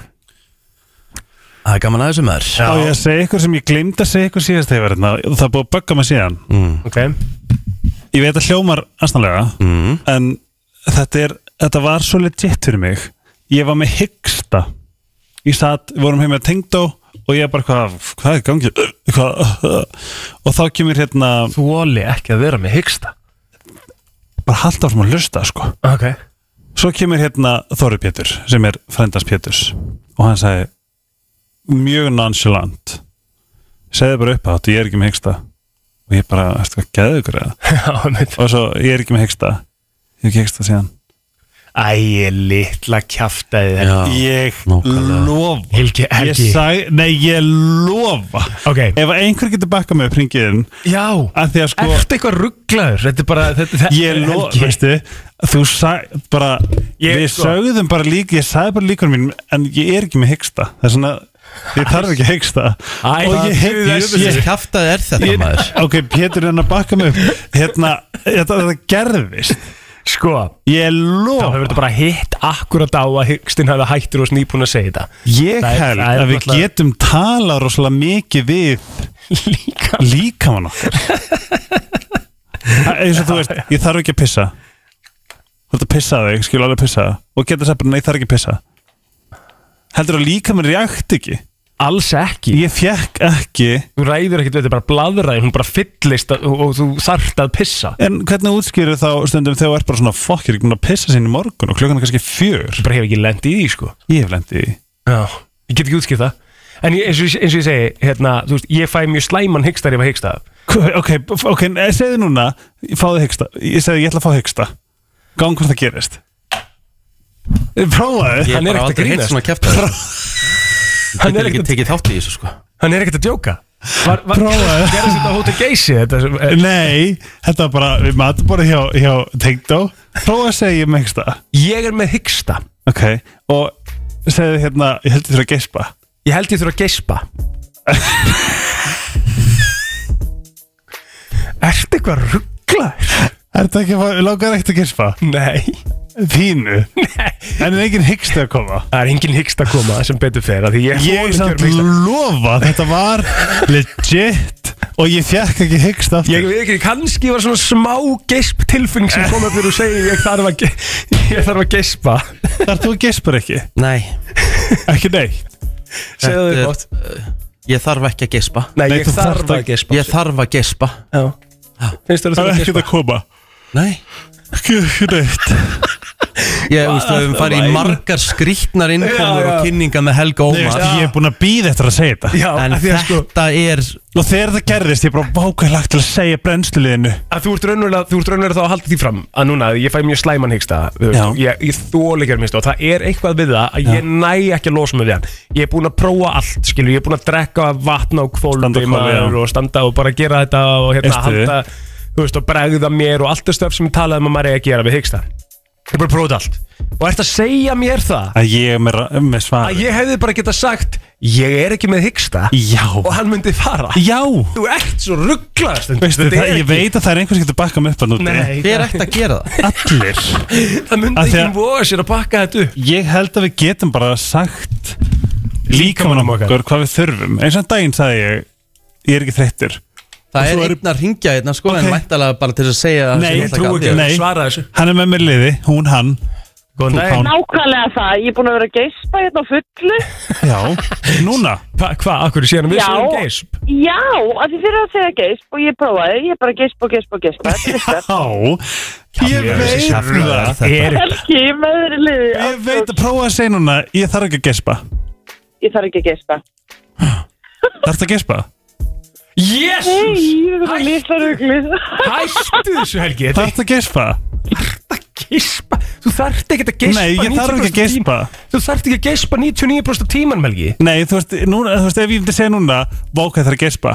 Það er gaman aðeins um þær
Á ég að segja eitthvað sem ég glemd að segja eitthvað síðast þegar hérna og það er búið að bögga mig síðan
Mm.
okay.
Ég veit að hljómar aðstæðlega en þetta, er, þetta var svo legit fyrir mig Ég var með hyggsta Ég satt, við vorum heim með tengdó og ég bara hvað, hvað er í gangi [CLEARS THROAT] hvað, [CLEARS THROAT] og þá kemur hérna
Þóli ekki að vera með hyggsta
bara halda áfram að hlusta sko
[LAUGHS] okay.
Svo kemur hérna Þóri Pétur sem er frendast Péturs og hann sagði mjög nonchalant segði bara upp átt, ég er ekki með hyggsta og ég bara, eftir hvað, geðu ykkur eða
Já, einmitt.
og svo, ég er ekki með hyggsta ég er ekki hyggsta síðan
Æ, litla kjaftaði
hérna ég
nákvæmlega.
lofa
Helgi,
ég
Helgi
sag, nei, ég lofa
Ok,
ef einhver getur bakka með pringiðin
já
að því að sko
Ertu eitthvað rugglaður? Þetta er bara þetta, þetta,
ég lofa,
Helgi.
veistu þú sag, bara
Ég-
við
sko-
sögðum bara líka, ég sagði bara líkunum mín en ég er ekki með hyggsta það er svona, ég þarf ekki að hyggsta
Æ,
og ég
það-
hef,
jöfull.
ég,
Ég kjaftaði er þetta maður
ok, Pétur er enn að bakka mig upp hérna, þetta, þetta gerðist
Sko,
ég
þá
lofa
hefur þetta bara hitt akkurat á að hyggstinn hafi hættur og snýpun að segja þetta
Ég
Það er-
held
það er
að við
náttúrulega-
getum talað rosalega mikið við
Líka
líkamann okkar Það er eins og þú veist, ég þarf ekki að pissa Þú ert að pissa á þig, skil alveg að pissa og geta sagt bara, nei, ég þarf ekki að pissa Heldur að líkamann reakt ekki
Alls ekki
Ég fekk ekki
Þú ræður ekkert við þetta, bara bladraði Hún bara fyllist að, og, og þú þarft að pissa
En hvernig útskýru þá stundum þegar þú ert bara svona fokk, ég er ekki búin að pissa sín í morgun og klukkan er kannski fjör
Þú bara hefur ekki lent í því, sko
Ég hef lendið í því.
Já, ég get ekki útskipt það En ég, eins, og, eins og ég segi, hérna, þú veist, ég fæ mjög slæman hyggstar ef að hyggsta
Hva- Ok, f- ok, nei, segðu núna Fáðu hyggsta, ég segði ég ætla að fá hyggsta Gang hvort það gerist Eh, Prófaðu
Ég
Hann er
hef bara
ekkert að
aldrei heitt
grínast.
svona kjaftaði Ég
Hann er
hef ekki
ekkert
tekið þátt í þessu sko
hann er ekkert að djóka Var, var,
Prófaðu.
Gerðist þetta á hóta geysi þetta, sem- eh,
Nei, þetta var bara Við matum bara hjá, hjá Tengdó Prófaðu að segja ég með hyggsta
Ég er með hyggsta
Ok, og segðu hérna Ég held ég þurfa að gespa
Ég held ég þurfa að geispa Ertu eitthvað rugglaður?
Er þetta ekki, að fá- langar ekkert að gespa?
Nei
Pínu
Nei
En er engin hyggsta að koma
Það er engin hyggst að koma sem betur fer af Því ég, þoli
Ég
ekki að
samt
vera með hiksta.
lofa Þetta var legit Og ég fekk ekki hyggsta aftur
Ég veit ekki, kannski var svona smá geisp tilfinning sem kom upp fyrir og segi ég þarf að, ge- ég þarf að geispa
Þar þú gespar ekki
Nei,
Ekki neitt
Segðu
Þetta
þau
er-
gott
ég þarf ekki að gespa
Nei,
Nei,
ég
þú þarft
þarf
að-
að geispa
Ég þarf að gespa
Já. Finnst þér að
Það
þurfa
er
að
ekkert
geispa?
að koma
Nei
Ekki ekki neitt
Ég, þú veist, við höfum farið í margar skrítnar innkomur
Já, já.
og kynningar með Helga
Nei,
Ómar
veist, ég er búin að býða eftir að segja þetta
Já,
En
af því að sko
þetta er
Og þegar það gerðist, ég er bara vákvæðlagt til að segja brennsluliðinu
að þú ert raunverulega, þú ert raunverulega þá að halda því fram að núna, ég fæ mjög slæman hyggsta þú veist,
Já.
ég, ég þóli ekki að minnst og það er eitthvað við það að ég næ ekki að losa mig við hann ég er búin að prófa allt, skilur, ég er búin að drekka vatna og
Standa
kvóldi
á hvolfi, já.
og standa og bara gera þetta og hérna
Veistu?
halda, þú veist, og bregða mér og allt það stöf sem ég talaði um að maður er að gera við hyggsta ég er bara að prófa þetta allt og ert að segja mér það
Að ég er með, ra- með svar
að ég hefði bara geta sagt ég er ekki með hyggsta
Já,
og hann myndi fara
já
þú ert svo rugglaðast
Veistu, það, Ég veit að það er einhvers sem getur bakkað mig upp að núti
Nei,
Hver ætti að gera það?
Allir
Það myndi
Af því
ekki
að-
voga sér að bakka þetta upp
Ég held að við getum bara sagt líkamanum
Líkamanum okkar.
okkur hvað við þurfum Eins og daginn sagði ég Ég er ekki þreyttur
Það er
svo eru-
einn að ringja hérna sko En
Ok.
væntalega bara til að segja
Nei,
sem ég ætla
trúi
að
ekki.
gera.
Nei.
Svara þessu
Hann er með mér í liði, hún, hann
Góðan daginn.
Nákvæmlega það, ég er búin að vera að geispa hérna á fullu
Já,
[LAUGHS]
núna
Hvað, hva, akkur séðan við
Já.
séðum geisp?
Já, af því fyrir að segja geisp og ég prófaði, ég er bara að geispa og geispa og geispa Þetta er stærkt.
Já, ég
Ég
veit
vissi
það
sjálfur
Ég [LAUGHS]
Þetta er ekki með öðru liði
Ég veit að prófa að segja núna Ég þarf ekki að gespa
Ég þarf ekki að geispa
Þarf að gespa?
Jésus!
Nei, ég er bara lýsa rugglið
Hættu þessu Helgi
Þarf að gespa?
Geispa, þú þarft ekki að geispa
Nei, ég þarf ekki
90%
að
af
geispa.
tímanum. Þú þarft ekki að geispa 99% af tíman, Helgi
Nei, þú veist, núna, þú veist ef ég myndi segja núna Váka þarf að gespa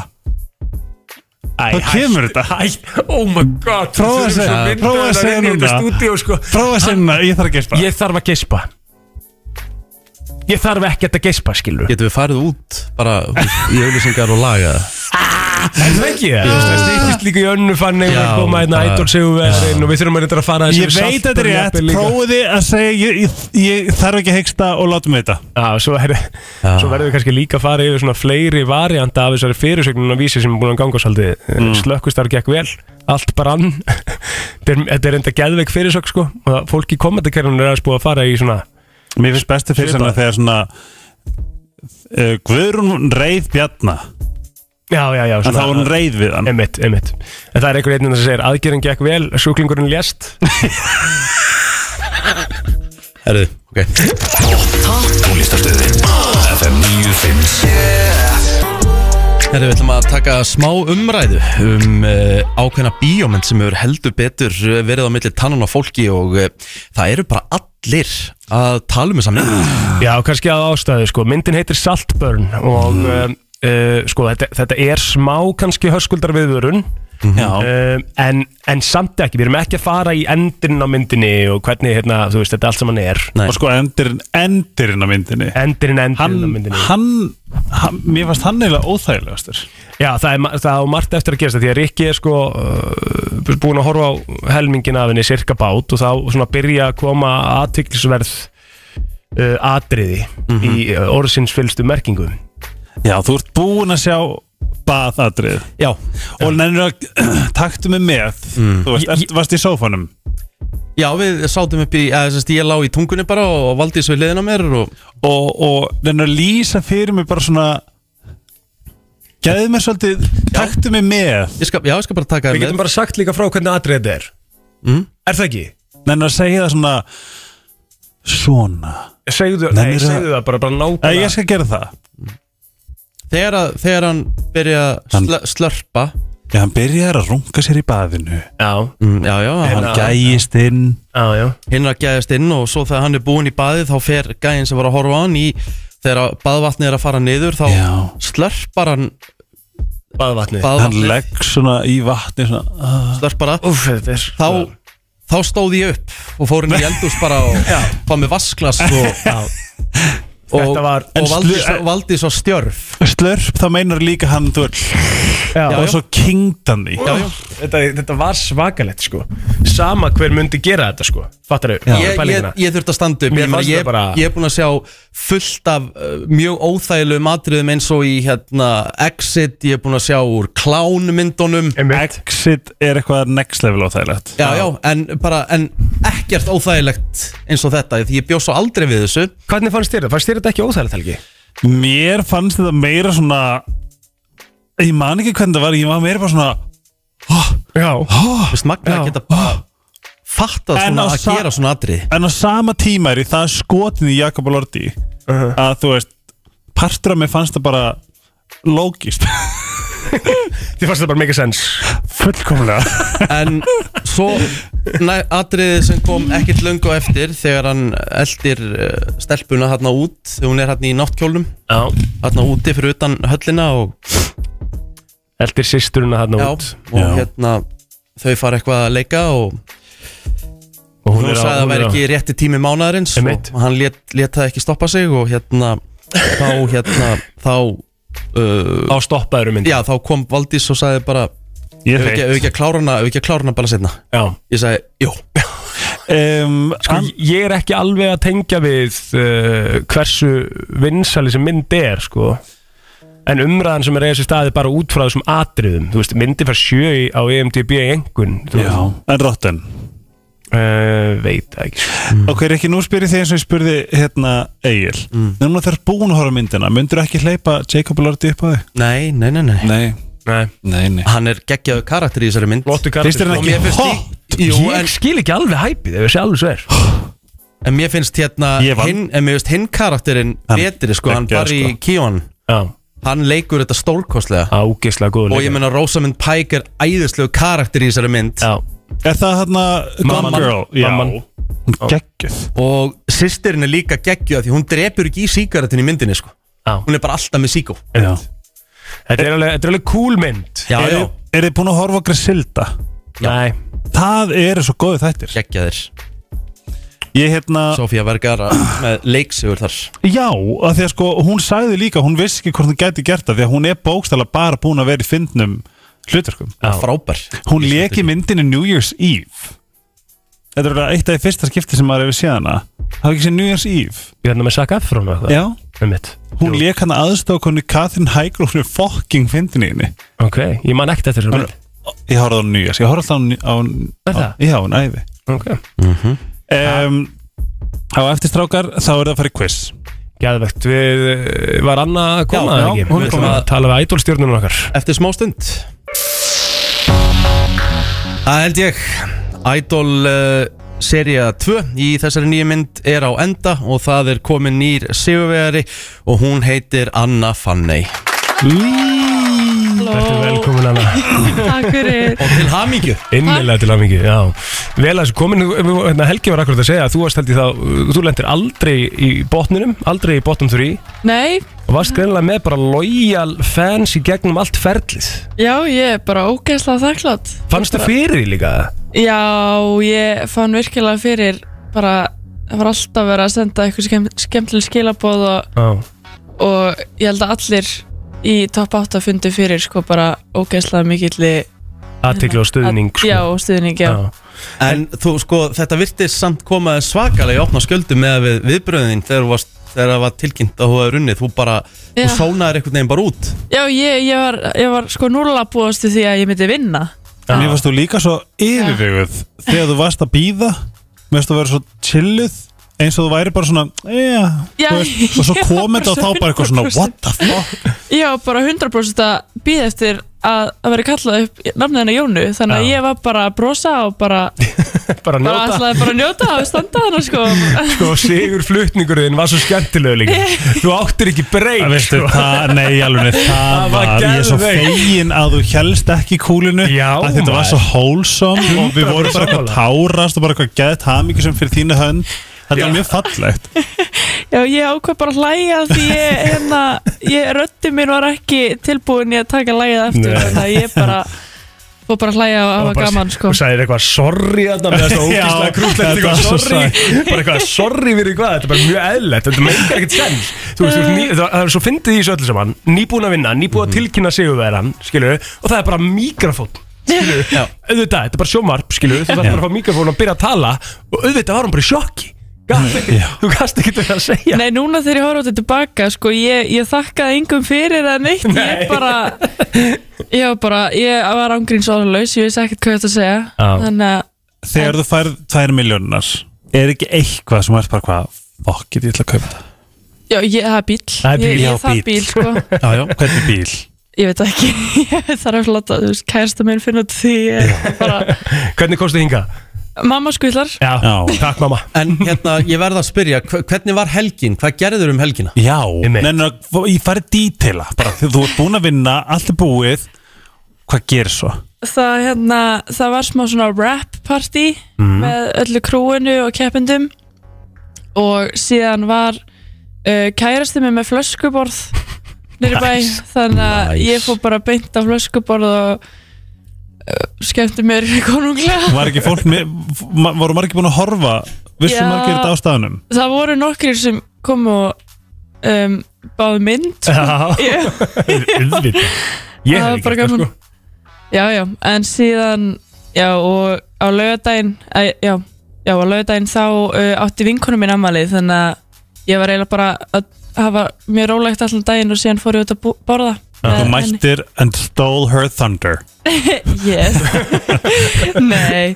Þá kemur þetta
Hætt, oh my god
Prófa að
Þú
segja-
erum svo
prófa að
myndarlegur
segja
inn í
núna.
þetta stúdíó, sko.
Prófa að segja núna, ég þarf að geispa
Ég þarf að geispa Ég þarf ekkert að geispa, skilur
Getum við farið út bara í auðlýsingar og laga það?
Er það ekki? Þú veist, það stýttist líka í önnu fannig og
Já,
koma hérna
bara-
ædol sigurverðin og við þurfum að reynda að fara þessu
Ég veit að þetta er rétt, prófiði að segja ég, ég, ég þarf ekki að hegsta og látum við þetta
Já, svo, er, svo verðum við kannski líka að fara yfir svona fleiri varianta af þessari fyrirsögnun og vísi sem er búin að ganga svolítið mm. slökkustar gekk vel, allt brann [LAUGHS] Þetta er- þetta er enda geðveik fyrirsögn sko og það- fólk í kommentarkerfinu er aðeins búið að fara í svona
Mér finnst bestu fyrir svona þegar svona uh, Guðrún reið bjarna
Já, já, já
En þá var hún reið við hann
Emitt, emitt En það er einhver einninn sem segir aðgerðin gekk vel, sjúklingurinn lést [LAUGHS]
Herðu, ok
Tónlistarstöðin FM 957
Herri, við ætlum að taka smá umræðu um uh, ákveðna bíómynd sem hefur heldur betur eh, verið á milli tannan á fólki og uh, það eru bara allir að tala um þessa mynd.
Já, kannski að ástæðu, sko, myndin heitir Saltburn og mm. sko, þetta, þetta er smá kannski höskuldar viðvörun Uh, en, en samt ekki, við erum ekki að fara í endurinn á myndinni og hvernig hérna, þú veist, þetta allt saman er
Og sko endurinn, endurinn á myndinni
Endurinn, endurinn á
Hann,
myndinni
hann, hann Mér fannst hann eiginlega óþægilegastur
Já, það er, ma- það er margt eftir að gerast það því að Rikki er sko uh, búin að horfa á helmingin af henni sirka bát og þá svona byrja að koma aðtiklisverð uh, atriði í uh, orðsins fylgstu merkingu
Já, þú ert búinn að sjá baðatrið
Já
Og nennir að [CLEARS THROAT] taktu mig með Þú veist, ert, varst í sófanum
Já, við sátum upp í, eða þess að ég lá í tungunni bara og valdi svo í liðin á mér og...
Og, og nennir að lýsa fyrir mig bara svona Gæðu mér svolítið, taktu mig með
Ég skal, já, ég skal bara taka
Við getum bara sagt líka frá hvernig atriði þetta er
Mm.
Er það ekki?
Nennir að segja það svona Svona
Segðu,
Nei,
nei,
mér er
segðu það bara, bara
Æ,
nákvæmlega
Ég skal gera það
Þegar, að, þegar hann byrja að slö, slörpa
Já, hann byrjar að runga sér í baðinu
Já,
mm, Já, já, hann
Hérna-
Gægist inn
já, já
hinn er að gæðast inn og svo þegar hann er búinn í baðið þá fer gæðin sem var að horfa á hann í þegar að baðvatnið er að fara niður þá
Já.
slörpar hann
Baðvatnið
Hann
baðvatnið,
legg svona í vatni svona, ah.
slörpar að
Úf, þetta er
þá, þá stóð ég upp og fór inn í eldús bara
[LAUGHS]
og fá mig vasklas og, og,
Þetta var-
og valdi,
slu-
svo, valdi svo stjörf
Slörp, þá meinar líka hann þú er,
Já,
Og
já.
svo kingdan því
já, já.
Þetta, þetta var svakalett sko Sama hver myndi gera þetta sko Fattar þau?
Ég, ég, ég þurfti að standa upp
Mér
Ég, meina,
fannst
ég,
það bara-
ég er búinn að sjá fullt af uh, mjög óþægilegum atriðum eins og í hérna, Exit Ég er búinn að sjá úr klánmyndunum
Exit er eitthvað next level á þægilegt
Já, já, en bara, en ekkert óþægilegt eins og þetta Því ég bjó svo aldrei við þessu
Hvernig fannst þér þetta? Fannst þér þetta ekki óþægilegt Helgi?
Mér fannst þetta meira svona Ég man ekki hvernig það var Ég var meira bara svona
Já
oh,
Vist magna að geta bara fattað
En
svona
á
að
sa-
gera svona
[LAUGHS]
atrið
En á sama tíma er í það skotin í Jakob og Lordi Að þú veist Partur af mér fannst það bara Lógist
Þið fannst þetta bara mikið sens
Fullkomlega
En svo atriðið sem kom ekkert löngu á eftir Þegar hann eldir uh, stelpuna hérna út Þegar hún er hérna í náttkjólnum
Já
Hérna úti fyrir utan höllina og
Eldir sýsturuna þarna
Já,
út
og
Já.
hérna þau fara eitthvað að leika og
Og
hún sagði að það væri ekki rétti tími mánaðarins
Einmitt.
og hann lét, lét það ekki stoppa sig og hérna þá hérna þá uh,
Á stoppaður myndi
já þá kom Valdís og sagði bara
[LAUGHS] Ég
"Ef ekki, ef ekki að klára hana, ef ekki að klára hana bara setna
Já.
ég sagði, jú,
um,
Sko,
an-
ég er ekki alveg að tengja við uh, hversu vinsali sem mynd er sko. en umræðan sem er eða sér staði bara út frá þessum E atriðum þú veist, myndi fær sjö í- á EMDB í engun
Já, en rotten
Uh, veit það ekki
Ok, er ekki nú spyrir því eins og ég spurði hérna Egil, mm. núna þegar búin að horfa á myndina myndur ekki hleypa Jacob Lordi upp á þig?
Nei, nei, nei, nei
Nei,
nei,
nei, nei.
Hann er geggjaðu karakter í þessari mynd
Flottur karakter. Finnst þér hann
Og mér
ekki
finnst
hot?
í- Jú,
Ég
en,
skil ekki alveg hæpið ef ég sé alveg svo er
en mér finnst hérna
Ég vann.
hinn, En mér finnst hinn karakterinn
Hann
betri sko, Hann
geggjaður,
bara í
sko.
kíón Hann leikur þetta stólkostlega
Ágeislega góður
Og ég meina Rosamund Pike er æðislegu karakter í þessari mynd
Já
Er það hérna Gone
Mamman.
Girl? Já,
Mamman.
Hún geggjuð
Og sýstirinn er líka geggjuð Því hún drepur ekki í sígaretin í myndinni sko. Hún er bara alltaf með síkó
Já.
Þetta er alveg, þetta er alveg cool mynd
Já,
Er,
já.
er þið búin að horfa á Grisilda?
Nei
Það eru svo góðu þættir
Geggjaðir
Ég hérna
Sofía Vergara með leiksugur þar
Já, að því að sko hún sagði líka hún vissi ekki hvort hún gæti gert það því að hún er bókstæla bara búin að vera í fyndnum hlutverkum
Frábær
Hún lék í myndinu New Year's Eve Þetta er örugglega eitt af því fyrsta skipti sem maður hefur séð hana Það er ekki séð New Year's Eve
Ég hérna með Zac Efron og eitthvað
Já,
Einmitt.
hún lék hana aðstofakunni Katrin Hægur og hún er fokking fyndin í henni
Ok, ég man ekkert eftir þessu mynd
Ég horfði á New Year's, ég horfði alltaf á, á,
Er
á
það?
Já, hún æfi
Ok
um, Á eftir strákar þá er það að fara í quiz
Gæðvegt, við eh, var Anna að koma
Já,
eða
já,
ekki?
hún er
Við ætlum
komin.
að tala við ædolstjórnunum okkar
Eftir smá stund Það held ég Idol uh, Seria 2 í þessari nýju mynd er á enda og það er komin nýr sigurvegari og hún heitir Anna Fanney
Þetta er velkomin Anna
Takk fyrir
og til hamingju
Innilega til hamingi, já Vel að þessu komin, við- við- hérna, Helgi var akkurat að segja að þú varst held í þá Þú lendir aldrei í botninum, aldrei í botnum þrý
Nei,
Og varst greinlega með bara lojal fans í gegnum allt ferlið
já, ég er bara ógeðslega þakklátt
Fannst það fyrir því líka?
Já, ég fann virkilega fyrir bara, það var alltaf verið að senda eitthvað skemm, skemmtileg skilaboð og,
Já
og ég held að allir í top 8 fundi fyrir sko bara ógeðslega mikill
Athygli og stuðning, sko.
Já, og stuðning, já,
En þú sko, þetta virtist samt koma svakalega í opna sköldu með við viðbröðin þegar þú varst þegar það var tilkynnt að þú hefur runnið þú bara,
Já.
þú sónaðir einhvern veginn bara út
Já, ég, ég, var, ég var sko núlega búast við því að ég myndi vinna
Mér varst þú líka svo yfirveguð Þegar þú varst að býða Mér varst þú að vera svo chilluð Eins og þú væri bara svona yeah,
Já,
veist, Og svo
ég var
kom þetta og þá bara eitthvað svona
100%.
What the fuck [LAUGHS]
Ég var bara 100% að býða eftir að að vera kallað upp nafnið hennar Jónu þannig að
Já.
ég var bara að brosa og bara
[LAUGHS] Bara
bara
njóta
ætlaði bara að njóta og standa hana sko
Sko, sigur þinn var svo skemmtilegu
[LAUGHS]
líka Þú áttir ekki sko. breyk
Veistu, það, nei, alveg, nei, Sko. það var, Ég er svo fegin að þú helst ekki í kúlinu Já, að Þetta var
maður.
svo hólsom Og við vorum bara eitthvað
sammála.
tárast Og bara eitthvað gett hamingi sem fyrir þínu hönd Þetta var mjög fallegt
Já, ég ákvað bara að hlæja því ég, hérna, ég, röddi mín var ekki tilbúin í að taka hlæjað eftir
Nei. [LAUGHS]
þannig að ég bara fór bara að hlæja og hafa gaman sko
og sagðir eitthvað sorry þarna með þess að
[LAUGHS] Já,
ógíslega
þetta
krútlegt
var
eitthvað
svo
sorry [LAUGHS] bara eitthvað sorry fyrir hvað þetta er bara mjög eðlert þetta meikar ekkert sens þú veist þú ert ný,
Eh.
það, það er svo fyndið í þessu öllu saman nýbúin að vinna nýbúin
Mhm.
að tilkynna sigurveran skilur og það er bara mikrofón skilur
[LAUGHS]
auðvitað þetta er bara sjómarp skilur þú þarf bara að fá mikrofón og byrja að tala og auðvitað var hún bara í sjokki
Mm.
Gast ekki, þú gast ekki þetta að segja
Nei, núna þegar ég horf á þetta tilbaka sko, ég, ég þakkaði engum fyrir að neitt
Nei.
ég bara ég var bara, ég var ángríns orðlaus ég vissi ekkert hvað ég ætti að segja
Já.
þannig að
Þegar þú færð tvær miljónunar Er ekki eitthvað sem er bara hvað Fuck, get ég ætla að kaupa þetta
Já, ég, það er bíl.
Það er
Ég,
bíl, já,
ég það
bíll.
bíl, sko.
[LAUGHS] Já, já, hvernig bíl
Ég veit ekki, [LAUGHS] ég þarf að láta, þú veist, kærasta minn finna út því. eh, Bara,
hvernig komstu hinga
mamma skvillar.
já, takk mamma
En hérna, ég verða að spyrja, hve- hvernig var helgin? Hvað gerður um helgina?
Já, nennir að ég farið dítela bara, þú þú ert búin að vinna, allt er búið hvað gerir svo?
Það, hérna, það var smá svona rap party
Mm.
með öllu krúinu og keppendum og síðan var uh, kærasti minn með flöskuborð nýri bæ,
Nice.
þannig að
Nice.
ég fór bara beint á flöskuborð og uh, skemmti mér konunglega.
Var ekki fólk með, ma- voru margir búin að horfa vissu
Já.
margir þetta á staðunum?
það voru nokkrir sem kom og um, báði mynd sko.
Já.
Ég-
Auðvitað. Ég hef
Það var
ekki gert það,
bara gaman.
sko.
já, já, en síðan já, og á laugardaginn æ, já, já, á laugardaginn þá uh, átti vinkonu mín ammalið þannig að ég var eiginlega bara að hafa mjög rólegt allan daginn og síðan fór ég út að bú- borða
Þú
Nei,
mættir and stole her thunder
yes nei,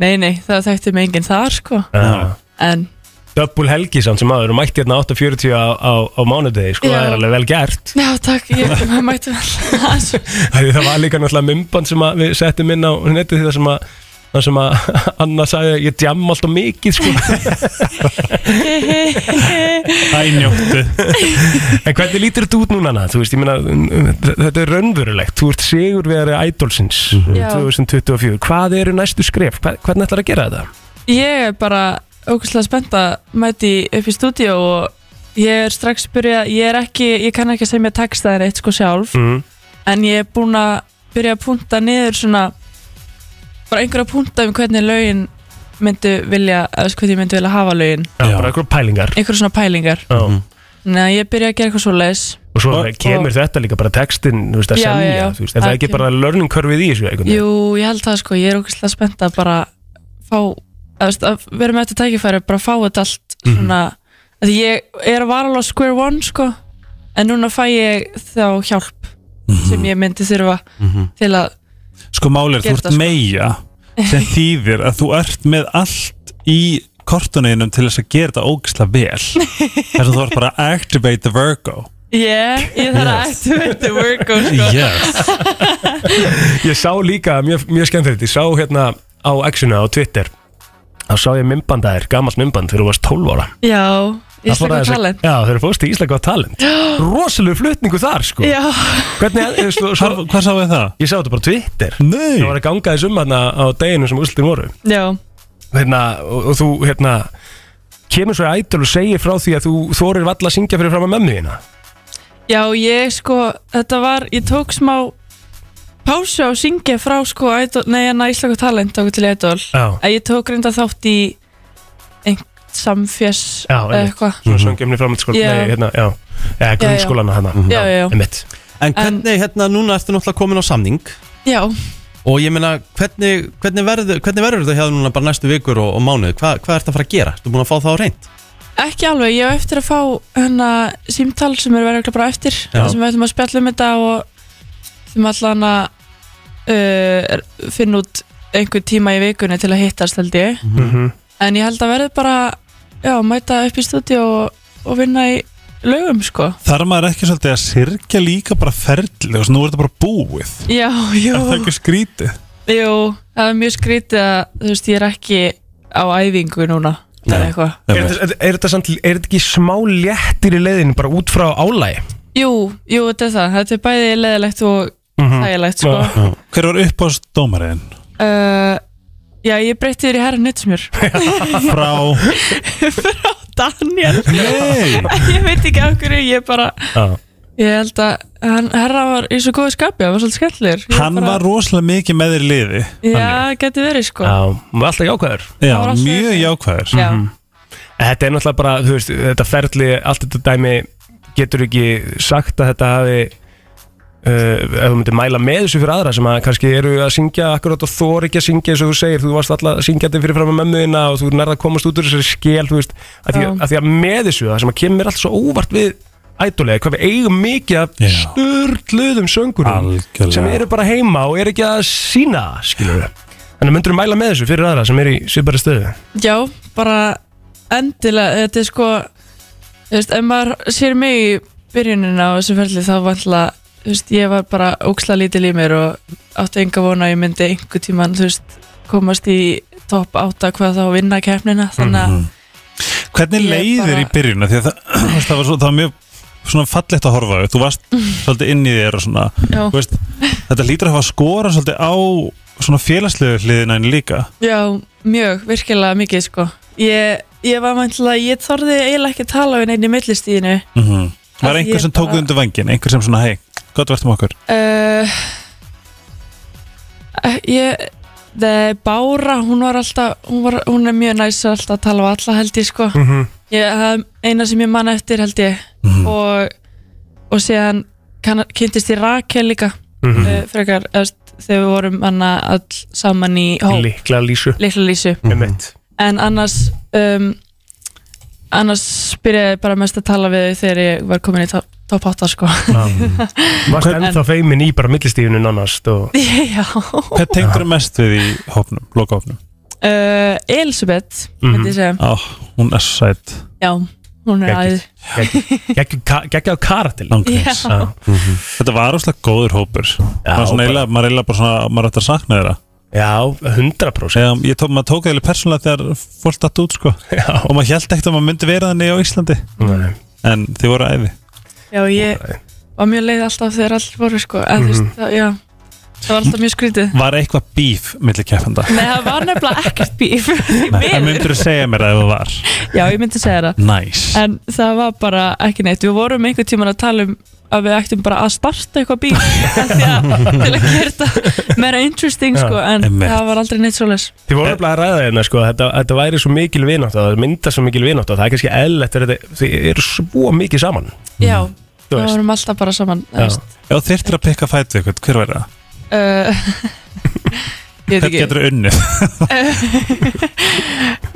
nei, nei, það þekkti mig enginn þar sko
Já.
en
Double helgi samt sem aður og mætti hérna 8.40 á, á, á mánudegi sko, það
Já.
er alveg vel gert [LAUGHS]
já takk,
[LAUGHS]
ég maður mætti vel aðeins.
Því Það var líka náttúrulega mymband sem að við settum inn á netið því það sem að Það sem að [LAUGHS] Anna sagði ég djam alltaf mikið [LAUGHS] sko
Hænjóttu
En hvernig lítur þetta út núna Anna? Þú veist, ég meina, þetta er raunverulegt Þú ert sigur við aðra idolsins
Já.
2024 Hvað eru næstu skref? Hvað- Hvernig ætlar að gera þetta?
ég er bara ógustlega spennt að mæti upp í stúdíu og ég er strax byrja ég er ekki, ég kann ekki að segja mér textaðir eitt sko sjálf en ég er búin að byrja að punta niður svona bara einhverja punta um hvernig lögin myndu vilja, eða þú veist, hvernig ég myndu vilja hafa lögin
Já, Mhm. bara einhverjum pælingar
einhverja svona pælingar
Já.
Þannig að ég byrja að gera eitthvað svo leis
Og svo kemur þetta líka bara textin Þú veist, að
Já, já,
semja,
já.
þú veist, er það
Það
ekki
kemur.
bara learning curve í þessu einhvern veginn?
Jú, ég held það sko, ég er ógæslega spennt að bara fá, að, veist, að vera með þetta tækifæri bara fá þetta allt
Mhm.
svona, að því ég er að vara alveg á square one sko, en núna fæ ég þá hjálp sem ég myndi þurfa
Mhm.
til að
Sko málir, þú
Gerðu
ert
það, sko.
meia sem þýðir að þú ert með allt í kortuninum til þess að gera þetta ógisla vel þess að þú ert bara að activate the Virgo
yeah, ég þarf að
Yes.
activate the work og sko
Yes.
Ég sá líka, mjög, mjög skemmtilegt Ég sá hérna á X-una á Twitter Þá sá ég mymbandæðir, gamalt mymband Þegar þú varst 12 ára
Já, ég
Það fór
slaka
aðeins að-
talent
Já, þegar þú fórst í Íslaka
[GASPS]
talent Rosalegu flutningu þar sko
Já.
Hvernig, þú veist, svo, svo,
Hvað sá ég það?
Ég sá þetta bara á Twitter
Nei
Það var að ganga þessum hérna á deginu sem úrslutin voru
Já,
hérna, og, og þú hérna kemur svo í ædol og segir frá því að þú þorir valla að syngja fyrir fram að mömmu þína
já, ég sko þetta var, ég tók smá pásu á að syngja frá sko idol, nei, en að Íslaka talent okkur til idol
Já.
að ég tók reynda þátt í einhvern samfjöss
Já,
eða
einmitt.
eitthvað
Svona söngjumni framhaldsskóla
Já.
Nei, hérna, já Eða grunnskólana hana
Já, já, já.
Einmitt.
En hvernig, hérna, núna ertu náttúrulega komin á samning
Já,
Og ég meina, hvernig, hvernig, verður, hvernig verður þetta hérna núna bara næstu vikur og, og mánuð? Hva, hvað ertu að fara að gera? Ertu búin að fá það á reynd?
ekki alveg, ég á eftir að fá hana símtal sem er verið örugglega bara á eftir
Já.
þar sem við ætlum að spjalla um þetta og þeim allan að uh, finna út einhver tíma í vikunni til að hittast held ég
Mhm.
en ég held að verði bara já, mæta upp í stúdíu og, og vinna í lögum sko
Þarf maður ekki svolítið að sirkja líka bara ferli og nú er þetta bara búið
Já, jú
Er það ekki skrítið?
Jú, það er mjög skrítið að þú veist, ég er ekki á æfingu núna eða eitthvað.
Er, er, er, þetta samt, er þetta ekki smá léttir í leiðinu bara út frá álægi?
Jú, jú, þetta er það. Þetta er bæði leðilegt og
Mhm.
þægilegt, sko.
Hver var upp á dómarinn?
Uh, já, ég breytti þér í herra nuttsmjör.
Frá
Daniel.
Nei.
ég veit ekki af hverju, ég bara,
Já.
ég held að hann, herra var í svo góðu skapi, hann var svolítið skellur.
Hann var rosalega mikið með þér í liði
Já, geti verið, sko.
Já, maður er alltaf jákvæður
Já, var alltaf- mjög jákvæður.
Já.
Mhm. En Þetta er náttúrulega bara, þú veist, þetta ferli allt þetta dæmi, getur ekki sagt að þetta hafi uh, ef þú myndir mæla með þessu fyrir aðra sem að kannski eru að syngja akkurat og þor ekki að syngja eins og þú segir, þú varst alltaf syngjandi fyrir fram að mömmuðina og þú er nærða að komast út úr þessari skel, þú veist, að því
Já.
að, því að með þessu, það sem að kemur allt svo óvart við ædolegi, hvað við eigum mikið af störluðum söngurum
Algjörlega.
sem eru bara heima og eru ekki að sína, skilur við Þannig myndur mæla með þessu fyrir aðra sem er í svipari stöðu
Já, bara endilega, þetta er sko þú veist, ef maður sér mig í byrjunina á þessu ferli þá var alltaf þú veist, ég var bara óksla lítil í mér og átti enga vona að ég myndi einhver tíman, þú veist, komast í topp átta hvað þá vinna keppnina þannig að,
Hvernig
Ég
leiðir bara...
bara-
í byrjun? af Því að það, [CLEARS THROAT] þú veist, það, var svo, það var mjög svona fallegt að horfa á. Þú
[LAUGHS]
varst svolítið inn í þér og svona
Já.
þú veist, Þetta lítur að hafa skora svolítið á svona félagslegu hliðina en líka
já, mjög virkilega mikið, sko ég, ég var mæntilega, ég þorði eiginlega ekki að tala við neinn í millistíðinu
mm -hmm. Var
Að
einhver
ég
sem tók
bara-
bara... undir vangin? Einhver sem svona, hei, gott verðum okkur
Uh, ég það Bára, hún var alltaf hún, var, hún er mjög næs alltaf að tala á alla held ég sko
Mhm.
ég, það er eina sem ég man eftir held ég og, og síðan kann, kynntist ég Rakel líka mm
Mhm.
frekar eðst, þegar við vorum hana all saman í hóp
Líkla lísu
Litla Lísu
Einmitt.
en annars um, annars byrjaði ég bara mest að tala við þau þegar ég var komin í topp top 8 sko
Varst ennþá feimin í bara millistífinu nánast
[LAUGHS]
og...
Já [LAUGHS]
Hvað tengdur mest við í hópnum, lokahópnum?
uh, Elisabeth myndi
Mhm.
ég segja.
Á, hún er svo sætt
Já, hún er
Geggjuð.
æð
Gekkjá karakter
Ángríns.
Já.
Þetta var óslega góður hópur Það var svona
bara-
eiginlega, maður eiginlega bara svona maður ætti að sakna þeirra
Já, 100%
Já, ég tók, maður tók eiginlega persónulega þegar fólk datt út sko Já. og maður held ekkert að maður myndi vera þannig á Íslandi
Nei.
en þið voru æði
Já, ég var mjög leið alltaf þegar allir voru sko en, þú veist,
Mhm.
það, Já, það var alltaf mjög skrítið
Var eitthvað bíf millir keppenda?
Nei, það var nefnilega ekkert bíf Því
Það
miður.
myndur þú segja mér að það var
[LAUGHS] Já, ég myndi segja það
Næs
En það var bara ekki neitt Við vorum einhvern tíman að tala um að við ættum bara að starta eitthvað
[LAUGHS]
bíl af því að til að gera þetta meira interesting
Já,
sko en
einmitt.
það var aldrei neitt svoleiðis
Þið voru nefnilega að ræða hérna sko, að þetta, þetta væri svo mikil vinátt það mynda svo mikil vinátt það er kannski eðlilegt þegar þetta- þið eru svo mikið saman Mhm.
Já,
Þú
það
veist.
vorum alltaf bara saman þú
Já.
veist.
Ef þyrftir að pikka fætið ykkur, hver verður það?
uh, Ég veit
Hvern
ekki
getur
[LAUGHS]
unnið?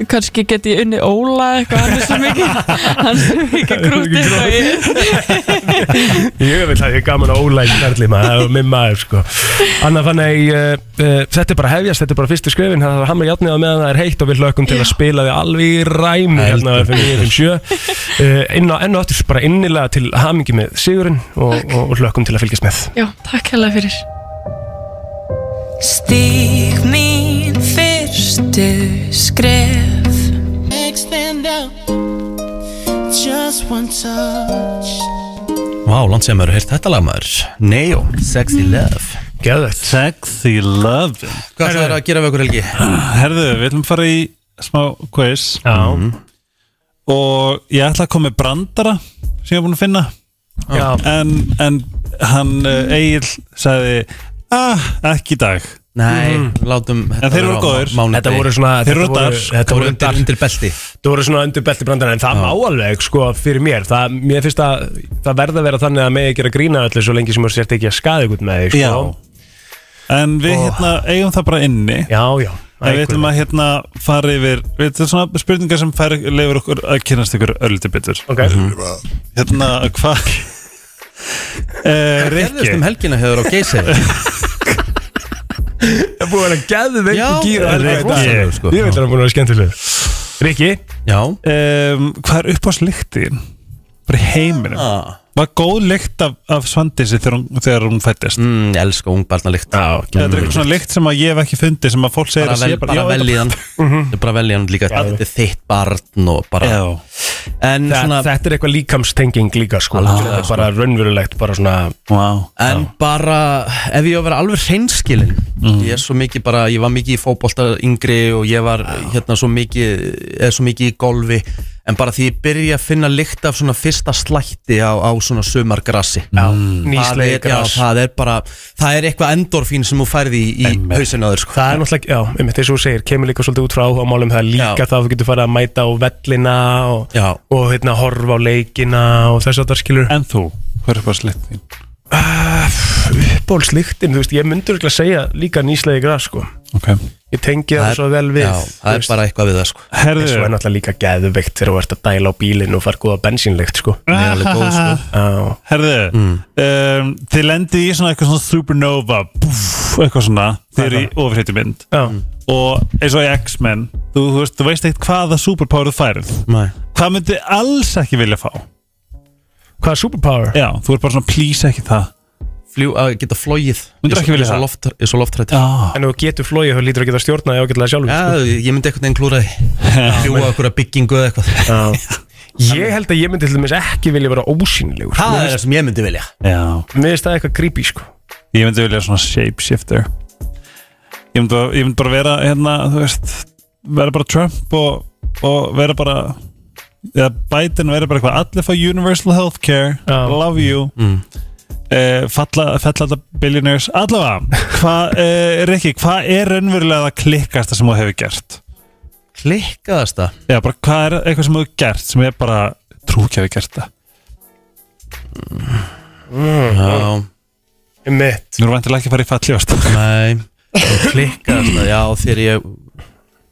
Kanski geti ég unni Óla eitthvað hann er svo mikið hann er svo mikið krútið og ég
sko, [LAUGHS] Ég vil það, ég er gaman að ólæg nærli maður, það er minn maður sko Anna þannig, uh, uh, þetta er bara að hefjast, þetta er bara fyrstu skrifin Það er hamra játniða meðan það er heitt og við hlökkum til að spila við alveg í ræmi hérna á F957 uh, Inn á enn og aftur bara innilega til hamingi með Sigurinn og, og, og hlökkum til að fylgjast með
Já, takk hella fyrir
Stíg mín fyrstu skref Extend out Just one touch
Vá, langt sem eru heyrt þetta lag maður Neo, Sexy Love
Gæðvegt
Sexy Love
Hvað ætlaðu að gera við okkur helgi?
Herðu, við ætlum að fara í smá quiz
Já
Og ég ætla að koma með brandara sem ég er búin að finna
Já.
En, en hann uh, Egil sagði Ah, ekki í dag
Nei, látum
Mm. En þeir voru góður
Þetta voru svona
Þeir voru
þetta
dar
Þetta voru
undir-
dar.
undir belti
Þetta voru svona undir belti brandana En það má alveg sko fyrir mér það, Mér finnst að það verða að vera þannig að megi gera grína öllu Svo lengi sem þú sért ekki að skaði ykkur með því sko.
En við hérna eigum það bara inni
Já, já
En við ætlum að hérna fara yfir Þetta er svona spurningar sem fær, leifur okkur að kynast ykkur öllítið betur
Ok
Hérna, hvað [LAUGHS] Eh,
Hvað
Rikki.
gerðist um helgina hefur á geysið?
[LAUGHS]
Það er búið að vera gæðu
Já,
veikt gýr
þetta er rosalegur, sko.
Ég veit að það er búin að vera skemmtileg Rikki
Já
um, Hvað er upp á slíktin? Bara í heiminum
Ah.
Var góð lykt af, af svandísi þegar hún, þegar hún fættist
mm, Ég elska ungbarnalikt
Já,
Þetta er eitthvað svona lykt sem að ég hef ekki fundið sem að fólk segir
bara,
að
vel,
sé
bara
Já,
vel í
þetta- Mhm.
hann Þetta er bara vel í hann líka Þetta er þitt barn og bara
Já.
En
Þa,
svona
Þetta er eitthvað líkamstenging líka sko Þetta er bara raunverulegt bara svona
wow.
En bara Ef ég á að vera alveg hreinskilin
Mhm.
Ég er svo mikið bara Ég var mikið í fótbolta yngri Og ég var hérna svo mikið Er svo mikið í golfi En bara því ég byrja að finna lykt af svona fyrsta slætti á, á svona sumargrassi Já,
nýslegið gras.
Mm. Það er bara Það er eitthvað endorfín sem þú færði í, í hausinu á þér sko
Það er náttúrulega, já, einmitt eins og þú segir, kemur líka svolítið út frá áhugamálum það er líka það að þú getur farið að mæta á vellina og,
Já.
og hérna horfa á leikina og þess að það skilur
En þú, hvað er upp á slíktin?
uppbólslíktin, þú veist, ég myndur ekki að segja líka nýslega græs sko
Okay.
ég tengi það svo vel við
Já, það er bara eitthvað við það sko
Herðu. Svo er
Herðu,
náttúrulega líka geðveikt þegar þú ert að dæla á bílinn og fara góða bensínleikt sko
Það er alveg góð sko
[LAUGHS]
Já,
herðu um, Þið lendi í svona eitthvað svona supernova búff, eitthvað svona Þið eru í ofurhættu mynd
já,
og eins og í X-Men þú, þú, veist, þú veist eitt hvaða superpower þú færið
Nei.
hvað myndi alls ekki vilja fá
Hvað er superpower?
já, þú er bara svona please ekki það
Fljú, að geta flóið
Myndirðu ekki vilja það?
það? Ég er svo loftrætt
já,
En ef þú getur flóið, þú lítur að geta stjórnaði ágætlega sjálfur sko.
Já, ég myndi einhvern veginn klúra því Fljúa okkur að byggingu eða eitthvað
[LAUGHS] Ég held að ég myndi til dæmis ekki vilja vera ósýnilegur
Það er það sem ég myndi vilja
já.
Mér finnst það eitthvað creepy sko
ég myndi vilja svona shapeshifter ég myndi, bara- ég myndi bara vera hérna, þú veist vera bara Trump og, og vera bara eða Biden vera bara eitthvað allir fá universal healthcare
Já.
love you mm. falla, fella þetta billionaires allavega, hvað uh, Rikki, hvað er raunverulega það klikkasta sem þú hefur gert?
Klikkaðast það
Já, bara hvað er eitthvað sem þú hefur gert sem er bara trú ekki að við gert það
Já,
Mitt
Nú erum vantilega ekki að fara í falljóst
nei Klikkaðast það, já, þegar ég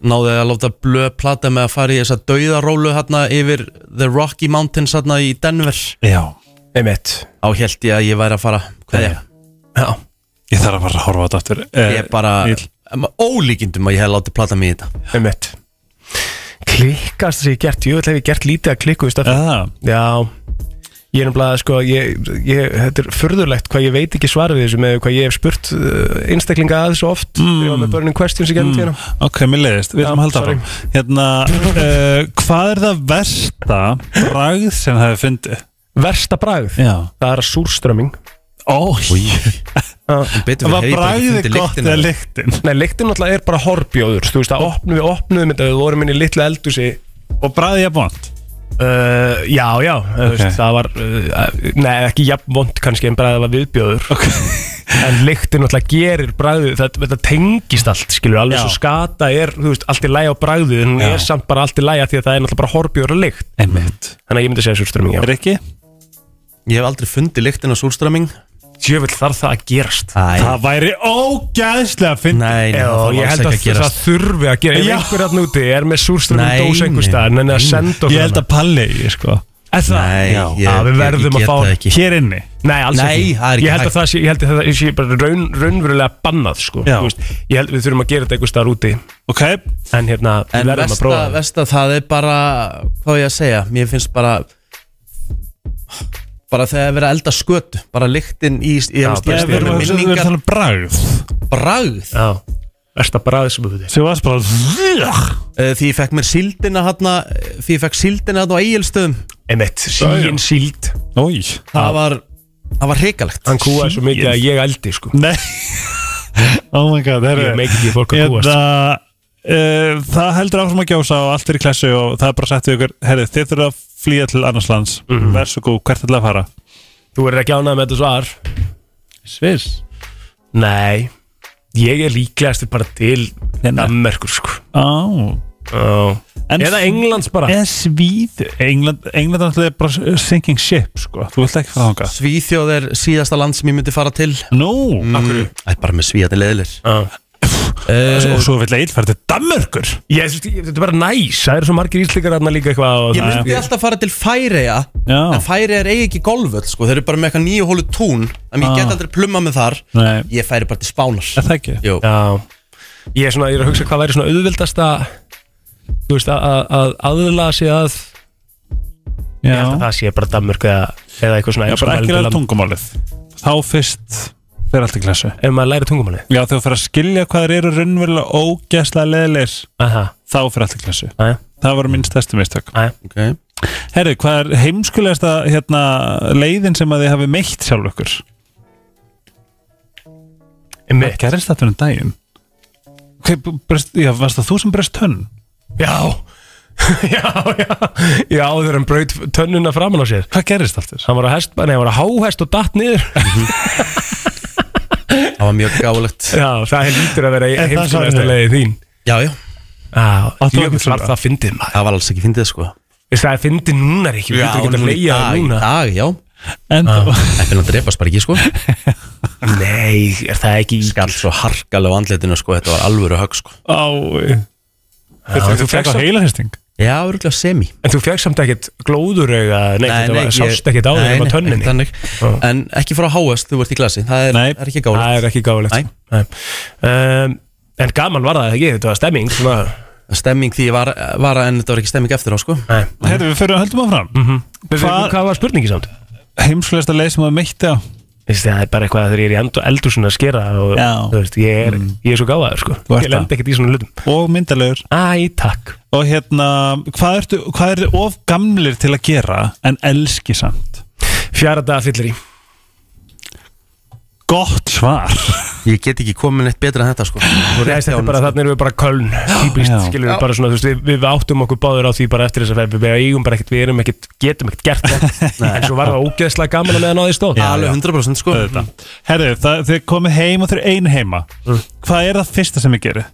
Náði að láta blöð plata með að fara í þessa dauðarólu hérna yfir The Rocky Mountains hérna í Denver
Já
Einmitt
Á held ég að ég væri að fara Kveðja
Já
Ég þarf að fara að horfa á þetta aftur Eh,
Ég er bara ólíkindum að ég hef látið plata mig í þetta
Einmitt Klikkast sem ég hef gert, jú, ætla hef ég gert lítið að klikku í stafn
Já
Já Ég er náttúrulega, sko, ég, ég, þetta er furðulegt hvað ég veit ekki svarið við þessu með hvað ég hef spurt uh, einstaklinga að þessu oft mm. þegar ég var með Burning Questions í gennum tíðina
Mm. Ok, mér leiðist, við ætlum að halda áfram Hérna, uh, hvað er það versta bragð sem það hefur fundið?
Versta bragð?
Já
Það er að súrströmming
Ó,
betur
Var bragðið gott eða lykt? lyktin?
Nei, lyktin náttúrulega er bara horbjóður Þú veist, það opnum við opnuðum þetta Við vorum inn í litlu eldúsi
Og bragðið jafn vond?
Uh, já, já þú veist, Það var, uh, nei, ekki jafn vond kannski En bragðið var viðbjóður okay. En lyktin náttúrulega gerir bragðið Þetta, þetta tengist allt, skilur Alveg
Já.
svo skata er, þú veist, allt í læg á bragðið En
Já.
er samt bara allt í læg af Því að það er náttúrulega bara horbjóður og lykt
Einmitt
Þannig að ég myndi segja súrströmming, já
Rikki?
Ég hef aldrei fundið lyktin af súrströmming
Sjöfull þarf það að gerast
Æ.
Það væri ógæðslega að finna
Nei, nei,
Já,
það
ég
var alls
held
ekki
að
að
það
gerast
þurfi að gera Ef
Já.
einhver hann úti er með súrströmming
Nei,
dós einhver staðar En að
nei.
senda okkur
Ég held að palli, ég sko
Er það?
Nei,
Já,
ég-
að við
ég-
verðum
ég
að
get það
fá
ekki.
Hér inni
Nei, alls
Nei,
ekki.
það er ekki
Ég held að
hægt.
það sé, ég held að það sé bara raun, raunverulega bannað sko.
Já.
Þú veist, Ég held við þurfum að gera þetta einhver staðar úti
Ok,
En hérna,
En
við verðum að
vesta,
prófa það.
vesta, það er bara Hvað á ég að segja, mér finnst bara Bara þegar að vera að elda skötu Bara lyktin í, í ég,
Já,
veist,
bara
ég
við
er með
erum að við erum að
minningar
tala um bragð
Bragð
Já, versta bræði sem þú veitir
Svo varst bara Það
Eh, Því ég fekk mér síldina hann Því ég fekk síldina hann á eigilstöðum
Emmett, síðan síld
Ói
Það var, það var hrikalegt
Hann kúaði svo mikið að ég eldi sko.
Nei Oh my god, herru
Ég meik ekki fólk að kúast
Eða Uh, það heldur áfram að gjósa og allt er í klessu og það er bara sett við ykkur, herri þið þurfum að flýja til annars lands, mm -hmm. verð svo góð, hvert ætlaði að fara?
Þú verður ekki ánægð með þetta svar
Sviss
Nei, ég er líklegast bara til
Hérna.
Danmerkur sko.
Á,
Já.
En-
Eða Englands bara
eða svíð England, England er alltaf bara sinking ship sko, þú vilt ekki fara þangað
Svíþjóð er síðasta land sem ég myndi fara til
Nú, no.
mm. Það er bara með svíðandi leðilir
Já.
og svo vill Egil fara til Danmörkur
Ég, þú veist, ég- þetta er bara næs Það eru svo margir íslíkar þarna líka eitthvað og-
Ég myndi alltaf fara til Færeja
Já.
En Færeja er eigi ekki golföld sko. Þeir eru bara með eitthvað nýju hólu tún Þannig ég
Ah.
get aldrei plumma með þar
Nei,
Ég færi bara til Spánar
er það ekki?
Jú.
Já Ég er svona, ég er að hugsa hvað væri svona auðvildast að Þú veist, að- að að aðlaða sig að Ég held að það sé bara Danmörk eða, eða eitthvað svona
Já, bara ekki læra
tungumál
tungumálið Þá fyrst fer allt í klassu
Ef maður læri tungumáli
Já, þegar þú fer að skilja hvað þeir eru raunverulega ógæslega leðilegir
Aha,
Þá fer allt í klassu
aðja,
Það var minn stærstu mistök
aðja
okay.
Herri, hvað er heimskulegasta hérna, leiðin sem að þið hafi meitt sjálf ykkur? Hvað
Einmitt
gerist þetta um daginn? Hver, brest, já, varst það þú sem brest tönn?
Já [LAUGHS] Já, já Já, þegar hann braut tönnuna framan á sér
Hvað gerist allt þess?
Hann var að hest, nei, hann var að háhest og datt niður
Það var mjög gáðlegt
Já, það lítur að [LAUGHS] vera
En það
heimskulegasta
sagði-
leiði þín
Já, já,
Já,
Áttu
jökull
okkur
var
svona?
það fyndið maður
það var alls ekki fyndið sko
Veist það er fyndið núna, Ríkki, við getum ekki að
í
leiða
dag, í
núna
dag, já
En
Það finnum að drepast bara ekki sko
Nei, er það ekki í
Skall svo harkalega á andlitinu sko Þetta var alvöru högg sko
á Þú
þú
fekk
fékkst
á
samt-
heilaristing
Já, örgulega semi
En þú fegst samt ekkert glóðurauga Nei, nei, nei
ég-
sást ekkert á
Nei,
þér um
nei,
að
ekkert
tönninni
þannig.
Já.
En ekki frá háast, þú ert í glasi Það er,
Nei.
það er ekki
Það
gáðlegt
er ekki gáfulegt
Nei.
um, En gaman var það ekki, þetta var stemming svona.
Stemming því var, var að en þetta var ekki stemming eftir á sko
Nei
Herri, við fyrir að höldum áfram mm -hmm.
Hvað hva var spurningi samt?
Heimskulegasta leið sem að meitt á
Þessi, það er bara eitthvað að þegar ég er í endur eldursuna að skera og
Já.
þú veist, ég er,
Mm.
ég er svo gáfaður sko.
Þú ert
Ég lend ekkert í svona hlutum
og myndalegur
Æ, takk
og hérna, hvað ertu, hvað ertu of gamlir til að gera en elski samt?
Fjara daga fyllir í
Gott svar
Ég get ekki komin eitt betra en þetta sko Þú rétt
Nei,
hjá
þetta er
honum,
bara,
sko.
þannig erum við bara köln Típist,
já.
skilur við bara svona, þú veist, við, við áttum okkur báður á því bara eftir þess að við, við eigum bara ekkert, við erum ekkert, getum ekkert gert neitt. En svo var það ógeðslega gaman að meðan á því stóð
Alveg 100% sko
Auðvitað. Herru, það, þið komið heim og þið eru ein heima Hvað er það fyrsta sem þið gerir?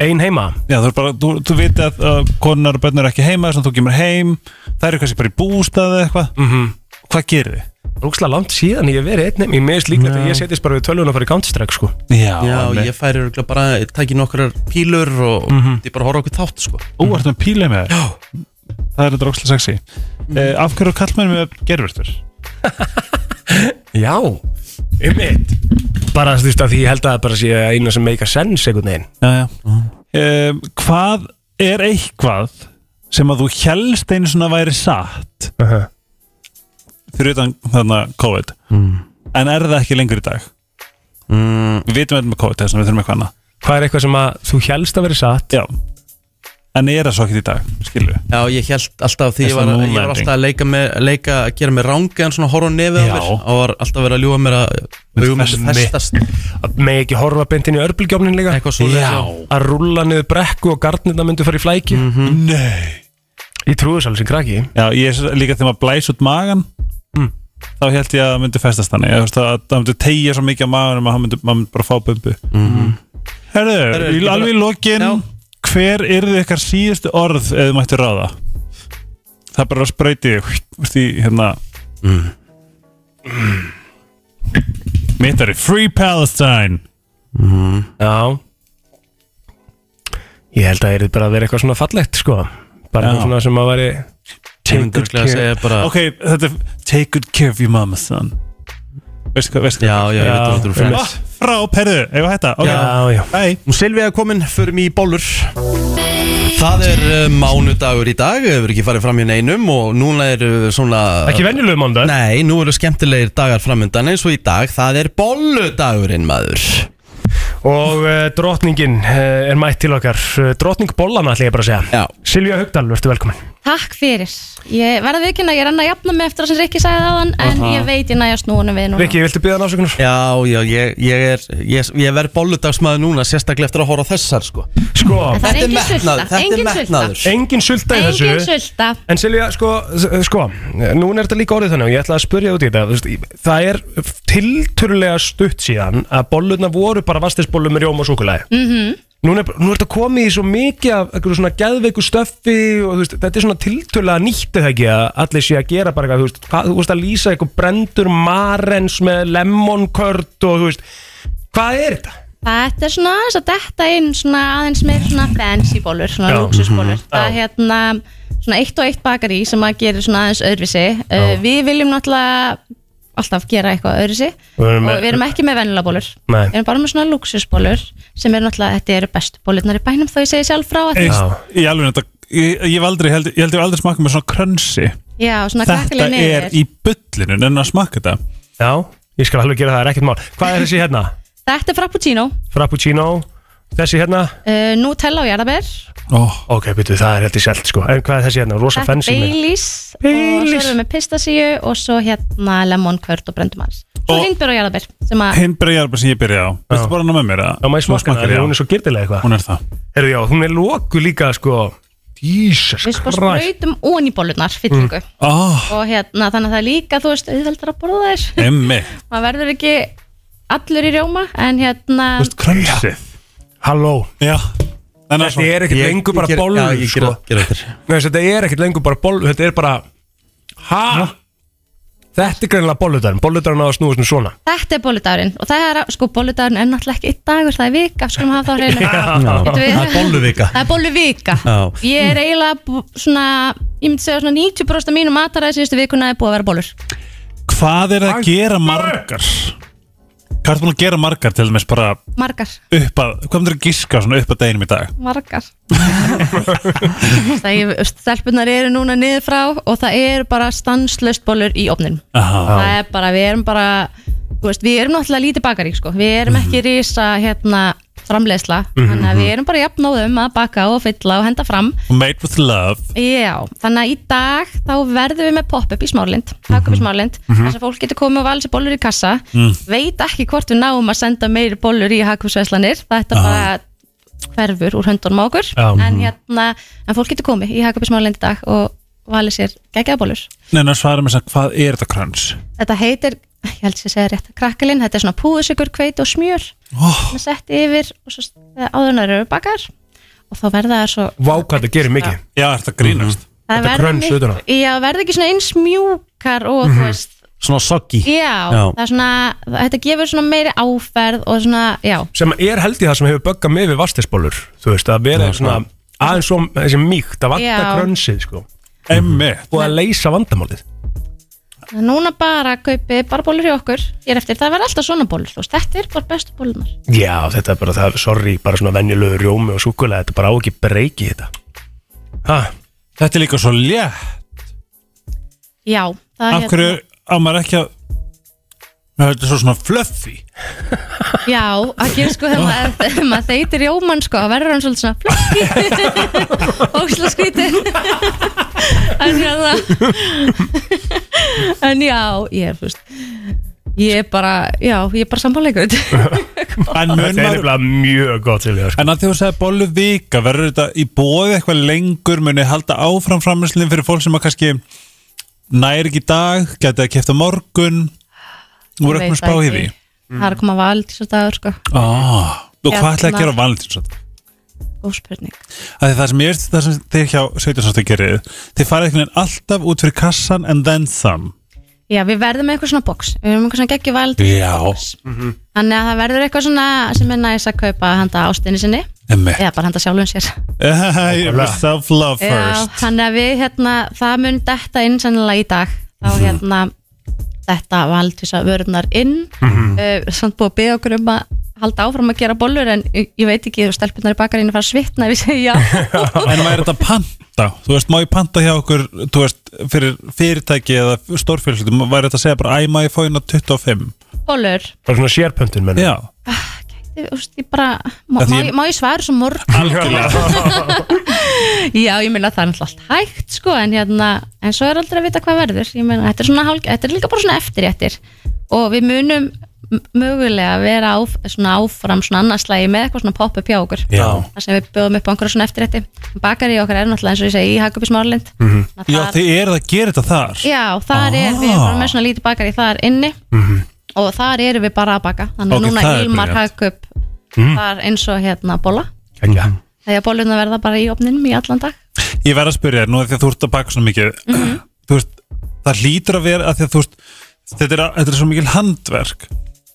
Ein heima
Já, þú, er bara, þú, þú veit að uh, konunar og bönnur er ekki heima þess að þú kemur heim Það eru kannski bara í bústað eða eitthvað
Mhm.
Hvað gerir þið?
Rúkslega langt síðan ég hef verið einn heima Ég meðist líklegt að ég setjast bara við tölvun og farið Counter-Strike sko
Já,
Já,
einmitt.
ég færi örugglega bara, ég tæki nokkrar pílur og mm ég bara horfa okkur þátt sko
Ú, Eh, ertu með píla með þér? Já Það er þetta ókslega sexy mm. Af hverju kallmenn með gerfurtur?
Já, um mitt Bara þú veist að því ég held að það bara sé eina sem make a sense einhvern veginn
já, já. Um, hvað er eitthvað sem að þú helst einu svona væri satt fyrir utan þarna COVID en er það ekki lengur í dag mm. við vitum eitthvað með COVID þess að við þurfum eitthvað annað
Hvað er eitthvað sem að þú helst að vera satt?
Já, en er það svo ekki í dag, skilur við
Já, ég held alltaf því ég
Þess
var, ég
að
var
moonlighting.
alltaf að leika, með, leika að gera mér rangi en svona horfa nefið á
Já.
mér og var alltaf að vera að ljúa mér að augum
Fest-
mér festast
Að Megi ekki horfa beint inn í örbulgjófnin líka
Eitthvað svoleiðis, já.
Að rúlla niður brekku og garnirna myndu fara í flæki mm -hmm. Nei Ég trúi þess alveg sem krakki
Já, ég er svo- líka þegar maður blæs út magan
Mm.
þá held ég að það myndi festast þannig ég, veist, að að það myndi tegja svo mikið á maganum að það myndi, maður myndi bara fá bumbu mm.
Herðu,
Herðu, í-
ég bara-
alveg í lokin hver yrði ykkar síðustu orð ef þið mættu ráða? Það er bara að spreyti þig hú, veist, í, hérna mm. Mitt er í Free Palestine
mm. Já Ég held að það er bara að vera eitthvað svona fallegt sko Bara
Já.
eitthvað svona sem að væri
Take good care-
Ah.
Ok, þetta er Take good care of your mama son Veistu hvað, veistu hvað Já,
já, ég veit að þetta eru friends.
Frá, perðu, ef að hætta okay.
Já,
já
Hei
Nú Silvi er komin, förum í bólur Það er uh, mánudagur í dag, hefur ekki farið fram hjá neinum og núna er uh, svona
Ekki venjulegu mánudag?
Nei, nú eru skemmtilegir dagar framöndan eins og í dag, það er bóludagurinn maður
Og uh, drottningin uh, er mætt til okkar uh, Drottning Bollana ætla ég bara að segja
Já.
Silvía Haugdal, verður velkomin
Takk fyrir. Ég verða viðkynna, ég er enn að jafna mig eftir það sem Rikki sagði aðan, en
Aha.
ég veit ég næja snúinu við núna.
viltu byggja hann ásökunar?
Já, já, ég, ég er ég, ég verð bolludagsmaður núna, sérstaklega eftir að horfa á þessar sko
Sko,
En það er engin sulta, engin sulta.
Engin sulta í þessu
Engin sulta.
En Silja, sko, sko, núna er þetta líka orðið þannig og ég ætla að spurja út í þetta þú veist, Það er tilturlega stutt síðan að bollurnar voru bara vastisbollur með rjóma og súkulæði
Mhm.
Núna er, nú er þetta komið í svo mikið af einhverju svona geðveiku stöffi og þú veist, þetta er svona tiltölulega nýtt eða ekki að allir sé að gera bara eitthvað, þú veist, hvað, þú veist að lýsa eitthvað brendur marens með lemonkört og þú veist, hvað er þetta?
Þetta er svona aðeins að detta inn svona aðeins með svona fancy bólur, svona
Já.
luxusbólur.
Mhm.
Það er hérna svona eitt og eitt bakari sem að gera svona aðeins öðruvísi. Uh, við viljum náttúrulega alltaf gera eitthvað öðruvísi
Og við erum
og
með-
við erum ekki með vennilega bólur.
Nei.
Við erum bara með svona luxusbólur sem eru náttúrulega, þetta eru bestu bólurnar í bænum þó ég segi sjálf frá að því.
Eist, Í alveg þetta Ég, ég, hef aldrei, held, ég held ég hef aldrei smakað með svona krönsi
Já, svona
Þetta
krakkalegi
er
niður.
í bullinu En að smaka þetta
Já, ég skal alveg gera það, það er ekkert mál Hvað er þessi hérna?
Þetta er frappuccino,
Frappuccino, þessi hérna?
uh, Nutella og jarðabær,
Oh.
Ok, byrju, það er heldur selt sko En hvað er þessi hérna? Rosa
þetta er
fancy með-
Baileys og svo erum við með pistasíu og svo hérna lemon curd og brendumars. Svo
Og-
hindbjörn og jarðabær sem að
Hinn byrjar bara sem ég byrja á Viltu bara ná með mér að
Já, maður smakka hana, hún er svo girdilega eitthvað
Hún er það
Herru, já, hún er loku líka sko Jesus
við sko
Christ
sprautum ón í bólurnar fyllingu
oh,
Ah.
og hérna þannig að það er líka þú veist auðveldar að borða
[LAUGHS]
þér.
Emmi
Maður verður ekki allur í rjóma en hérna
Krömsið Halló
Já
Þetta er ekkert lengur bara bollur sko [LAUGHS] Nei, Þetta er ekkert lengur bara bollur Þetta er bara Ha? Þetta er greinilega bolludarinn Bolludarinn á að snúa svona svona
Þetta er bóludagurinn og það er, sko, bóludagurinn er náttúrulega ekki einn dagur, það er vika, skulum hafa það á hreinu. Getum við-
Það er bolluvika.
Það er bóluvika.
Já.
Ég er eiginlega bú- svona, ég myndi segja svona 90% af mínu mataræði síðustu vikuna er búið að vera bólur.
Hvað er það að gera margar? Hvað er búin að gera margar til þess bara
Margar,
upp að Hvað myndir að giska svona upp að deginum í dag?
margar. það er, stelpunar eru núna niður frá og það er bara stanslöst bólur í ofninum.
Aha.
Það er bara, við erum bara, þú veist, við erum náttúrulega lítið bakarík, sko. Við erum ekki risa, hérna, framleiðsla.
Mhm.
Þannig að við erum bara jafnóðum að baka og fylla og henda fram.
Made with love
Já, þannig að í dag þá verðum við með pop-up í smálind Takk upp í smálind, mm
Mhm.
þess að fólk getur komið og valið sér bollur í kassa
Mm.
Veit ekki hvort við náum að senda meiri bollur í hagkvæmsverslanir Þetta
Ah.
bara hverfur úr höndunum á okkur
Já. mhm.
en, hérna, en fólk getur komið í hagkvæm í smálind í dag og valið sér geggjaða bollur
Nei, en að svara mér sem hvað er þetta kröns?
Þetta heitir, ég held sér að segja rétt krakkalinn Þetta er svona púðusikur, hveit og smjör
oh.
Sett yfir og svo eh, áðurnar eru bakar Og þá verða það svo
Vá hvað þetta gerir mikið
Já, þetta grínast
Mhm.
Það verða miklu- Já, verða ekki svona eins mjúkar og
Mhm.
þú veist
Svona soggy
Já, það er svona, þetta gefur svona meiri áferð og svona, já,
Sem er held í það sem hefur böggað mig við vastisbólur Þú veist, að vera svona aðeins svo þessi mýkt að vanta
Já.
krönsið sko
Emmi
Og að leysa vandamálið
núna bara kaupi bara bólur hjá okkur ég er eftir, það verður alltaf svona bólur þú veist, þetta er bara bestu bólunar
Já, þetta er bara það, sorry, bara svona venjulegu rjómi og súkulega, þetta bara á ekki breyki þetta ha,
Þetta er líka svo létt
já, það hérna.
Af hverju á maður ekki að Ná, Þetta er svo svona fluffy
já, það gerir sko þegar maður- þegar maður þeytir jómann sko, þá verður hann svolítið svona flokki ósla skvítin en já það en já, ég er þú veist ég er bara, já, ég er bara sammáleikur
En mun
Þetta er
maður
nefnilega mjög gott sko. til þér
En að því þú segir bollu vika Verður þetta í bóði eitthvað lengur Muni halda áfram framlýslinn fyrir fólk sem að kannski Næri ekki í dag Gæti að kefta morgun Þú voru
Ég
ekki
veit
með
það
spáð í því
ekki. það er að koma vald í svo dagur sko
ah, Og hvað ætlaði
Hérna.
að gera á valentínsdag?
góð spurning
að það sem ég veist það sem þið hjá 17. gerið þið farið einhvern veginn alltaf út fyrir kassan and then some
Já, við verðum með eitthvað svona box Við verðum með eitthvað svona geggjuvald
Mhm.
Þannig að það verður eitthvað svona sem er næs að kaupa handa ástinni sinni
Einmitt.
Eða bara handa sjálfum sér
[LAUGHS] Ég- self love
Já, [LAUGHS]
first [LAUGHS]
þannig að við hérna, það mun detta inn sennilega í dag Þá
Mhm.
hérna þetta vald þess að vörunar inn
Mhm.
uh, Samt búið að beða okkur um að halda áfram að gera bollur En ég ég veit ekki, þú stelpunar í bakarinn fara að svitna ef ég
[LAUGHS]
segja
en væri þetta panta þú veist, má ég panta hjá okkur þú veist, fyrir fyrirtæki eða stórfjölskyldum væri þetta að segja bara æ, má ég fá hérna 25
bollur
bara svona sérpöntun menn
Já,
Þú veist, ég bara, má,
Af því
má,
ég-
ég- má ég svara svo morgun [LAUGHS] Já, ég meina það er náttúrulega allt hægt sko, en, hérna, en svo er aldrei að vita hvað verður ég meina, þetta er, svona, hálf, þetta er líka bara svona eftirréttir og við munum m- mögulega vera áf, svona áfram svona annarslægi með eitthvað svona pop-up hjá okkur
Já.
þar sem við bjóðum upp á einhverja svona eftirrétti bakar í okkar er náttúrulega eins og ég segi í Hagubis Márlind
Mhm. já
það-
þið eru að gera þetta þar
Já, þar er við erum bara með svona lítið bakar í þar inni
Mhm.
og þar eru við bara að baka þannig að
Ok,
núna
það er
Ilmar
brilliant.
Hagub
Mm.
þar eins og hérna bolla
Kækja.
þegar bolluna verða bara í opninum í allan dag
Ég verð að spyrja þér, nú að því að þú ert að baka svona mikið þú veist, það hlýtur að vera að því að þú veist, þetta er, þetta er svo mikil handverk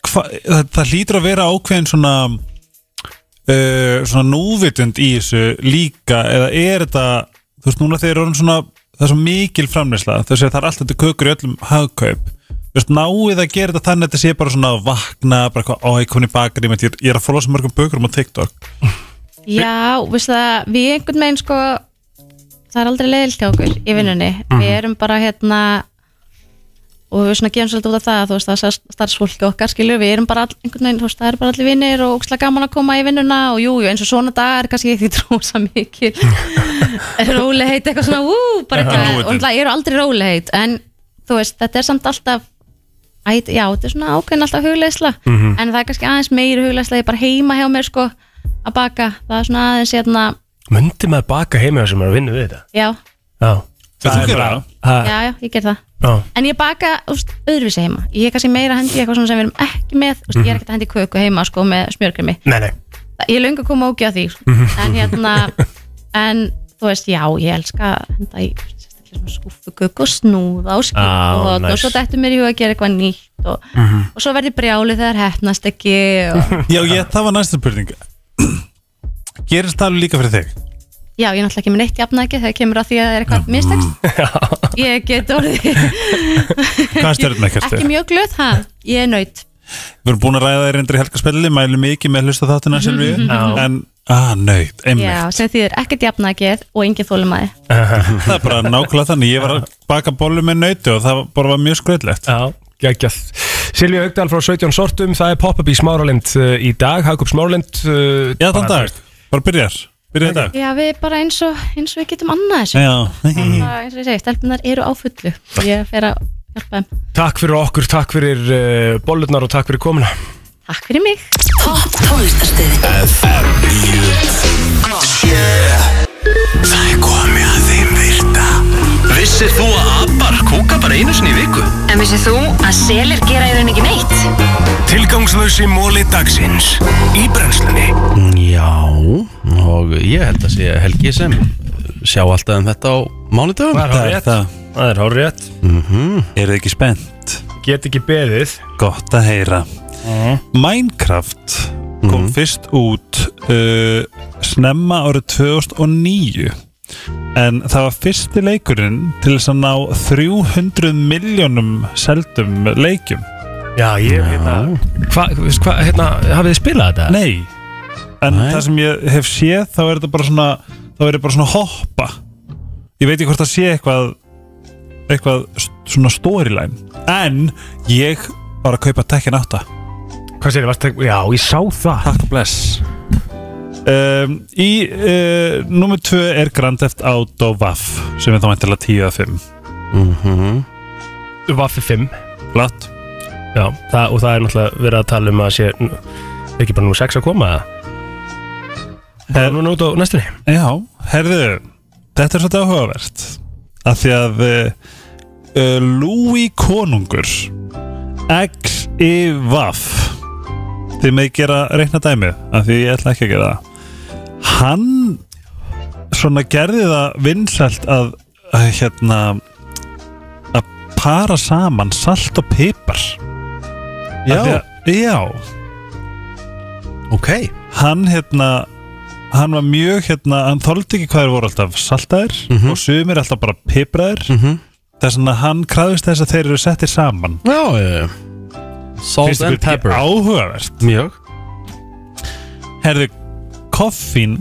Hva, það, það hlýtur að vera ákveðin svona uh, svona núvitund í þessu líka eða er þetta, þú veist, núna þegar orðin svona, það er svo mikil framleysla þess að það er alltaf þetta kökur í öllum hagkaup Þú veist, náið að gera þetta þannig að þetta sé bara svona að vakna, bara hvað, ó, ég kom í bakar ég, meint, ég, ég er að fóla svo mörgum bökurum á TikTok
Já, veistu það, við einhvern veginn sko það er aldrei leiðilt hjá okkur í vinnunni
Mhm.
við erum bara hérna og við svona gefum svolítið út af það þú veist það er starfsfólki okkar skilur við erum bara all, einhvern veginn, þú veist það er bara allir vinnir og ókslega gaman að koma í vinnuna og jú, jú eins og svona dag er kannski ekki trósa
[LAUGHS]
mikil róli heit eitthvað svona ú, bara
Já,
eitthvað,
núvitund.
og náttúrulega ég eru aldrei róli heit en þú veist, þetta er samt alltaf æt, já, þetta er svona ákveðin alltaf hugleisla
Mhm.
en það er kannski aðeins meiri hugleisla ég er bara heima hjá mér sko að baka, það er svona aðeins hérna,
Mundi maður baka heima hjá sem maður vinnu við þetta
já,
Já Það er
gera
bara-
já, já, ég ger það
Já.
en ég baka úst, öðruvísi heima ég er kannski meira að hendi í eitthvað svona sem við erum ekki með úst, ég er ekkert að hendi köku heima sko með smjörkremi
Nei, nei
Það- ég er löngu að koma ógja því sko.
Mhm.
en hérna, en þú veist, já, ég elska að henda í sérstaklega svona skúfuköku og snúða og skip
Ah,
og, nice. og
nice.
svo dættu mér í huga að gera eitthvað nýtt og, og svo verði brjáli þegar hefnast ekki
[LAUGHS]
og,
Já, ég, það var næsta spurning [CLEARS THROAT] Gerist það alveg líka fyrir þig?
já, ég er náttúrulega ekki með neitt jafna ekki þegar kemur að því að það er eitthvað mistekst ég get orðið
Hvað er stjörnuna, Kersti?
[LAUGHS] ekki mjög glöð, ha, ég er nöyt
Við erum búin að ræða þér reyndri helga spelli Mælum mikið með hlusta þáttina Silvi
[LAUGHS] Já.
En, að, nöyt, einmitt
já, sem þýðir ekkert jafnakið og engin þólumæði
Það er bara nákvæmlega þannig Ég var að baka bollu með nöyti og það bara var mjög skröðlegt
Já, geggjað Silvíu Haugdal frá 17 sortum, það er pop-up í Smáralind uh, í dag, Hagup Smáralind uh,
Já, þann dag. bara byrjar, byrjar í dag
já, við bara eins og, eins og við getum annað þessu
Já, [LAUGHS]
bara eins og ég segi, stelpunar eru á fullu og ég fer að hjálpa þeim
Takk fyrir okkur, takk fyrir uh, bollurnar og takk fyrir komuna
Takk fyrir mig
Topp tónlistarstöðin
FM 957 Það er komið að þeim virta Vissir þú að abar kúka bara einu sinni í viku?
En vissið þú að selir gera í rauninni ekki neitt?
Tilgangslösi móli dagsins Í brennslunni
Mm,
Já, og ég held að sé Helgi sem sjá alltaf um þetta á mánudöfum
Það er hár rétt Það er hár rétt
mm -hmm.
Eru þið ekki spennt?
Get ekki beðið
Gott að heyra Minecraft eh, kom fyrst út uh, Snemma árið 2009 en það var fyrsti leikurinn til þess að ná 300 miljónum seldum leikjum
Já, ég, hérna Hvað, hva, hérna, hafið þið spilað þetta?
Nei, en það sem ég hef séð þá er þetta bara svona þá er þetta bara svona hoppa ég veit ekki hvort það sé eitthvað eitthvað st- svona storyline en ég var að kaupa Tekken 8
Hvað segir þið? Já, ég sá það
Takk og bless um, Í uh, Númer 2 er Grand Theft Auto Vaff sem er þá mæntilega 10 að 5
Mhm Vaffi 5
Flatt
Já, það, og það er náttúrulega verið að tala um að sé n- ekki bara nú 6 að koma Það er núna út á næstunni
Já, herðu Þetta er svolítið áhugavert Af því að uh, uh, Louis Konungur X-I-Vaff Þið með gera reikna dæmið Af því ég ætla ekki að gera það Hann Svona gerði það vinsælt að, að Hérna Að para saman salt og pipar
Já.
Já
Ok
Hann hérna Hann var mjög hérna, hann þóldi ekki hvað þeir voru alltaf saltaðir og sumir alltaf bara pipraðir mm -hmm. þess að hann krafist þess að þeir eru settir saman
Já, já,
eh,
já Salt and pepper.
Áhugavert
Mjög
Herðu, koffín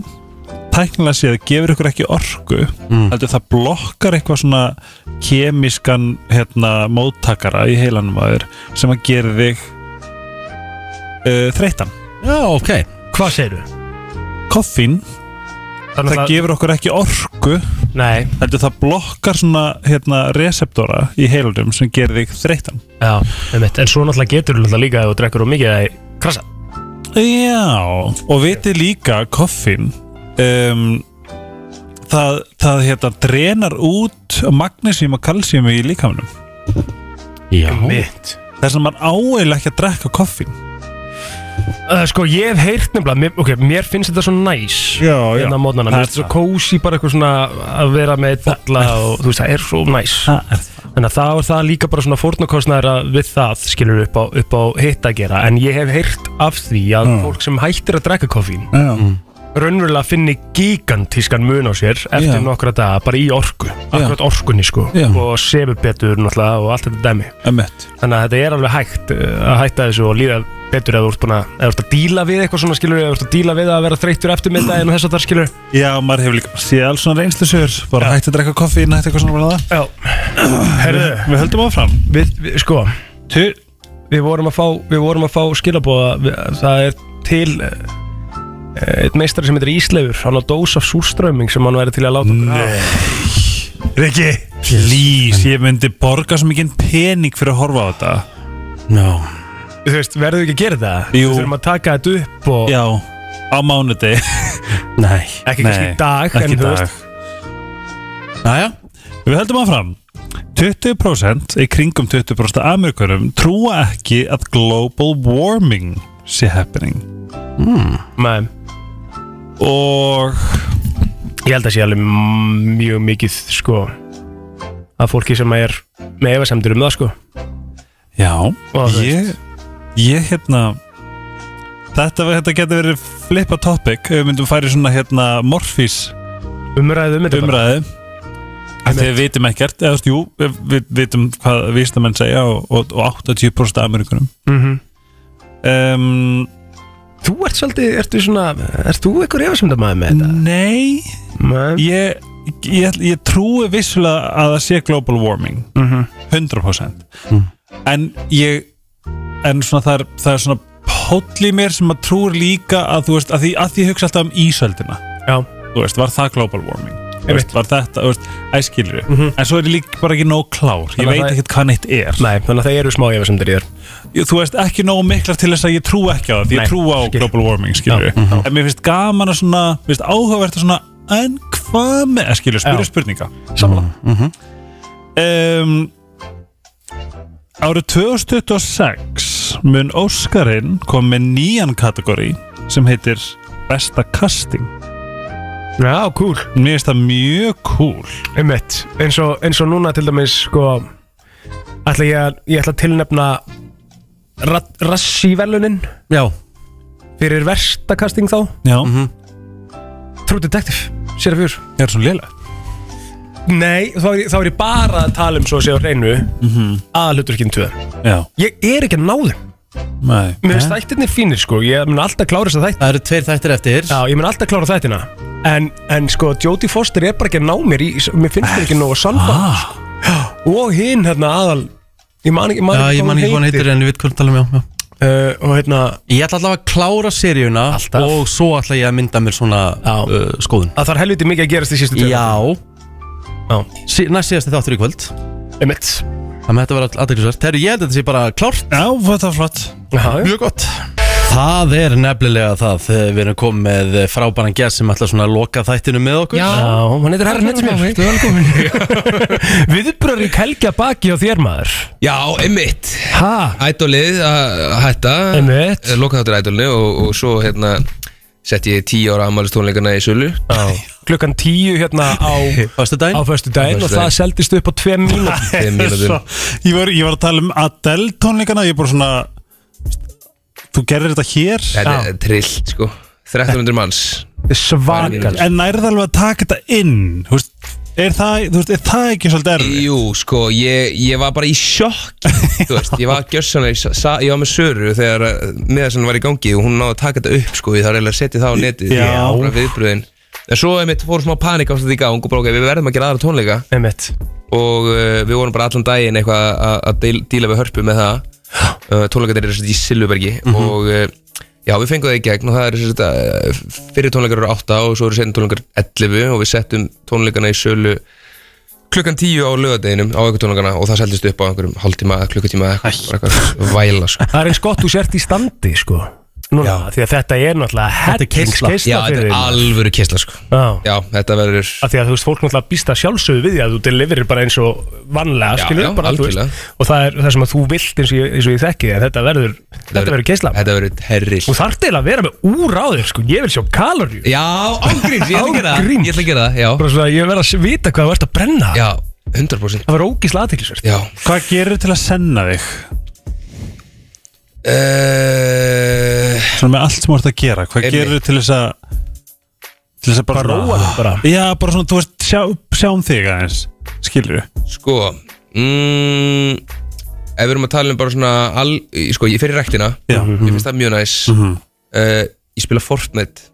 tæknilega séð gefur ykkur ekki orku
Mm.
heldur það blokkar eitthvað svona kemískan hérna, móttakara í heilanum að þér sem að gera þig uh, þreytan
Já, ok
Hvað segir þið?
koffín
Það,
það gefur okkur ekki orku
Nei
heldur það blokkar svona hérna, reseptora í heilunum sem gerir þig þreytan
Já, einmitt. en svo náttúrulega getur þú náttúrulega líka ef þú drekkur og mikið að krasa
Já, og vitið líka koffin um, það, það hérna drenar út magnesíum og kalsíum í líkamunum
Já
Mitt
Þess að maður áeiginlega ekki að drekka koffin
uh, Sko, ég hef heyrt nefnilega, mér, ok, mér finnst þetta svo næs
Já,
Hérna á mótnana,
Það
mér
er
finnst þetta svo kósi bara eitthvað svona að vera með eitt bolla og þú veist, það er svo næs Þannig að það er það líka bara svona fórnarkostnæður að við það skilur upp á, upp á hitt að gera En ég hef heyrt af því að
Mm.
fólk sem hættir að drekka koffín
Já
raunverulega finni gigantískan mun á sér eftir
Já.
nokkra daga, bara í orku akkurat orkunni sko
Já.
og sefur betur náttúrulega og allt þetta dæmi
Emmett
þannig að þetta er alveg hægt uh, að hætta þessu og líða betur eða þú ert búin að eða þú ert að díla við eitthvað svona skilur eða þú ert að díla við að vera þreyttur eftir með daginn og þess að það skilur
Já, maður hefur líka bara séð alls svona reynslusur bara hætti að drekka koffin, hætti eitthvað svona bara það
Herðu,
Við höldum áfram
við, við, sko
Tur
við vorum að fá, við vorum að fá skilabóða það er til uh, eitt meistari sem heitir Ísleifur hann á dós af súrströmming sem hann væri til að láta okkur hafa.
Rikki, please, ég myndi borga svo mikið pening fyrir að horfa á þetta
No
þú veist, verður við ekki að gera þetta?
Jú.
Við þurfum að taka þetta upp og
Já, á mánuði
Nei
Ekki kannski í dag, en
Ekki
þú
dag
veist.
Næja Við höldum áfram 20% í kringum 20% af Amerikunum trúa ekki að global warming sé happening
mm. Nei
Og
Ég held að sé alveg m- mjög mikið sko að fólki sem er með efasemdur um það sko
Já,
Og þú
ég, ég hérna Þetta, þetta getur verið flippa topic ef við myndum færi svona hérna morfís
umræðu um þetta bara.
umræði að því við vitum ekkert eða þú veist, jú, við- við vitum hvað vístamenn segja og, og, og 80% af Amerikunum
Mhm.
um,
Þú ert svolítið, ertu svona ert þú einhver efasemdur maður með þetta?
Nei
Nei
ég, ég, ég trúi vissulega að það sé global warming
Mhm.
100%
Mm.
en ég en svona það er, það er svona póll í mér sem að trúir líka að þú veist að því, að því ég hugsa alltaf um ísöldina
Já
þú veist, var það global warming Þú
Einmitt. Mhm.
veist, var þetta, þú veist, æskilur en svo er ég líka bara ekki nóg klár ég
Þannig að
veit
það-
ekkert hvað neitt er
Nei, þannig að það eru smá efasemdur í þér
Ég- þú veist, ekki nóg miklar til þess að ég trú ekki á það því ég
Nei,
trú á
skil.
global warming, skilur
Já, mhm. já.
en mér finnst gaman að svona, mér finnst áhugavert að svona en hvað með, skilur, spyrja
Já. Mhm,
spurninga samla um, Árið 2026 mun Óskarinn kom með nýjan kategóri sem heitir besta casting
Já, cool
Mér finnst það mjög cool
Einmitt, eins og, eins og núna til dæmis sko ætla ég, að- ég ætla að tilnefna Ra- Rassi-velunin
Já
fyrir verstakasting þá
Já
Mhm.
True Detective, sér að fjör
Ég er svo lélega
Nei, þá er, ég- þá er ég bara að tala um svo að sé á reynu mm
Mhm.
-hmm. að hluturkinn 2
Já.
Ég er ekki að ná þeim
Nei.
Mér finnst þættirnir fínir sko Ég mun alltaf klára þess að þættir
Það eru tveir þættir eftir
Já, ég mun alltaf klára þættina En, en sko, Jodie Foster er bara ekki að ná mér í Mér finnst það ekki nógu samfæð
Ah.
sko. Og hinn, hérna, aðal Ég man ekki, man
Já, ég man ekki hvað hann heitir en ég veit hvað hann tala um já, já.
Uh, og hérna
Ég ætla allavega að klára seríuna Alltaf. og svo ætla ég að mynda mér svona uh, skoðun
Það þarf helviti mikið að gerast í sístu tveimur.
Já,
já.
Sí, Næst síðasti þáttur í kvöld
Emitt
Þannig að þetta var aðeinsvært Þegar ég held að þetta sé bara klárt
Já, þetta var flott
já.
Mjög gott Það er nefnilega það eh, Við erum komið með eh, frábæran gæst sem ætla svona að loka þættinu með okkur
Já. Já, hann heitir Herra Nettsmjör. Þú er velkomin [LAUGHS] Viðbröðrik helgja baki á þér maður
Já, einmitt
Ha?
Ædolið að að hætta
Einmitt
Loka þáttur ædolinu og, og svo hérna sett ég tíu ára ammælistónleikana í sölu
Já Klukkan tíu hérna á
[LAUGHS]
Föstudaginn
Á föstudaginn og það seldist upp á tve
[LAUGHS]
mínútur
Svo- ég, var, ég var að tala um Adele tónleikana Ég er bara svona Þú gerir þetta hér
Þetta er trillt sko 1300 manns
Svakar
En nærið alveg að taka þetta inn Þú veist Er það, þú veist, er það ekki svolítið erfið?
Jú, sko, ég, ég var bara í sjokk Þú veist, ég var gjörsanlega í sa- Ég var með Söru þegar miðarsann var í gangi og hún náði að taka þetta upp sko, ég þarf eiginlega að setja það á netið
Já.
bara viðbröðin En svo einmitt fór smá panik á þetta í gang og bara, ok, við verðum að gera aðra tónleika
Einmitt
Og uh, við vorum bara allan daginn eitthvað að- að deil- díla við hörpu með það uh, Tónleikarnir eru sem sagt í Silvubergi
Mhm.
Og uh, já, við fengum það í gegn og það eru sem sagt uh, Fyrir tónleikar eru 8 og svo eru setjum tónleikar 11 Og við settum tónleikana í sölu klukkan 10 á lögadeginum á eitthvað tónleikana Og það seldist upp á einhverjum hálftíma, eða klukkutíma eða eitthvað, bara eitthvað væla sko
Það er eins gott þú sért í standi sko Núna, því að þetta er náttúrulega hellingskeisla
Já,
fyrir
þetta er
þig, maður.
alvöru keisla sko
Já.
Já, þetta verður
að því að þú veist, fólk náttúrulega býsta sjálfsögðu við því að þú deliverir bara eins og vanlega,
Já,
skilur
já,
bara, þú
algjörlega.
veist, og það er það sem að þú vilt eins og ég, eins og ég þekki, en þetta verður þetta verður keisla.
Þetta verður terrill
Þú þarf til að vera með úr á þér, sko, ég vil sjá kaloríu.
Já, ángríns, ég ætla að gera það Ég ætla að gera það, já
Bara svona, ég verð að vita hvað þú ert að brenna.
Já, 100%
Það var ógísla aðtillisvert.
Já
Hvað gerir til að senna þig?
Eh,
Uh,
Svona með allt sem þú ert að gera Hvað
Einmitt.
gerir til þess að Til þess að bara
Bara róa þig bara.
Já, bara svona, þú veist, sjá, sjáum þig aðeins Skilur
Sko mm, Ef við erum að tala um bara svona al, Sko, ég fer í rektina
Já.
Ég finnst það mjög næs
Mhm.
uh, Ég spila Fortnite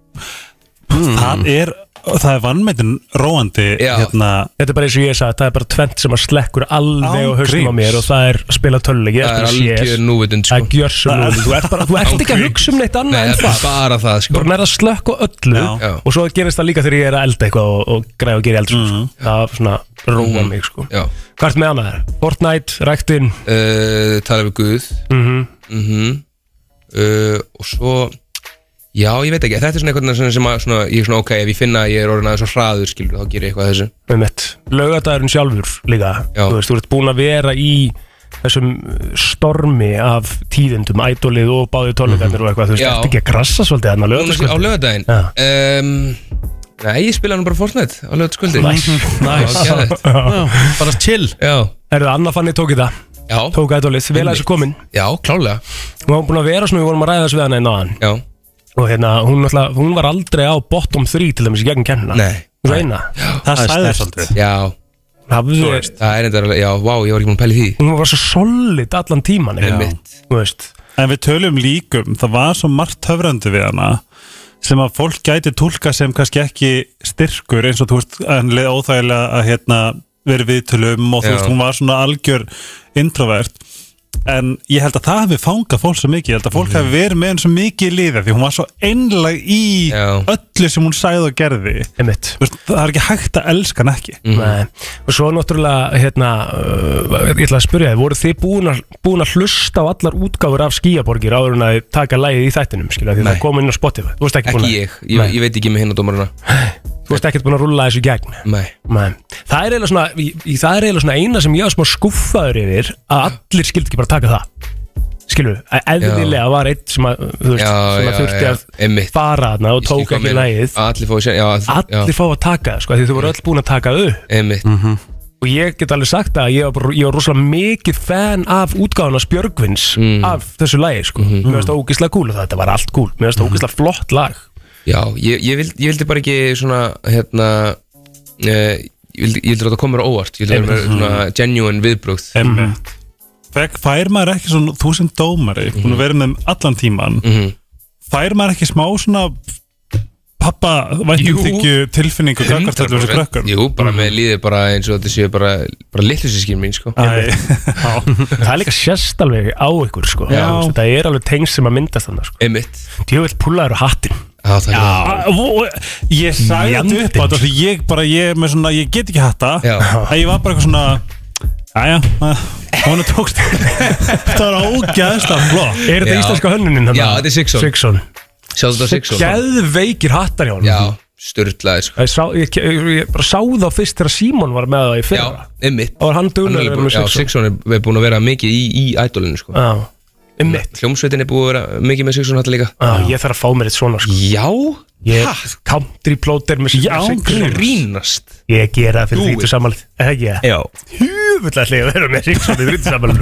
Mm.
Það er, það er vannmeitin róandi hérna,
Þetta er bara eins og ég sagði, það er bara tvent sem að slekkur alveg á hausnum á
Ángríns.
mér og það er að spila töluleiki,
Það er algjör núvitund sko.
Það er gjörsum
Það er-
núvitund, þú ert bara, þú ert ekki að hugsa um neitt annað
Nei,
en
það er
það
bara það sko
Bara nærða að slökka öllu
Já.
og svo gerist það líka þegar ég er að elda eitthvað og, og græða að gera eldur sko. Það er svona róa mig sko
Mhm. Já.
Hvað ert með annað þér? Fortnite, ræktin
uh, Tala við Guð
Mhm.
Mhm. uh, Og svo Já, ég veit ekki, þetta er svona einhvern veginn sem að svona, ég er svona ok, ef ég finna að ég er orðin aðeins svo hraður skilur, þá gerir ég eitthvað að þessu
með mitt Laugadagurinn sjálfur líka
Já.
Þú veist, þú ert búin að vera í þessum uh, stormi af tíðindum, ædolið og báði tónleikarnir og eitthvað, þú veist,
Mhm. Já.
ert ekki að grassa svolítið þarna
Núna- Sko, Á
laugardagskvöldið?
lögadaginn
Já.
um, Nei, ég spila hann bara Fortnite á sko. lögadagskvöldi
Nice,
Mhm.
nice. Já.
Bara
chill
Já
[LAUGHS] Er það Anna Fanny tók í það?
Já
Tók ædolið, vel að þessu komin
Já, klálega
Hún var búin að vera svona, við vorum að ræða þessu við hann einn á hann
Já
Og hérna, hún, náttúrulega- hún var aldrei á bottom 3 til dæmis í gegn kennina
Nei.
Reina
Það sagði svolítið
Já
Hafðu
Það er þetta, já, vá, ég var ekki múin að pæli því
Hún var svo solid allan tíman veist
En við tölum líkum, það var svo margt höfrandi við hana sem að fólk gæti tólka sem kannski ekki styrkur eins og þú veist að henni leið óþægilega að hérna veri viðtölum og þú
Já.
veist hún var svona algjör introvert en ég held að það hefði fangað fólk svo mikið ég held að fólk hefði verið með henni svo mikið í liða því hún var svo einlag í öllu sem hún sagði og gerði
Einmitt.
Þú veist, það er ekki hægt að elska hann ekki
Mhm.
Nei, og svo náttúrulega hérna, uh, ég ætla að spyrja þið voru þið búin að, búin að hlusta á allar útgáfur af skýjaborgir áður en að þið taka lægið í þættinum, skilja, því það kom inn á Spotify þú veist ekki,
Ekki
búin að,
ég, ég, ég veit ekki með hinn á dómaruna
þú veist ekki búin að rulla þessu í gegn
Nei
Nei. það er eiginlega svona, í- í- það er eiginlega svona eina sem ég var smá skuffaður yfir að allir skildi ekki bara taka það skilju, eðlilega var einn sem að, þú veist,
Já,
sem að
já,
þurfti
já,
að fara þarna og tók ekki lægið
Allir fóðu sér, já
allir fá að taka það sko, af því þau voru öll búin að taka það upp
Einmitt
og ég get alveg sagt það að ég var, bara- ég var rosalega mikið fan af útgáðunars Björgvins
Mm.
af þessu lagi sko
Mhm.
mér finnst það ógislega cool og þetta var allt cool mér finnst það ógislega flott lag
Já, ég, ég, vild, ég vildi bara ekki svona, hérna uh, ég vildi ég vildi láta koma mér á óvart, ég vildi
Einmitt.
vera með svona
Mm.
genuine viðbrögð
Einmitt. Fæk, fær maður ekki svona þú sem dómari, mm -hmm. búin að vera með þeim allan tíman fær maður ekki smá svona pappa væntumþykju tilfinningu kakvart þetta verið krökkum
Jú,
Mm.
bara með líðið bara eins og þetta séu bara, bara litlu sískinn mín sko.
Æ.
[LAUGHS]
Já. [LAUGHS] það er líka sérst alveg á ykkur sko.
Já.
þetta er alveg tengst sem að myndast þannig sko.
einmitt
ég vil púlaður á hattin
Já, það
Já.
ég sagði þetta upp á þetta af því ég bara, ég, er með svona, ég get ekki hatta að ég var bara eitthvað svona Æja, hún tókst [LAUGHS] þetta var ógæðslega flott
er þetta
Já.
íslenska hönnunin
Já, þetta er Sigson
Sigson
Sjálf þetta Sigson
geðveikir hattar hjá hann
Já, styrlaði sko.
ég, sá, ég, ég, ég bara sá það fyrst þegar Símon var með það í
Já,
fyrra
einmitt
og hann
Hann er
dugnar
alveg búinn- Já, Sigson er- er búin að vera mikið í, í ædolinu sko. Hljómsveitin er búin að vera mikið með Sigson hætti líka
Já, Ah, ég þarf að fá mér eitt svona sko.
Já
ég, Country plóter með
Já,
Sigson.
grínast
Ég gera það
Do
fyrir
it.
þrítu samalið Er það ekki það? Já Hjúfullallega að vera með Sigson í þrítu samalið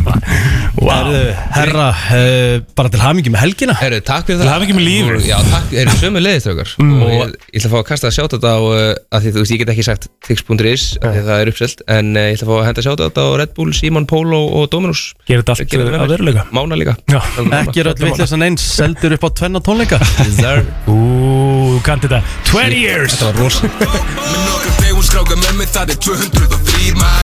wow.
Herra, uh, bara til hamingi með helgina
Herru, takk fyrir
Til hamingju með lífið.
Já, takk, eru sömu leiðist okkar
Mm.
Og ég, ég ætla að fá að kasta að sjáta þetta á uh, að Því þú veist, ég get ekki sagt tix.is að því að það er uppselt En uh, ég ætla að fá að henda að sjáta þetta á Red Bull, Simon Polo og Dominus
Gerir þetta allt
Gerir
að
þetta með mér.
veruleika.
Mána líka
Já.
Ekki er öll vitleysan eins, seldur upp á tvenna tónleika
Ú, þú kannt þetta 20 years
Þetta var rosa
Með nokkra tegum skráka með mig það er 203 maður